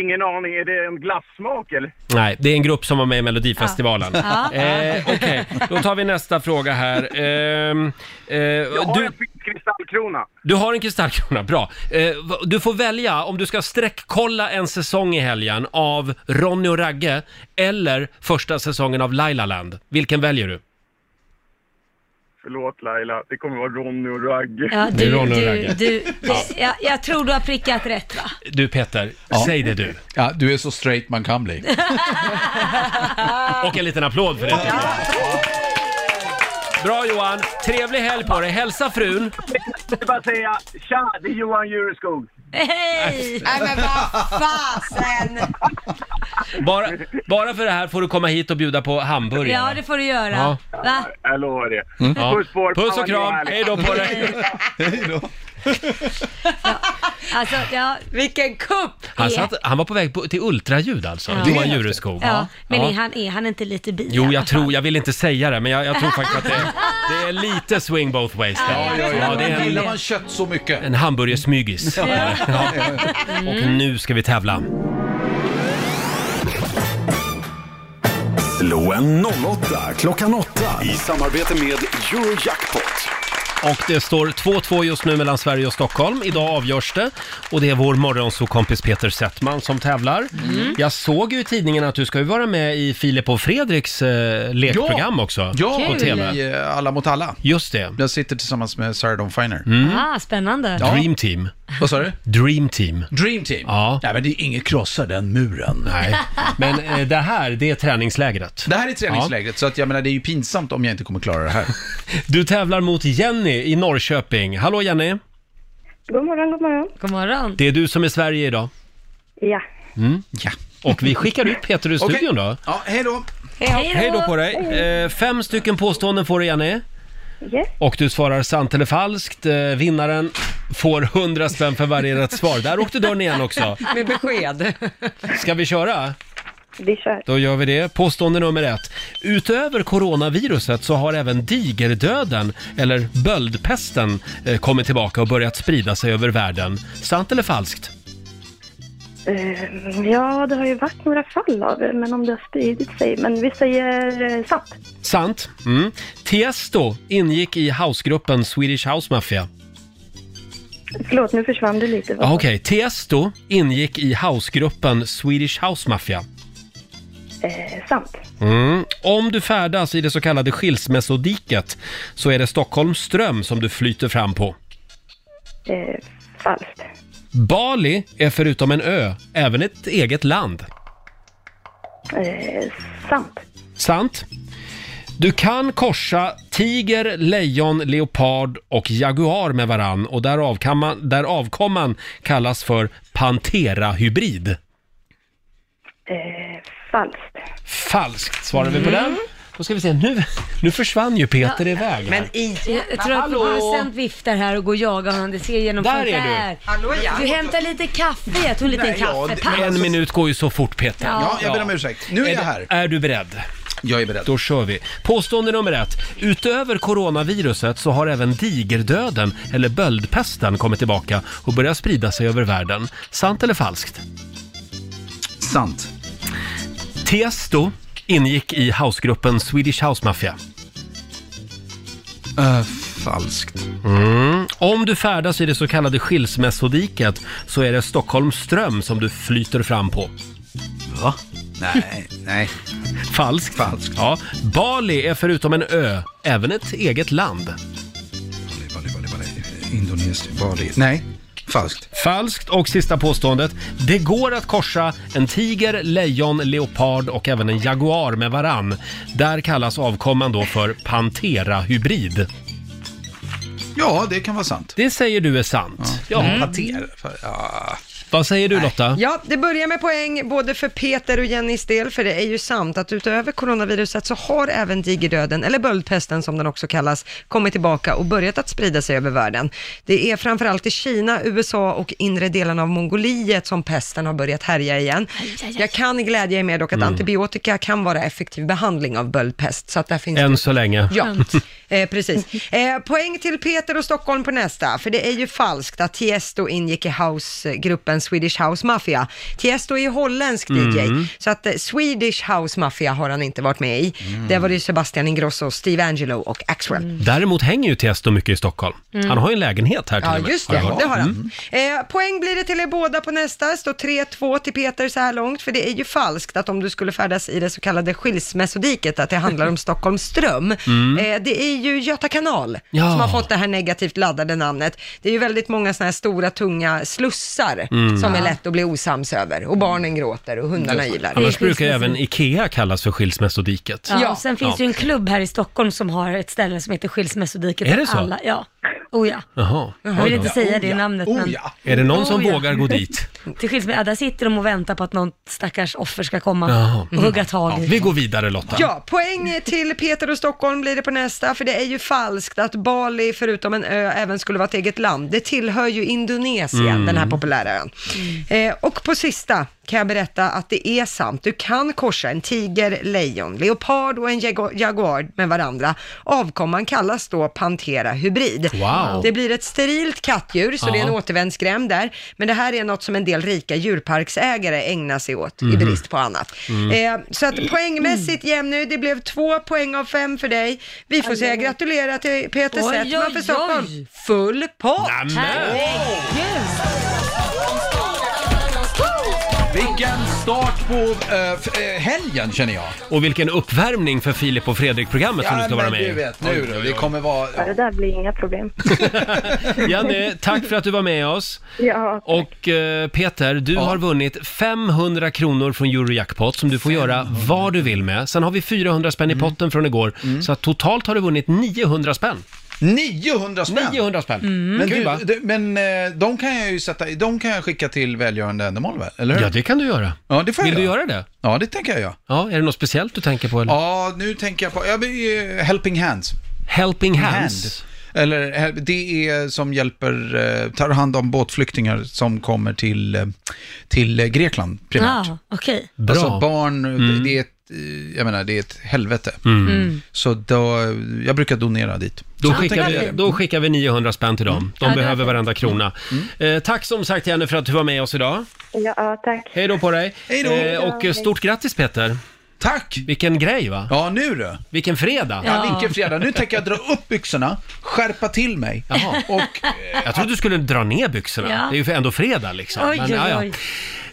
[SPEAKER 15] Ingen aning. Är det en glassmak, eller?
[SPEAKER 1] Nej, det är en grupp som var med i Melodifestivalen.
[SPEAKER 4] Ja.
[SPEAKER 1] Eh, Okej, då tar vi nästa fråga här. Ehm, eh,
[SPEAKER 15] Jag har
[SPEAKER 1] du,
[SPEAKER 15] en fin kristallkrona.
[SPEAKER 1] du har en kristallkrona, bra. Eh, va- du får välja om du ska sträckkolla en säsong i helgen av Ronny och Ragge eller första säsongen av Lailaland. Vilken väljer du?
[SPEAKER 15] Förlåt Laila, det kommer vara Ronny och Ragge.
[SPEAKER 4] Ja,
[SPEAKER 1] Det är
[SPEAKER 4] du,
[SPEAKER 1] Ronny och
[SPEAKER 4] du,
[SPEAKER 1] Ragge.
[SPEAKER 4] du, det, jag, jag tror du har prickat rätt va?
[SPEAKER 1] Du Peter,
[SPEAKER 10] Ja.
[SPEAKER 1] säg det du.
[SPEAKER 10] Ja, du är så straight man kan bli.
[SPEAKER 1] Och en liten applåd för det. tycker jag. Bra Johan, trevlig helg på dig. Hälsa frun.
[SPEAKER 15] Jag vill bara säga tja, det är Johan Jureskog.
[SPEAKER 4] Hej!
[SPEAKER 2] Nej men vad fasen!
[SPEAKER 1] Bara, bara för det här får du komma hit och bjuda på hamburgare.
[SPEAKER 4] Ja, det får du göra.
[SPEAKER 1] Ja.
[SPEAKER 4] Va?
[SPEAKER 15] Jag lovar det.
[SPEAKER 1] Mm. Ja.
[SPEAKER 15] Puss på er.
[SPEAKER 1] Puss
[SPEAKER 15] Fan,
[SPEAKER 1] och
[SPEAKER 15] ni är
[SPEAKER 1] kram,
[SPEAKER 15] härliga.
[SPEAKER 1] hej då på dig!
[SPEAKER 4] Alltså, ja.
[SPEAKER 2] Vilken kupp!
[SPEAKER 1] Han, satt, han var på väg på, till ultraljud alltså,
[SPEAKER 4] Ja.
[SPEAKER 1] Johan Jureskog.
[SPEAKER 4] Ja, men
[SPEAKER 1] Ja.
[SPEAKER 4] Är, han, är han inte lite bi?
[SPEAKER 1] Jo, jag tror, jag vill inte säga det, men jag, jag tror faktiskt att det, det är lite swing both ways. där.
[SPEAKER 11] Ja, ja, ja.
[SPEAKER 1] det är
[SPEAKER 10] Gillar
[SPEAKER 1] en,
[SPEAKER 10] man kött så mycket?
[SPEAKER 1] en hamburgersmygis.
[SPEAKER 10] Ja.
[SPEAKER 1] Ja. Och nu ska vi tävla.
[SPEAKER 3] Slå en 08 klockan 8 i samarbete med Eurojackpot.
[SPEAKER 1] Och det står 2-2 just nu mellan Sverige och Stockholm. Idag avgörs det. Och det är vår morgonsåkompis Peter Settman som tävlar. Jag såg ju i tidningen att du ska ju vara med i Filip och Fredriks eh, lekprogram också.
[SPEAKER 10] Ja,
[SPEAKER 1] på TV.
[SPEAKER 10] i eh, Alla mot alla.
[SPEAKER 1] Just det. Mm.
[SPEAKER 10] Jag sitter tillsammans med Sarah Dawn Finer.
[SPEAKER 4] Ah, spännande.
[SPEAKER 1] Dream team.
[SPEAKER 10] Vad sa du?
[SPEAKER 1] Dream team.
[SPEAKER 10] Dream team?
[SPEAKER 1] Ja.
[SPEAKER 10] Nej, men det är inget krossar den muren.
[SPEAKER 1] Nej, men eh, det här, det är träningslägret.
[SPEAKER 10] Det här är träningslägret, så att jag menar det är ju pinsamt om jag inte kommer klara det här.
[SPEAKER 1] Du tävlar mot Jenny i Norrköping. Hallå Jenny!
[SPEAKER 9] God morgon, god morgon.
[SPEAKER 4] God morgon.
[SPEAKER 1] Det är du som är Sverige idag.
[SPEAKER 9] Ja.
[SPEAKER 1] Mm. Ja. Och vi skickar ut Peter ur
[SPEAKER 10] Okej.
[SPEAKER 1] studion då.
[SPEAKER 10] Ja, hej då!
[SPEAKER 1] Hej då på dig! Eh, fem stycken påståenden får du Jenny.
[SPEAKER 9] Yes.
[SPEAKER 1] Och du svarar sant eller falskt. Eh, vinnaren får 100 spänn för varje rätt svar. Där åkte dörren igen också.
[SPEAKER 2] Med besked.
[SPEAKER 1] Ska vi köra?
[SPEAKER 9] Vi kör.
[SPEAKER 1] Då gör vi det. Påstående nummer ett. Utöver coronaviruset så har även digerdöden, eller böldpesten, eh, kommit tillbaka och börjat sprida sig över världen. Sant eller falskt?
[SPEAKER 9] Eh, ja, det har ju varit några fall av det, men om det har spridit sig. Men vi säger eh, sant.
[SPEAKER 1] Sant. Mm. Tiesto ingick i housegruppen Swedish House Mafia.
[SPEAKER 9] Förlåt, nu försvann du lite.
[SPEAKER 1] Ah, Okej, Tiesto ingick i housegruppen Swedish House Mafia.
[SPEAKER 9] Eh, sant.
[SPEAKER 1] Mm. Om du färdas i det så kallade skilsmässodiket så är det Stockholms ström som du flyter fram på.
[SPEAKER 9] Eh, falskt.
[SPEAKER 1] Bali är förutom en ö även ett eget land.
[SPEAKER 9] Eh, sant.
[SPEAKER 1] Sant. Du kan korsa tiger, lejon, leopard och jaguar med varann och därav, kan man, därav avkomman kallas för pantera-hybrid.
[SPEAKER 9] Eh, falskt.
[SPEAKER 1] Falskt svarar vi på den. Då ska vi se, nu, nu försvann ju Peter iväg. här.
[SPEAKER 4] Jag, jag tror att producent viftar här och går och jagar honom. Det ser jag genom
[SPEAKER 1] Där
[SPEAKER 4] fönstret.
[SPEAKER 1] är du.
[SPEAKER 4] Där. Du hämtar lite kaffe. Jag tog en liten kaffepaus.
[SPEAKER 1] en minut går ju så fort Peter.
[SPEAKER 4] Ja. Ja,
[SPEAKER 10] jag ber om ursäkt. Nu är jag här.
[SPEAKER 1] Är du beredd?
[SPEAKER 10] Jag är beredd.
[SPEAKER 1] Då kör vi. Påstående nummer ett. Utöver coronaviruset så har även digerdöden, eller böldpesten, kommit tillbaka och börjar sprida sig över världen. Sant eller falskt?
[SPEAKER 10] Sant.
[SPEAKER 1] Tiesto ingick i housegruppen Swedish House Mafia.
[SPEAKER 10] Äh, falskt.
[SPEAKER 1] Mm. Om du färdas i det så kallade skilsmässodiket så är det Stockholms ström som du flyter fram på.
[SPEAKER 10] Va? Nej, nej.
[SPEAKER 1] Falskt. Falskt. Ja. Bali är förutom en ö även ett eget land.
[SPEAKER 10] Indonesien, Bali. Nej, falskt.
[SPEAKER 1] Falskt. Och sista påståendet. Det går att korsa en tiger, lejon, leopard och även en jaguar med varann. Där kallas avkomman då för pantera-hybrid.
[SPEAKER 10] Ja, det kan vara sant.
[SPEAKER 1] Det säger du är sant. Ja.
[SPEAKER 10] Mm. Pater. Ja.
[SPEAKER 1] Vad säger du Lotta?
[SPEAKER 2] Ja, det börjar med poäng både för Peter och Jennys del, för det är ju sant att utöver coronaviruset så har även digerdöden, eller böldpesten som den också kallas, kommit tillbaka och börjat att sprida sig över världen. Det är framförallt i Kina, USA och inre delarna av Mongoliet som pesten har börjat härja igen. Jag kan glädja er med dock att
[SPEAKER 1] Mm.
[SPEAKER 2] antibiotika kan vara effektiv behandling av böldpest, så att där finns
[SPEAKER 1] Än så länge.
[SPEAKER 2] Ja, eh, precis. Eh, poäng till Peter och Stockholm på nästa, för det är ju falskt att Tiesto ingick i housegruppen Swedish House Mafia. Tiesto är ju holländsk
[SPEAKER 11] Mm.
[SPEAKER 2] DJ, så att eh, Swedish House Mafia har han inte varit med i.
[SPEAKER 1] Mm.
[SPEAKER 2] Där var det ju Sebastian Ingrosso, Steve Angelo och Axwell.
[SPEAKER 1] Däremot hänger ju Tiesto mycket i Stockholm.
[SPEAKER 2] Mm.
[SPEAKER 1] Han har ju en lägenhet här till
[SPEAKER 2] Ja,
[SPEAKER 1] och med.
[SPEAKER 2] just det,
[SPEAKER 1] jag hört.
[SPEAKER 2] det har han.
[SPEAKER 1] Mm.
[SPEAKER 2] Eh, poäng blir det till er båda på nästa, står 3-2 till Peter så här långt, för det är ju falskt att om du skulle färdas i det så kallade skilsmässodiket, att det handlar om Stockholms ström.
[SPEAKER 11] Mm.
[SPEAKER 2] Eh, det är ju Göta kanal
[SPEAKER 11] Ja.
[SPEAKER 2] som har fått det här negativt laddade namnet. Det är ju väldigt många sådana här stora, tunga slussar
[SPEAKER 1] Mm.
[SPEAKER 2] som är
[SPEAKER 1] Ja.
[SPEAKER 2] lätt att bli osams över, och barnen gråter och hundarna ylar.
[SPEAKER 1] Annars brukar ju även IKEA kallas för skilsmässodiket.
[SPEAKER 4] Ja, och sen finns
[SPEAKER 1] Ja.
[SPEAKER 4] ju en klubb här i Stockholm som har ett ställe som heter Skilsmässodiket
[SPEAKER 1] Är det
[SPEAKER 4] för
[SPEAKER 1] så?
[SPEAKER 4] Alla. Ja. Oh ja.
[SPEAKER 1] Jaha.
[SPEAKER 4] Jag vill inte
[SPEAKER 1] Oj då.
[SPEAKER 4] säga det namnet
[SPEAKER 1] Oh,
[SPEAKER 4] men...
[SPEAKER 1] Mm. Är det någon som
[SPEAKER 4] Oh ja.
[SPEAKER 1] vågar gå dit?
[SPEAKER 4] Till skilsmässa, ja, där sitter de och väntar på att någon stackars offer ska komma
[SPEAKER 1] Jaha.
[SPEAKER 4] och hugga tag
[SPEAKER 1] Mm. Ja,
[SPEAKER 4] i.
[SPEAKER 1] vi går vidare Lotta.
[SPEAKER 2] Ja, poäng till Peter och Stockholm blir det på nästa, för det är ju falskt att Bali, förutom en ö, även skulle vara ett eget land. Det tillhör ju Indonesien,
[SPEAKER 11] Mm.
[SPEAKER 2] den här populära ön. Eh, och på sista kan jag berätta att det är sant. Du kan korsa en tiger, lejon, leopard och en jagu- jaguar med varandra. Avkomman kallas då Pantera hybrid.
[SPEAKER 11] Wow.
[SPEAKER 2] Det blir ett sterilt kattdjur, så det är en
[SPEAKER 11] Ja.
[SPEAKER 2] återvändsgränd där. Men det här är något som en del rika djurparksägare ägnar sig åt i
[SPEAKER 11] Mhm.
[SPEAKER 2] brist på annat.
[SPEAKER 11] Mm.
[SPEAKER 2] Eh, så att poängmässigt jämnu, det blev två poäng av fem för dig. Vi får säga gratulera till Peter
[SPEAKER 11] Oj,
[SPEAKER 2] Settman
[SPEAKER 11] oj,
[SPEAKER 2] för Stockholm.
[SPEAKER 11] oj.
[SPEAKER 2] Full pott!
[SPEAKER 10] Vilken start på eh, f- eh, helgen känner jag.
[SPEAKER 1] Och vilken uppvärmning för Filip och Fredrik-programmet som du ska
[SPEAKER 10] men
[SPEAKER 1] vara med
[SPEAKER 10] du
[SPEAKER 1] i.
[SPEAKER 10] vet, nu då, det kommer vara...
[SPEAKER 9] Ja, det där blir inga problem.
[SPEAKER 1] Janne, tack för att du var med oss.
[SPEAKER 9] Ja,
[SPEAKER 1] Och eh, Peter, du har vunnit 500 kronor från Eurojackpot som du får göra vad du vill med. Sen har vi 400 spänn i
[SPEAKER 10] Mm.
[SPEAKER 1] potten från igår, så att totalt har du vunnit 900 spänn.
[SPEAKER 10] 900 spänn?
[SPEAKER 1] 900 spänn.
[SPEAKER 10] Men,
[SPEAKER 1] Kul,
[SPEAKER 10] du,
[SPEAKER 1] va?
[SPEAKER 10] du, men eh, de kan jag ju sätta, de kan jag skicka till välgörande ändamål, väl? eller hur?
[SPEAKER 1] Ja, det kan du göra.
[SPEAKER 10] Ja, det får
[SPEAKER 1] Vill
[SPEAKER 10] jag
[SPEAKER 1] du göra det?
[SPEAKER 10] Ja, det tänker jag göra.
[SPEAKER 1] Ja, är det något speciellt du tänker på? Eller?
[SPEAKER 10] Ja, nu tänker jag på, jag vill, eh, Helping Hands.
[SPEAKER 1] Helping Hands?
[SPEAKER 10] Eller, hel- det är som hjälper, eh, tar hand om båtflyktingar som kommer till, eh, till eh, Grekland primärt.
[SPEAKER 4] Ja, okej.
[SPEAKER 10] Alltså barn,
[SPEAKER 1] Mm.
[SPEAKER 10] det, det är ett, eh, jag menar, det är ett helvete.
[SPEAKER 4] Mm.
[SPEAKER 10] Så då, jag brukar donera dit.
[SPEAKER 1] Då
[SPEAKER 10] Så jag
[SPEAKER 1] skickar,
[SPEAKER 10] tänker-
[SPEAKER 1] vi, då skickar vi 900 spänn till dem. De
[SPEAKER 9] Ja, det
[SPEAKER 1] behöver
[SPEAKER 9] var
[SPEAKER 1] varenda krona.
[SPEAKER 10] Mm.
[SPEAKER 1] Eh, tack som sagt Jenny för att du var med oss idag.
[SPEAKER 9] ja, ja tack.
[SPEAKER 1] Hej då på dig.
[SPEAKER 9] Hej då.
[SPEAKER 1] och eh, stort grattis Peter.
[SPEAKER 10] Tack!
[SPEAKER 1] Vilken grej va?
[SPEAKER 10] Ja, nu du.
[SPEAKER 1] Vilken fredag.
[SPEAKER 10] Ja, vilken fredag. Nu tänker jag dra upp byxorna, skärpa till mig.
[SPEAKER 1] Jaha.
[SPEAKER 10] Och,
[SPEAKER 1] Jag trodde du skulle dra ner byxorna.
[SPEAKER 10] Ja.
[SPEAKER 1] Det är ju ändå fredag liksom.
[SPEAKER 10] Oj, oj,
[SPEAKER 1] ja, ja.
[SPEAKER 10] oj.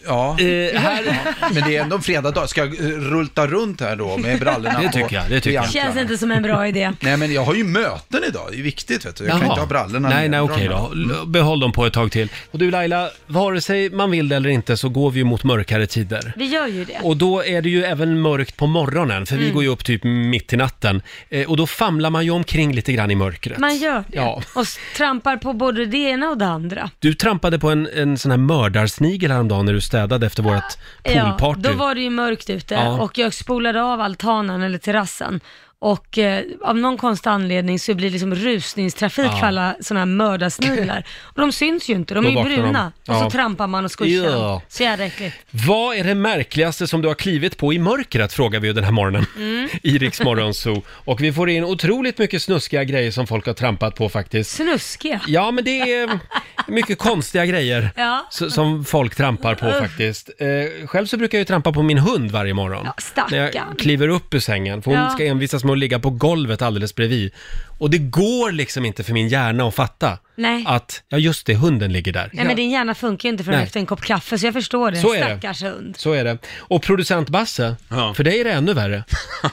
[SPEAKER 10] ja.
[SPEAKER 1] Eh, här-
[SPEAKER 10] Ja, Men det är ändå en fredagdag. Ska jag eh, rulta runt här då med brallorna
[SPEAKER 1] Det
[SPEAKER 10] på?
[SPEAKER 1] tycker jag, det tycker jag.
[SPEAKER 10] och
[SPEAKER 4] Känns
[SPEAKER 10] jantlarna?
[SPEAKER 4] inte som en bra idé.
[SPEAKER 10] Nej, men jag har ju möten idag. Det är viktigt, vet du. Jag kan
[SPEAKER 1] Jaha.
[SPEAKER 10] inte ha brallorna
[SPEAKER 1] Nej, nej, okej
[SPEAKER 10] neddragna.
[SPEAKER 1] då. L- Behåll dem på ett tag till. Och du Laila, vare sig man vill det eller inte så går vi ju mot mörkare tider.
[SPEAKER 4] Vi gör ju det.
[SPEAKER 1] Och då är det ju även mörkt på morgonen, för vi
[SPEAKER 4] Mm.
[SPEAKER 1] går ju upp typ mitt i natten. Eh, och då famlar man ju omkring lite grann i mörkret.
[SPEAKER 4] Man gör det.
[SPEAKER 1] Ja.
[SPEAKER 4] Och s- trampar på både det ena och det andra.
[SPEAKER 1] Du trampade på en, en sån här mördarsnigel häromdagen när du städade efter vårt poolparty.
[SPEAKER 4] då var det ju mörkt ute
[SPEAKER 1] Ja.
[SPEAKER 4] och jag spolade av altanen eller terrassen. Och eh, av någon konstig anledning så blir det liksom rusningstrafik
[SPEAKER 1] Ja.
[SPEAKER 4] för alla sådana här mördarsniglar. och de syns ju inte, de
[SPEAKER 1] Då
[SPEAKER 4] är ju
[SPEAKER 1] vaknar de.
[SPEAKER 4] bruna. Och
[SPEAKER 1] Ja.
[SPEAKER 4] så trampar man och skuschar
[SPEAKER 1] Ja.
[SPEAKER 4] dem. Så jävla äckligt.
[SPEAKER 1] Vad är det märkligaste som du har klivit på i mörkret, frågar vi ju den här morgonen.
[SPEAKER 4] Mm.
[SPEAKER 1] I Rix Morgon Zoo. Och vi får in otroligt mycket snuskiga grejer som folk har trampat på faktiskt.
[SPEAKER 4] Snuskiga.
[SPEAKER 1] Ja, men det är mycket konstiga grejer
[SPEAKER 4] Ja.
[SPEAKER 1] s- som folk trampar på
[SPEAKER 4] Usch.
[SPEAKER 1] faktiskt. Eh, själv så brukar jag ju trampa på min hund varje morgon.
[SPEAKER 4] stackarn.
[SPEAKER 1] när jag kliver upp ur sängen, för hon
[SPEAKER 4] Ja.
[SPEAKER 1] ska envisas med att ligga på golvet alldeles bredvid. Och det går liksom inte för min hjärna att fatta
[SPEAKER 4] Nej.
[SPEAKER 1] att, ja just det, hunden ligger där.
[SPEAKER 4] Nej men din hjärna funkar ju inte förrän
[SPEAKER 1] Nej.
[SPEAKER 4] efter en kopp kaffe, så jag förstår det.
[SPEAKER 1] Så är det.
[SPEAKER 4] Stackars hund.
[SPEAKER 1] Så är det. Och producent Basse, för dig är det ännu värre.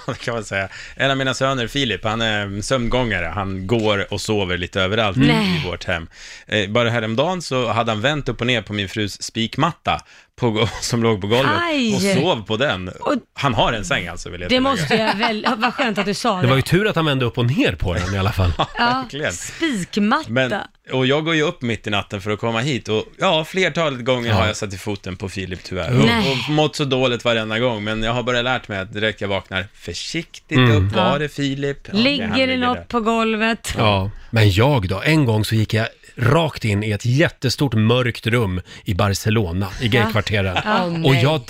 [SPEAKER 6] det kan man säga. En av mina söner, Filip, han är sömngångare. Han går och sover lite överallt
[SPEAKER 11] Mm.
[SPEAKER 6] i vårt hem. Eh, bara häromdagen så hade han vänt upp och ner på min frus spikmatta på, som låg på golvet
[SPEAKER 4] Aj!
[SPEAKER 6] och sov på den. han har en säng alltså, vill jag
[SPEAKER 4] Det
[SPEAKER 6] tillägga.
[SPEAKER 4] måste jag väl... Vad skönt att du sa
[SPEAKER 1] Det
[SPEAKER 4] det.
[SPEAKER 1] var ju tur att han vände upp och ner på den i alla fall.
[SPEAKER 4] Ja,
[SPEAKER 6] verkligen.
[SPEAKER 4] spikmatta.
[SPEAKER 6] Men, och jag går ju upp mitt i natten för att komma hit och ja, flertalet gånger har jag satt i foten på Filip tyvärr. Och,
[SPEAKER 4] Nej.
[SPEAKER 6] och mått så dåligt varenda gång, men jag har bara lärt mig att direkt jag vaknar, försiktigt
[SPEAKER 1] Mm.
[SPEAKER 6] upp, var
[SPEAKER 4] Ja.
[SPEAKER 6] är Filip? Ja, han
[SPEAKER 4] Ligger det
[SPEAKER 6] där.
[SPEAKER 4] något på golvet?
[SPEAKER 1] Ja, men jag då? En gång så gick jag rakt in i ett jättestort mörkt rum i Barcelona, i gaykvarteren.
[SPEAKER 11] Ja. Åh,
[SPEAKER 1] och
[SPEAKER 11] nej.
[SPEAKER 1] jag...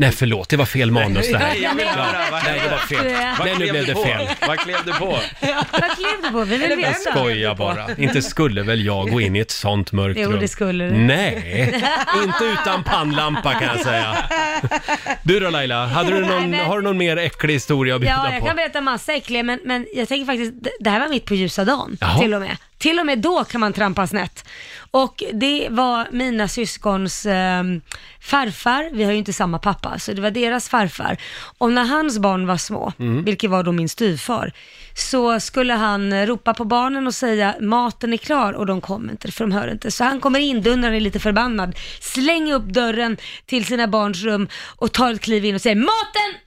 [SPEAKER 1] Nej, förlåt, det var fel manus det här.
[SPEAKER 11] Nej, jag menar, vad
[SPEAKER 1] Nej, det var fel.
[SPEAKER 11] du är.
[SPEAKER 1] Nej, nu blev det fel.
[SPEAKER 6] Vad klev du på?
[SPEAKER 4] Vad klev du på? Vi vill
[SPEAKER 1] Jag
[SPEAKER 4] veta.
[SPEAKER 1] skojar bara. Inte skulle väl jag gå in i ett sånt mörkt
[SPEAKER 4] Jo,
[SPEAKER 1] rum?
[SPEAKER 4] det skulle du.
[SPEAKER 1] Nej, inte utan pannlampa kan jag säga. Du då Laila, hade du någon, har du någon mer äcklig historia att bjuda
[SPEAKER 4] Ja, jag
[SPEAKER 1] på?
[SPEAKER 4] kan berätta massa äckliga, men, men jag tänker faktiskt, det- det här var mitt på ljusa dagen
[SPEAKER 1] Jaha.
[SPEAKER 4] till och med. Till och med då kan man trampa snett. Och det var mina syskons ehm, farfar, vi har ju inte samma pappa, så det var deras farfar. Och när hans barn var små,
[SPEAKER 11] Mm.
[SPEAKER 4] vilket var då min styvfar, så skulle han eh, ropa på barnen och säga maten är klar och de kommer inte för de hör inte. Så han kommer in, dundrar är lite förbannad, slänger upp dörren till sina barns rum och tar ett kliv in och säger maten!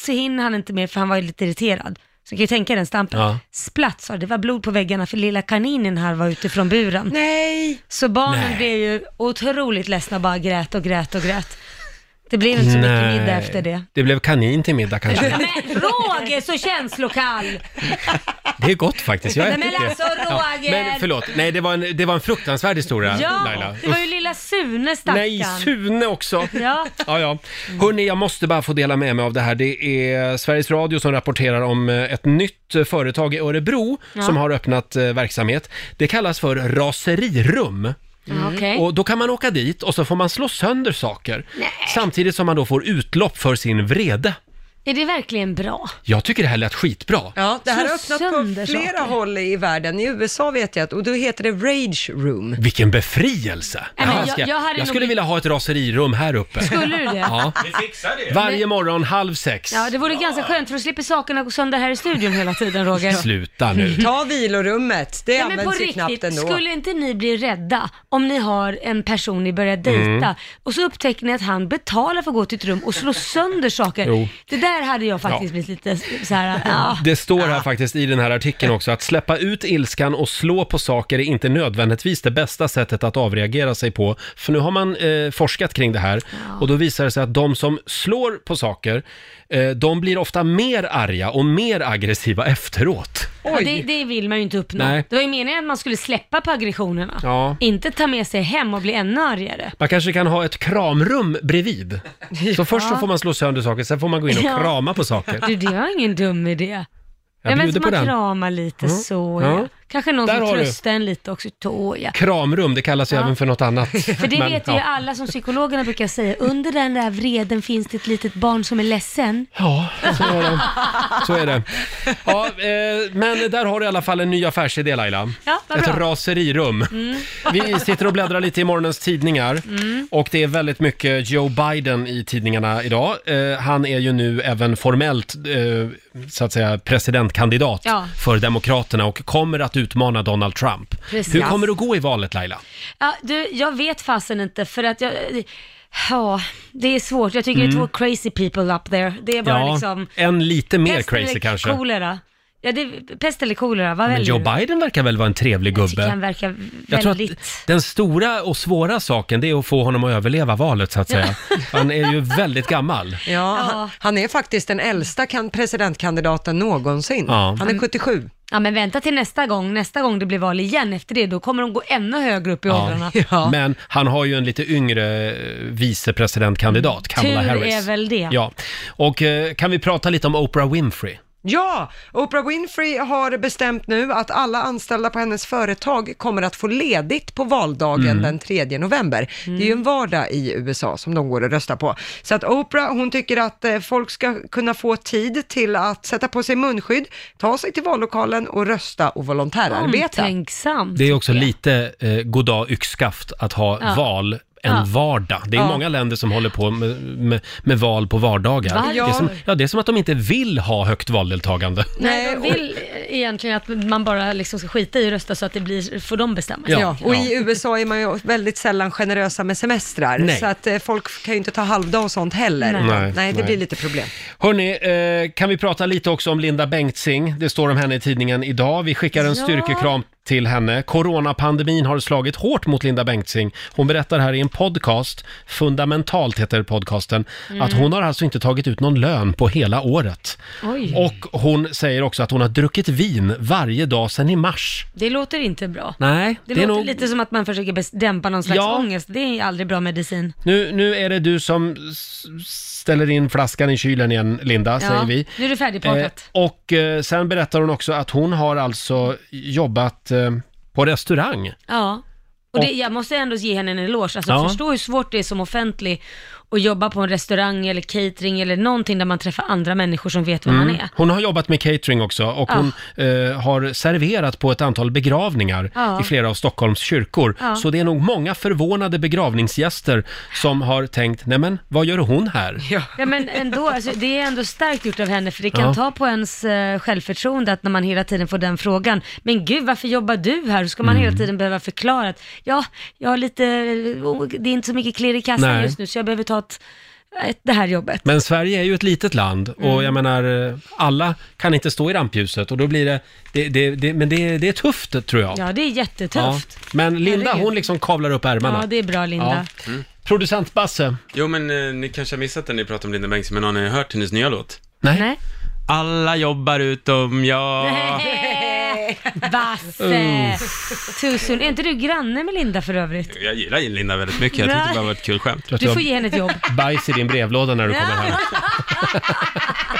[SPEAKER 4] så hinner han inte mer för han var ju lite irriterad. Så kan ju tänka den stampen.
[SPEAKER 1] Ja.
[SPEAKER 4] Splatt sa det, det var blod på väggarna för lilla kaninen här var ute från buren.
[SPEAKER 2] Nej!
[SPEAKER 4] Så barnen
[SPEAKER 1] Nej.
[SPEAKER 4] blev ju otroligt ledsna och bara grät och grät och grät. Det blev inte så mycket middag efter det.
[SPEAKER 1] Det blev kanin till middag kanske.
[SPEAKER 4] Men Roger så känslokall!
[SPEAKER 1] Det är gott faktiskt. Jag
[SPEAKER 4] Nej,
[SPEAKER 1] äter
[SPEAKER 4] men
[SPEAKER 1] det.
[SPEAKER 4] alltså, Roger!
[SPEAKER 1] Men förlåt, nej det var en, det var en fruktansvärd historia
[SPEAKER 4] Ja,
[SPEAKER 1] Laila.
[SPEAKER 4] det var ju lilla Sune stackarn.
[SPEAKER 1] Nej, Sune också.
[SPEAKER 4] Ja.
[SPEAKER 1] Ja, ja. Hörni, jag måste bara få dela med mig av det här. Det är Sveriges Radio som rapporterar om eh, ett nytt eh, företag i Örebro
[SPEAKER 11] Ja.
[SPEAKER 1] som har öppnat eh, verksamhet. Det kallas för raserirum.
[SPEAKER 11] Mm. Okej.
[SPEAKER 1] Och då kan man åka dit och så får man slå sönder saker. Samtidigt som man då får utlopp för sin vrede.
[SPEAKER 4] Är det verkligen bra?
[SPEAKER 1] Jag tycker det här lät skitbra.
[SPEAKER 2] Ja, det här har
[SPEAKER 4] Slå
[SPEAKER 2] öppnat på
[SPEAKER 4] sönder
[SPEAKER 2] flera
[SPEAKER 4] saker.
[SPEAKER 2] håll i världen. I USA vet jag att, och då heter det Rage Room.
[SPEAKER 1] Vilken befrielse!
[SPEAKER 2] Nej, men
[SPEAKER 1] Ja,
[SPEAKER 2] jag-
[SPEAKER 1] ska-
[SPEAKER 2] jag hade nog-
[SPEAKER 1] skulle vilja ha ett raserirum här uppe.
[SPEAKER 4] Skulle du det?
[SPEAKER 1] Ja.
[SPEAKER 4] Vi fixar det.
[SPEAKER 1] Varje
[SPEAKER 4] Men-
[SPEAKER 1] morgon halv sex.
[SPEAKER 4] Ja, det vore ganska skönt för då slipper sakerna gå sönder här i studion hela tiden Roger.
[SPEAKER 1] Sluta nu.
[SPEAKER 2] Ta vilorummet, det
[SPEAKER 4] Nej, men på
[SPEAKER 2] används ju knappt
[SPEAKER 4] riktigt,
[SPEAKER 2] ändå.
[SPEAKER 4] skulle inte ni bli rädda om ni har en person ni börjar dejta
[SPEAKER 1] Mm.
[SPEAKER 4] och så upptäcker ni att han betalar för att gå till ett rum och slå sönder saker?
[SPEAKER 1] Jo.
[SPEAKER 4] Det där hade jag faktiskt
[SPEAKER 1] Ja.
[SPEAKER 4] blivit lite så här. Ja.
[SPEAKER 1] Det står
[SPEAKER 4] Ah.
[SPEAKER 1] här faktiskt i den här artikeln också att släppa ut ilskan och slå på saker är inte nödvändigtvis det bästa sättet att avreagera sig på. För nu har man eh, forskat kring det här och då visar det sig att de som slår på saker, eh, de blir ofta mer arga och mer aggressiva efteråt.
[SPEAKER 4] Ja, det, det vill man ju inte uppnå.
[SPEAKER 1] Nej.
[SPEAKER 4] Det var ju meningen att man skulle släppa på aggressionerna.
[SPEAKER 1] Ja.
[SPEAKER 4] Inte ta med sig hem och bli ännu argare.
[SPEAKER 1] Man kanske kan ha ett kramrum bredvid. Så först så
[SPEAKER 4] Ja.
[SPEAKER 1] får man slå sönder saker, sen får man gå in och
[SPEAKER 4] Ja.
[SPEAKER 1] krama på saker.
[SPEAKER 4] Du, det var ingen dum idé.
[SPEAKER 1] Jag
[SPEAKER 4] Ja, men
[SPEAKER 1] bjuder
[SPEAKER 4] så
[SPEAKER 1] på
[SPEAKER 4] man
[SPEAKER 1] den.
[SPEAKER 4] kramar lite
[SPEAKER 1] Mm.
[SPEAKER 4] så
[SPEAKER 1] Ja.
[SPEAKER 4] ja. Kanske någon
[SPEAKER 1] Där
[SPEAKER 4] som
[SPEAKER 1] har du.
[SPEAKER 4] tröstar en lite också. Tå, ja.
[SPEAKER 1] Kramrum, det kallas ju
[SPEAKER 4] Ja.
[SPEAKER 1] även för något annat.
[SPEAKER 4] För det vet ju
[SPEAKER 1] ja.
[SPEAKER 4] alla som psykologerna brukar säga, under den där vreden finns det ett litet barn som är ledsen.
[SPEAKER 1] Ja, så är det. Så är det. Ja, eh, men där har du i alla fall en ny affärsidé Laila.
[SPEAKER 4] Ja, vad
[SPEAKER 1] Ett
[SPEAKER 4] bra.
[SPEAKER 1] raserirum.
[SPEAKER 4] Mm.
[SPEAKER 1] Vi sitter och bläddrar lite i morgonens tidningar
[SPEAKER 4] Mm.
[SPEAKER 1] och det är väldigt mycket Joe Biden i tidningarna idag. Eh, han är ju nu även formellt eh, så att säga presidentkandidat
[SPEAKER 4] Ja.
[SPEAKER 1] för Demokraterna och kommer att utmana Donald Trump.
[SPEAKER 4] Precis.
[SPEAKER 1] Hur kommer det att gå i valet Laila?
[SPEAKER 4] Ja, du, jag vet fasen inte för att jag... Ja, det är svårt. Jag tycker det
[SPEAKER 1] Mm.
[SPEAKER 4] är två crazy people up there. Det är bara liksom...
[SPEAKER 1] en lite mer
[SPEAKER 4] pest
[SPEAKER 1] crazy
[SPEAKER 4] eller
[SPEAKER 1] kanske.
[SPEAKER 4] Kolera. Ja, det är pest eller kolera. Vad
[SPEAKER 1] Men
[SPEAKER 4] väljer
[SPEAKER 1] Joe
[SPEAKER 4] du?
[SPEAKER 1] Biden verkar väl vara en trevlig gubbe?
[SPEAKER 4] Han verkar
[SPEAKER 1] Jag
[SPEAKER 4] väldigt...
[SPEAKER 1] tror att den stora och svåra saken det är att få honom att överleva valet så att säga. Han är ju väldigt gammal.
[SPEAKER 2] Ja, Han, han är faktiskt den äldsta kan, presidentkandidaten någonsin.
[SPEAKER 1] Ja.
[SPEAKER 2] Han är 77.
[SPEAKER 4] Ja, men vänta till nästa gång. Nästa gång det blir val igen efter det, då kommer de gå ännu högre upp i åldrarna.
[SPEAKER 1] Men han har ju en lite yngre eh, vicepresidentkandidat, Kamala
[SPEAKER 4] Mm. Tur
[SPEAKER 1] Harris.
[SPEAKER 4] är väl det.
[SPEAKER 1] Ja. Och eh, kan vi prata lite om Oprah Winfrey?
[SPEAKER 4] Mm.
[SPEAKER 2] Ja, Oprah Winfrey har bestämt nu att alla anställda på hennes företag kommer att få ledigt på valdagen
[SPEAKER 11] Mm.
[SPEAKER 2] den 3 november. Det är
[SPEAKER 1] Mm.
[SPEAKER 2] ju en vardag i USA som de går och röstar på. Så att Oprah, hon tycker att eh, folk ska kunna få tid till att sätta på sig munskydd, ta sig till vallokalen och rösta och volontärarbeta.
[SPEAKER 4] Omtänksam.
[SPEAKER 1] Det är också lite eh, goddag yxskaft att ha
[SPEAKER 2] Ja.
[SPEAKER 1] val en
[SPEAKER 2] Ja.
[SPEAKER 1] vardag. Det är
[SPEAKER 2] Ja.
[SPEAKER 1] många länder som håller på med, med, med val på vardagar.
[SPEAKER 4] Varför?
[SPEAKER 1] Det är, som, ja, det är som att de inte vill ha högt valdeltagande.
[SPEAKER 4] Nej, de vill egentligen att man bara liksom ska skita i att rösta så att det blir, får de bestämma.
[SPEAKER 2] Ja, och i USA är man ju väldigt sällan generösa med semestrar,
[SPEAKER 1] Nej.
[SPEAKER 2] så att eh, folk kan ju inte ta halvdag och sånt heller.
[SPEAKER 1] Nej. Nej,
[SPEAKER 2] Nej det
[SPEAKER 1] nej.
[SPEAKER 2] blir lite problem.
[SPEAKER 1] Hörni, eh, kan vi prata lite också om Linda Bengtzing? Det står om henne i tidningen idag. Vi skickar en
[SPEAKER 4] Ja.
[SPEAKER 1] styrkekram till henne. Coronapandemin har slagit hårt mot Linda Bengtzing. Hon berättar här i en podcast, Fundamentalt heter podcasten,
[SPEAKER 11] Mm.
[SPEAKER 1] att hon har alltså inte tagit ut någon lön på hela året.
[SPEAKER 4] Oj.
[SPEAKER 1] Och hon säger också att hon har druckit vin varje dag sedan i mars.
[SPEAKER 4] Det låter inte bra.
[SPEAKER 1] Nej,
[SPEAKER 4] Det,
[SPEAKER 1] det är
[SPEAKER 4] låter
[SPEAKER 1] nog-
[SPEAKER 4] lite som att man försöker bes- dämpa någon slags
[SPEAKER 1] Ja.
[SPEAKER 4] ångest. Det är aldrig bra medicin.
[SPEAKER 1] Nu, nu är det du som s- ställer in flaskan i kylen igen, Linda, säger vi.
[SPEAKER 4] Nu är det färdigpratat.
[SPEAKER 1] Eh, och eh, sen berättar hon också att hon har alltså jobbat eh, på restaurang.
[SPEAKER 4] Ja. Och det, jag måste ändå ge henne en eloge. Alltså,
[SPEAKER 1] Ja.
[SPEAKER 4] Förstå hur svårt det är som offentlig att jobba på en restaurang eller catering eller någonting där man träffar andra människor som vet vem man
[SPEAKER 1] Mm.
[SPEAKER 4] är.
[SPEAKER 1] Hon har jobbat med catering också och
[SPEAKER 4] Ja.
[SPEAKER 1] hon eh, har serverat på ett antal begravningar
[SPEAKER 4] Ja.
[SPEAKER 1] i flera av Stockholms kyrkor.
[SPEAKER 4] Ja.
[SPEAKER 1] Så det är nog många förvånade begravningsgäster som har tänkt, nej men vad gör hon här?
[SPEAKER 4] Ja men ändå, alltså, det är ändå starkt gjort av henne för det kan
[SPEAKER 1] Ja.
[SPEAKER 4] ta på ens eh, självförtroende att när man hela tiden får den frågan, men gud varför jobbar du här? Då ska man
[SPEAKER 1] Mm.
[SPEAKER 4] hela tiden behöva förklara att ja, jag har lite, oh, eh, det är inte så mycket klirr i kassan
[SPEAKER 1] Nej.
[SPEAKER 4] just nu så jag behöver ta ett eh, det här jobbet.
[SPEAKER 1] Men Sverige är ju ett litet land och
[SPEAKER 4] Mm.
[SPEAKER 1] jag menar, eh, alla kan inte stå i rampljuset och då blir det, det, det, det men det, det är tufft tror jag.
[SPEAKER 4] Ja, det är jättetufft.
[SPEAKER 1] Ja. Men Linda,
[SPEAKER 4] Herregud.
[SPEAKER 1] hon liksom kavlar upp ärmarna.
[SPEAKER 4] Ja, det är bra Linda.
[SPEAKER 1] Ja. Producent Basse.
[SPEAKER 6] Mm. Jo, men eh, ni kanske har missat när ni pratar om Linda Bengtzing, men har ni hört hennes nya låt?
[SPEAKER 1] Nej.
[SPEAKER 6] Alla jobbar utom jag.
[SPEAKER 4] Nej. Basse!
[SPEAKER 6] Uff.
[SPEAKER 4] Tusen. Är inte du granne med Linda för övrigt?
[SPEAKER 6] Jag gillar Linda väldigt mycket, jag tyckte det bara var ett kul skämt.
[SPEAKER 4] Du får ge henne ett jobb.
[SPEAKER 1] Bajs i din brevlåda när du kommer hem.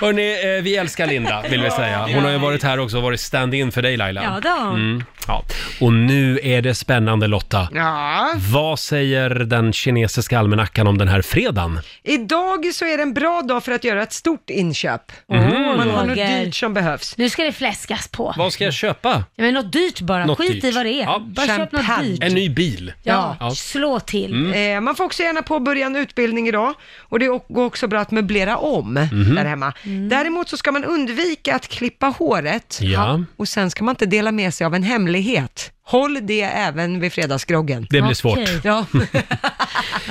[SPEAKER 1] Hörni, eh, vi älskar Linda, vill vi säga. Hon har ju varit här också och varit stand-in för dig Laila. Mm.
[SPEAKER 11] Ja, det har hon.
[SPEAKER 1] Ja. Och nu är det spännande Lotta.
[SPEAKER 2] Ja.
[SPEAKER 1] Vad säger den kinesiska almanackan om den här fredagen?
[SPEAKER 2] Idag så är det en bra dag för att göra ett stort inköp. Mm.
[SPEAKER 1] Mhm.
[SPEAKER 2] Man har något
[SPEAKER 4] Mm. Roger.
[SPEAKER 2] dyrt som behövs.
[SPEAKER 4] Nu ska det fläskas på.
[SPEAKER 1] Vad ska jag köpa?
[SPEAKER 4] Ja, men något dyrt bara.
[SPEAKER 1] Något
[SPEAKER 4] Skit i
[SPEAKER 1] dyrt.
[SPEAKER 4] vad det är. Bara köp något
[SPEAKER 2] Champagne.
[SPEAKER 4] dyrt.
[SPEAKER 1] En ny bil.
[SPEAKER 4] Ja, slå till.
[SPEAKER 2] Eh, man får också gärna påbörja en utbildning idag och det o- går också bra att möblera om
[SPEAKER 1] Mhm.
[SPEAKER 2] där hemma.
[SPEAKER 4] Mm.
[SPEAKER 2] Däremot så ska man undvika att klippa håret
[SPEAKER 1] Ja.
[SPEAKER 2] och sen ska man inte dela med sig av en hemlighet. Håll det även vid fredagsgroggen.
[SPEAKER 1] Det blir svårt. Okej.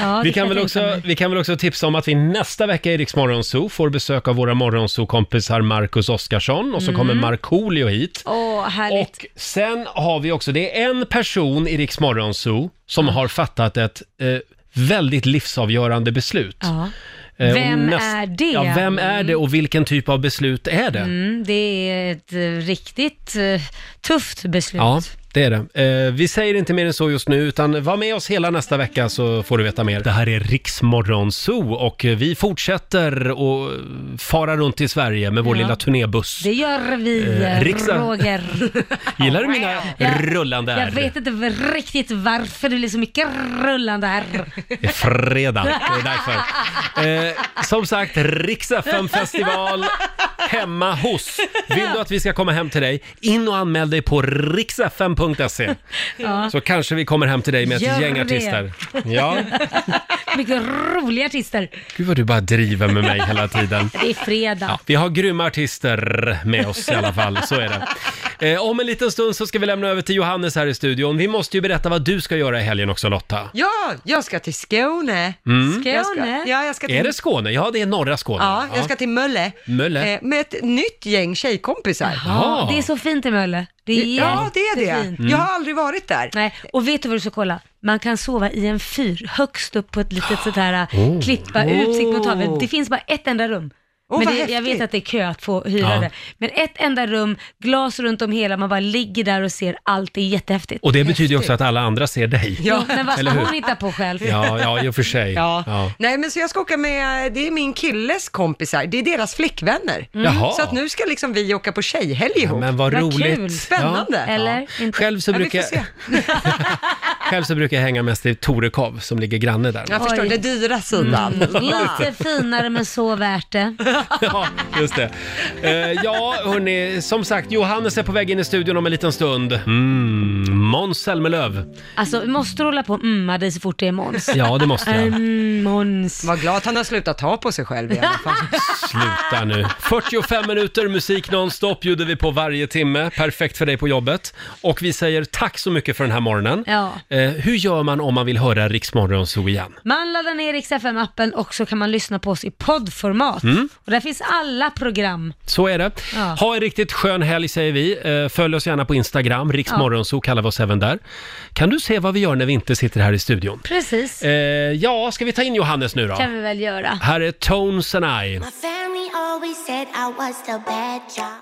[SPEAKER 2] Ja.
[SPEAKER 1] vi, kan väl också, vi kan väl också tipsa om att vi nästa vecka i Rix Morgonzoo får besök av våra Morgonzoo-kompisar Marcus Oskarsson och så
[SPEAKER 4] Mm.
[SPEAKER 1] kommer Markoolio hit.
[SPEAKER 4] Åh, härligt.
[SPEAKER 1] Och sen har vi också, det är en person i Rix Morgonzoo som
[SPEAKER 4] Ah.
[SPEAKER 1] har fattat ett eh, väldigt livsavgörande beslut.
[SPEAKER 4] Ja.
[SPEAKER 1] Eh, och
[SPEAKER 4] Vem är det?
[SPEAKER 1] Ja, vem är det och vilken typ av beslut är det?
[SPEAKER 4] Mm, det är ett eh, riktigt eh, tufft beslut.
[SPEAKER 1] Ja, det är det. Eh, vi säger inte mer än så just nu, utan var med oss hela nästa vecka så får du veta mer. Det här är Riksmorgon Zoo och vi fortsätter att fara runt i Sverige med vår
[SPEAKER 4] Ja.
[SPEAKER 1] lilla turnébuss.
[SPEAKER 4] Det gör vi,
[SPEAKER 1] Eh,
[SPEAKER 4] eh,
[SPEAKER 1] riksdag-
[SPEAKER 4] Roger.
[SPEAKER 1] Gillar du mina rullande
[SPEAKER 4] Jag
[SPEAKER 1] R?
[SPEAKER 4] vet inte riktigt varför det blir så mycket rullande här.
[SPEAKER 1] Det är fredag, det är därför. Eh, som sagt, Rix festival hemma hos. Vill du att vi ska komma hem till dig, in och anmäl dig på riksfm.se.
[SPEAKER 4] Ja.
[SPEAKER 1] Så kanske vi kommer hem till dig med ett
[SPEAKER 4] Gör
[SPEAKER 1] gäng
[SPEAKER 4] det.
[SPEAKER 1] artister. Ja.
[SPEAKER 4] Mycket roliga artister.
[SPEAKER 1] Gud vad du bara driver med mig hela tiden.
[SPEAKER 4] Det är fredag.
[SPEAKER 1] Ja, vi har grymma artister med oss i alla fall, så är det. Eh, om en liten stund så ska vi lämna över till Johannes här i studion. Vi måste ju berätta vad du ska göra i helgen också Lotta.
[SPEAKER 2] ja, jag ska till Skåne.
[SPEAKER 1] Mm.
[SPEAKER 2] Jag ska, ja, jag ska till,
[SPEAKER 1] Är det Skåne? Ja, det är norra Skåne.
[SPEAKER 2] Ja, jag ska till Mölle.
[SPEAKER 1] Mölle.
[SPEAKER 2] Eh, med ett nytt gäng tjejkompisar.
[SPEAKER 1] Jaha.
[SPEAKER 4] Det är så fint i Mölle. Det är
[SPEAKER 2] Ja, det är det.
[SPEAKER 4] jättefint.
[SPEAKER 2] Jag har aldrig varit där.
[SPEAKER 4] Nej, och vet du vad du ska kolla? Man kan sova i en fyr högst upp på ett litet sånt här
[SPEAKER 11] Oh.
[SPEAKER 4] klippa, utsikt mot havet.
[SPEAKER 11] Oh.
[SPEAKER 4] Det finns bara ett enda rum.
[SPEAKER 11] Åh,
[SPEAKER 4] men
[SPEAKER 11] vad
[SPEAKER 4] det, jag
[SPEAKER 11] häftigt.
[SPEAKER 4] vet att det är kö att få hyra
[SPEAKER 1] Ja.
[SPEAKER 4] det. Men ett enda rum, glas runt om hela, man bara ligger där och ser allt. Det är jättehäftigt.
[SPEAKER 1] Och det betyder ju också att alla andra ser dig.
[SPEAKER 4] Ja, men vad ska
[SPEAKER 1] Eller hur?
[SPEAKER 4] hon hitta på själv?
[SPEAKER 1] Ja, ja, i och för sig.
[SPEAKER 2] Ja.
[SPEAKER 1] Ja.
[SPEAKER 2] Nej, men så jag ska åka med, det är min killes kompisar, det är deras flickvänner.
[SPEAKER 1] Mm. Jaha.
[SPEAKER 2] Så att nu ska liksom vi åka på tjejhelg ihop.
[SPEAKER 1] men vad Vad roligt. kul.
[SPEAKER 2] Spännande.
[SPEAKER 1] Ja. Eller Själv så
[SPEAKER 2] Ja, vi
[SPEAKER 1] brukar-
[SPEAKER 2] får se.
[SPEAKER 1] Själv så brukar jag hänga mest i Torekov som ligger granne där. Mm.
[SPEAKER 2] Jag förstår,
[SPEAKER 4] Oj. Mm.
[SPEAKER 2] den dyra sidan.
[SPEAKER 4] Lite finare men så värt det.
[SPEAKER 1] Ja, just det. Eh, ja, hörni, som sagt, Johannes är på väg in i studion om en liten stund. Mm, Måns Zelmerlöw.
[SPEAKER 4] Alltså, vi måste hålla på och mma dig så fort det är Måns.
[SPEAKER 1] Ja, det måste jag.
[SPEAKER 4] Mm, Måns.
[SPEAKER 2] Vad glad att han har slutat ta på sig själv i alla fall.
[SPEAKER 1] Sluta nu. 45 minuter musik nonstop bjuder vi på varje timme. Perfekt för dig på jobbet. Och vi säger tack så mycket för den här morgonen.
[SPEAKER 4] Ja.
[SPEAKER 1] Eh, hur gör man om man vill höra Riksmorgon så igen?
[SPEAKER 4] Man laddar ner Rix FM-appen och så kan man lyssna på oss i poddformat.
[SPEAKER 1] Mm.
[SPEAKER 4] Och där finns alla program.
[SPEAKER 1] Så är det.
[SPEAKER 4] Ja.
[SPEAKER 1] Ha en riktigt skön helg säger vi. Eh, Följ oss gärna på Instagram, riksmorgonso kallar vi oss även där. Kan du se vad vi gör när vi inte sitter här i studion?
[SPEAKER 4] Precis.
[SPEAKER 1] Eh, ja, ska vi ta in Johannes nu då?
[SPEAKER 4] kan vi väl göra.
[SPEAKER 1] Här är Tones and I.
[SPEAKER 16] My family always said I was the bad job.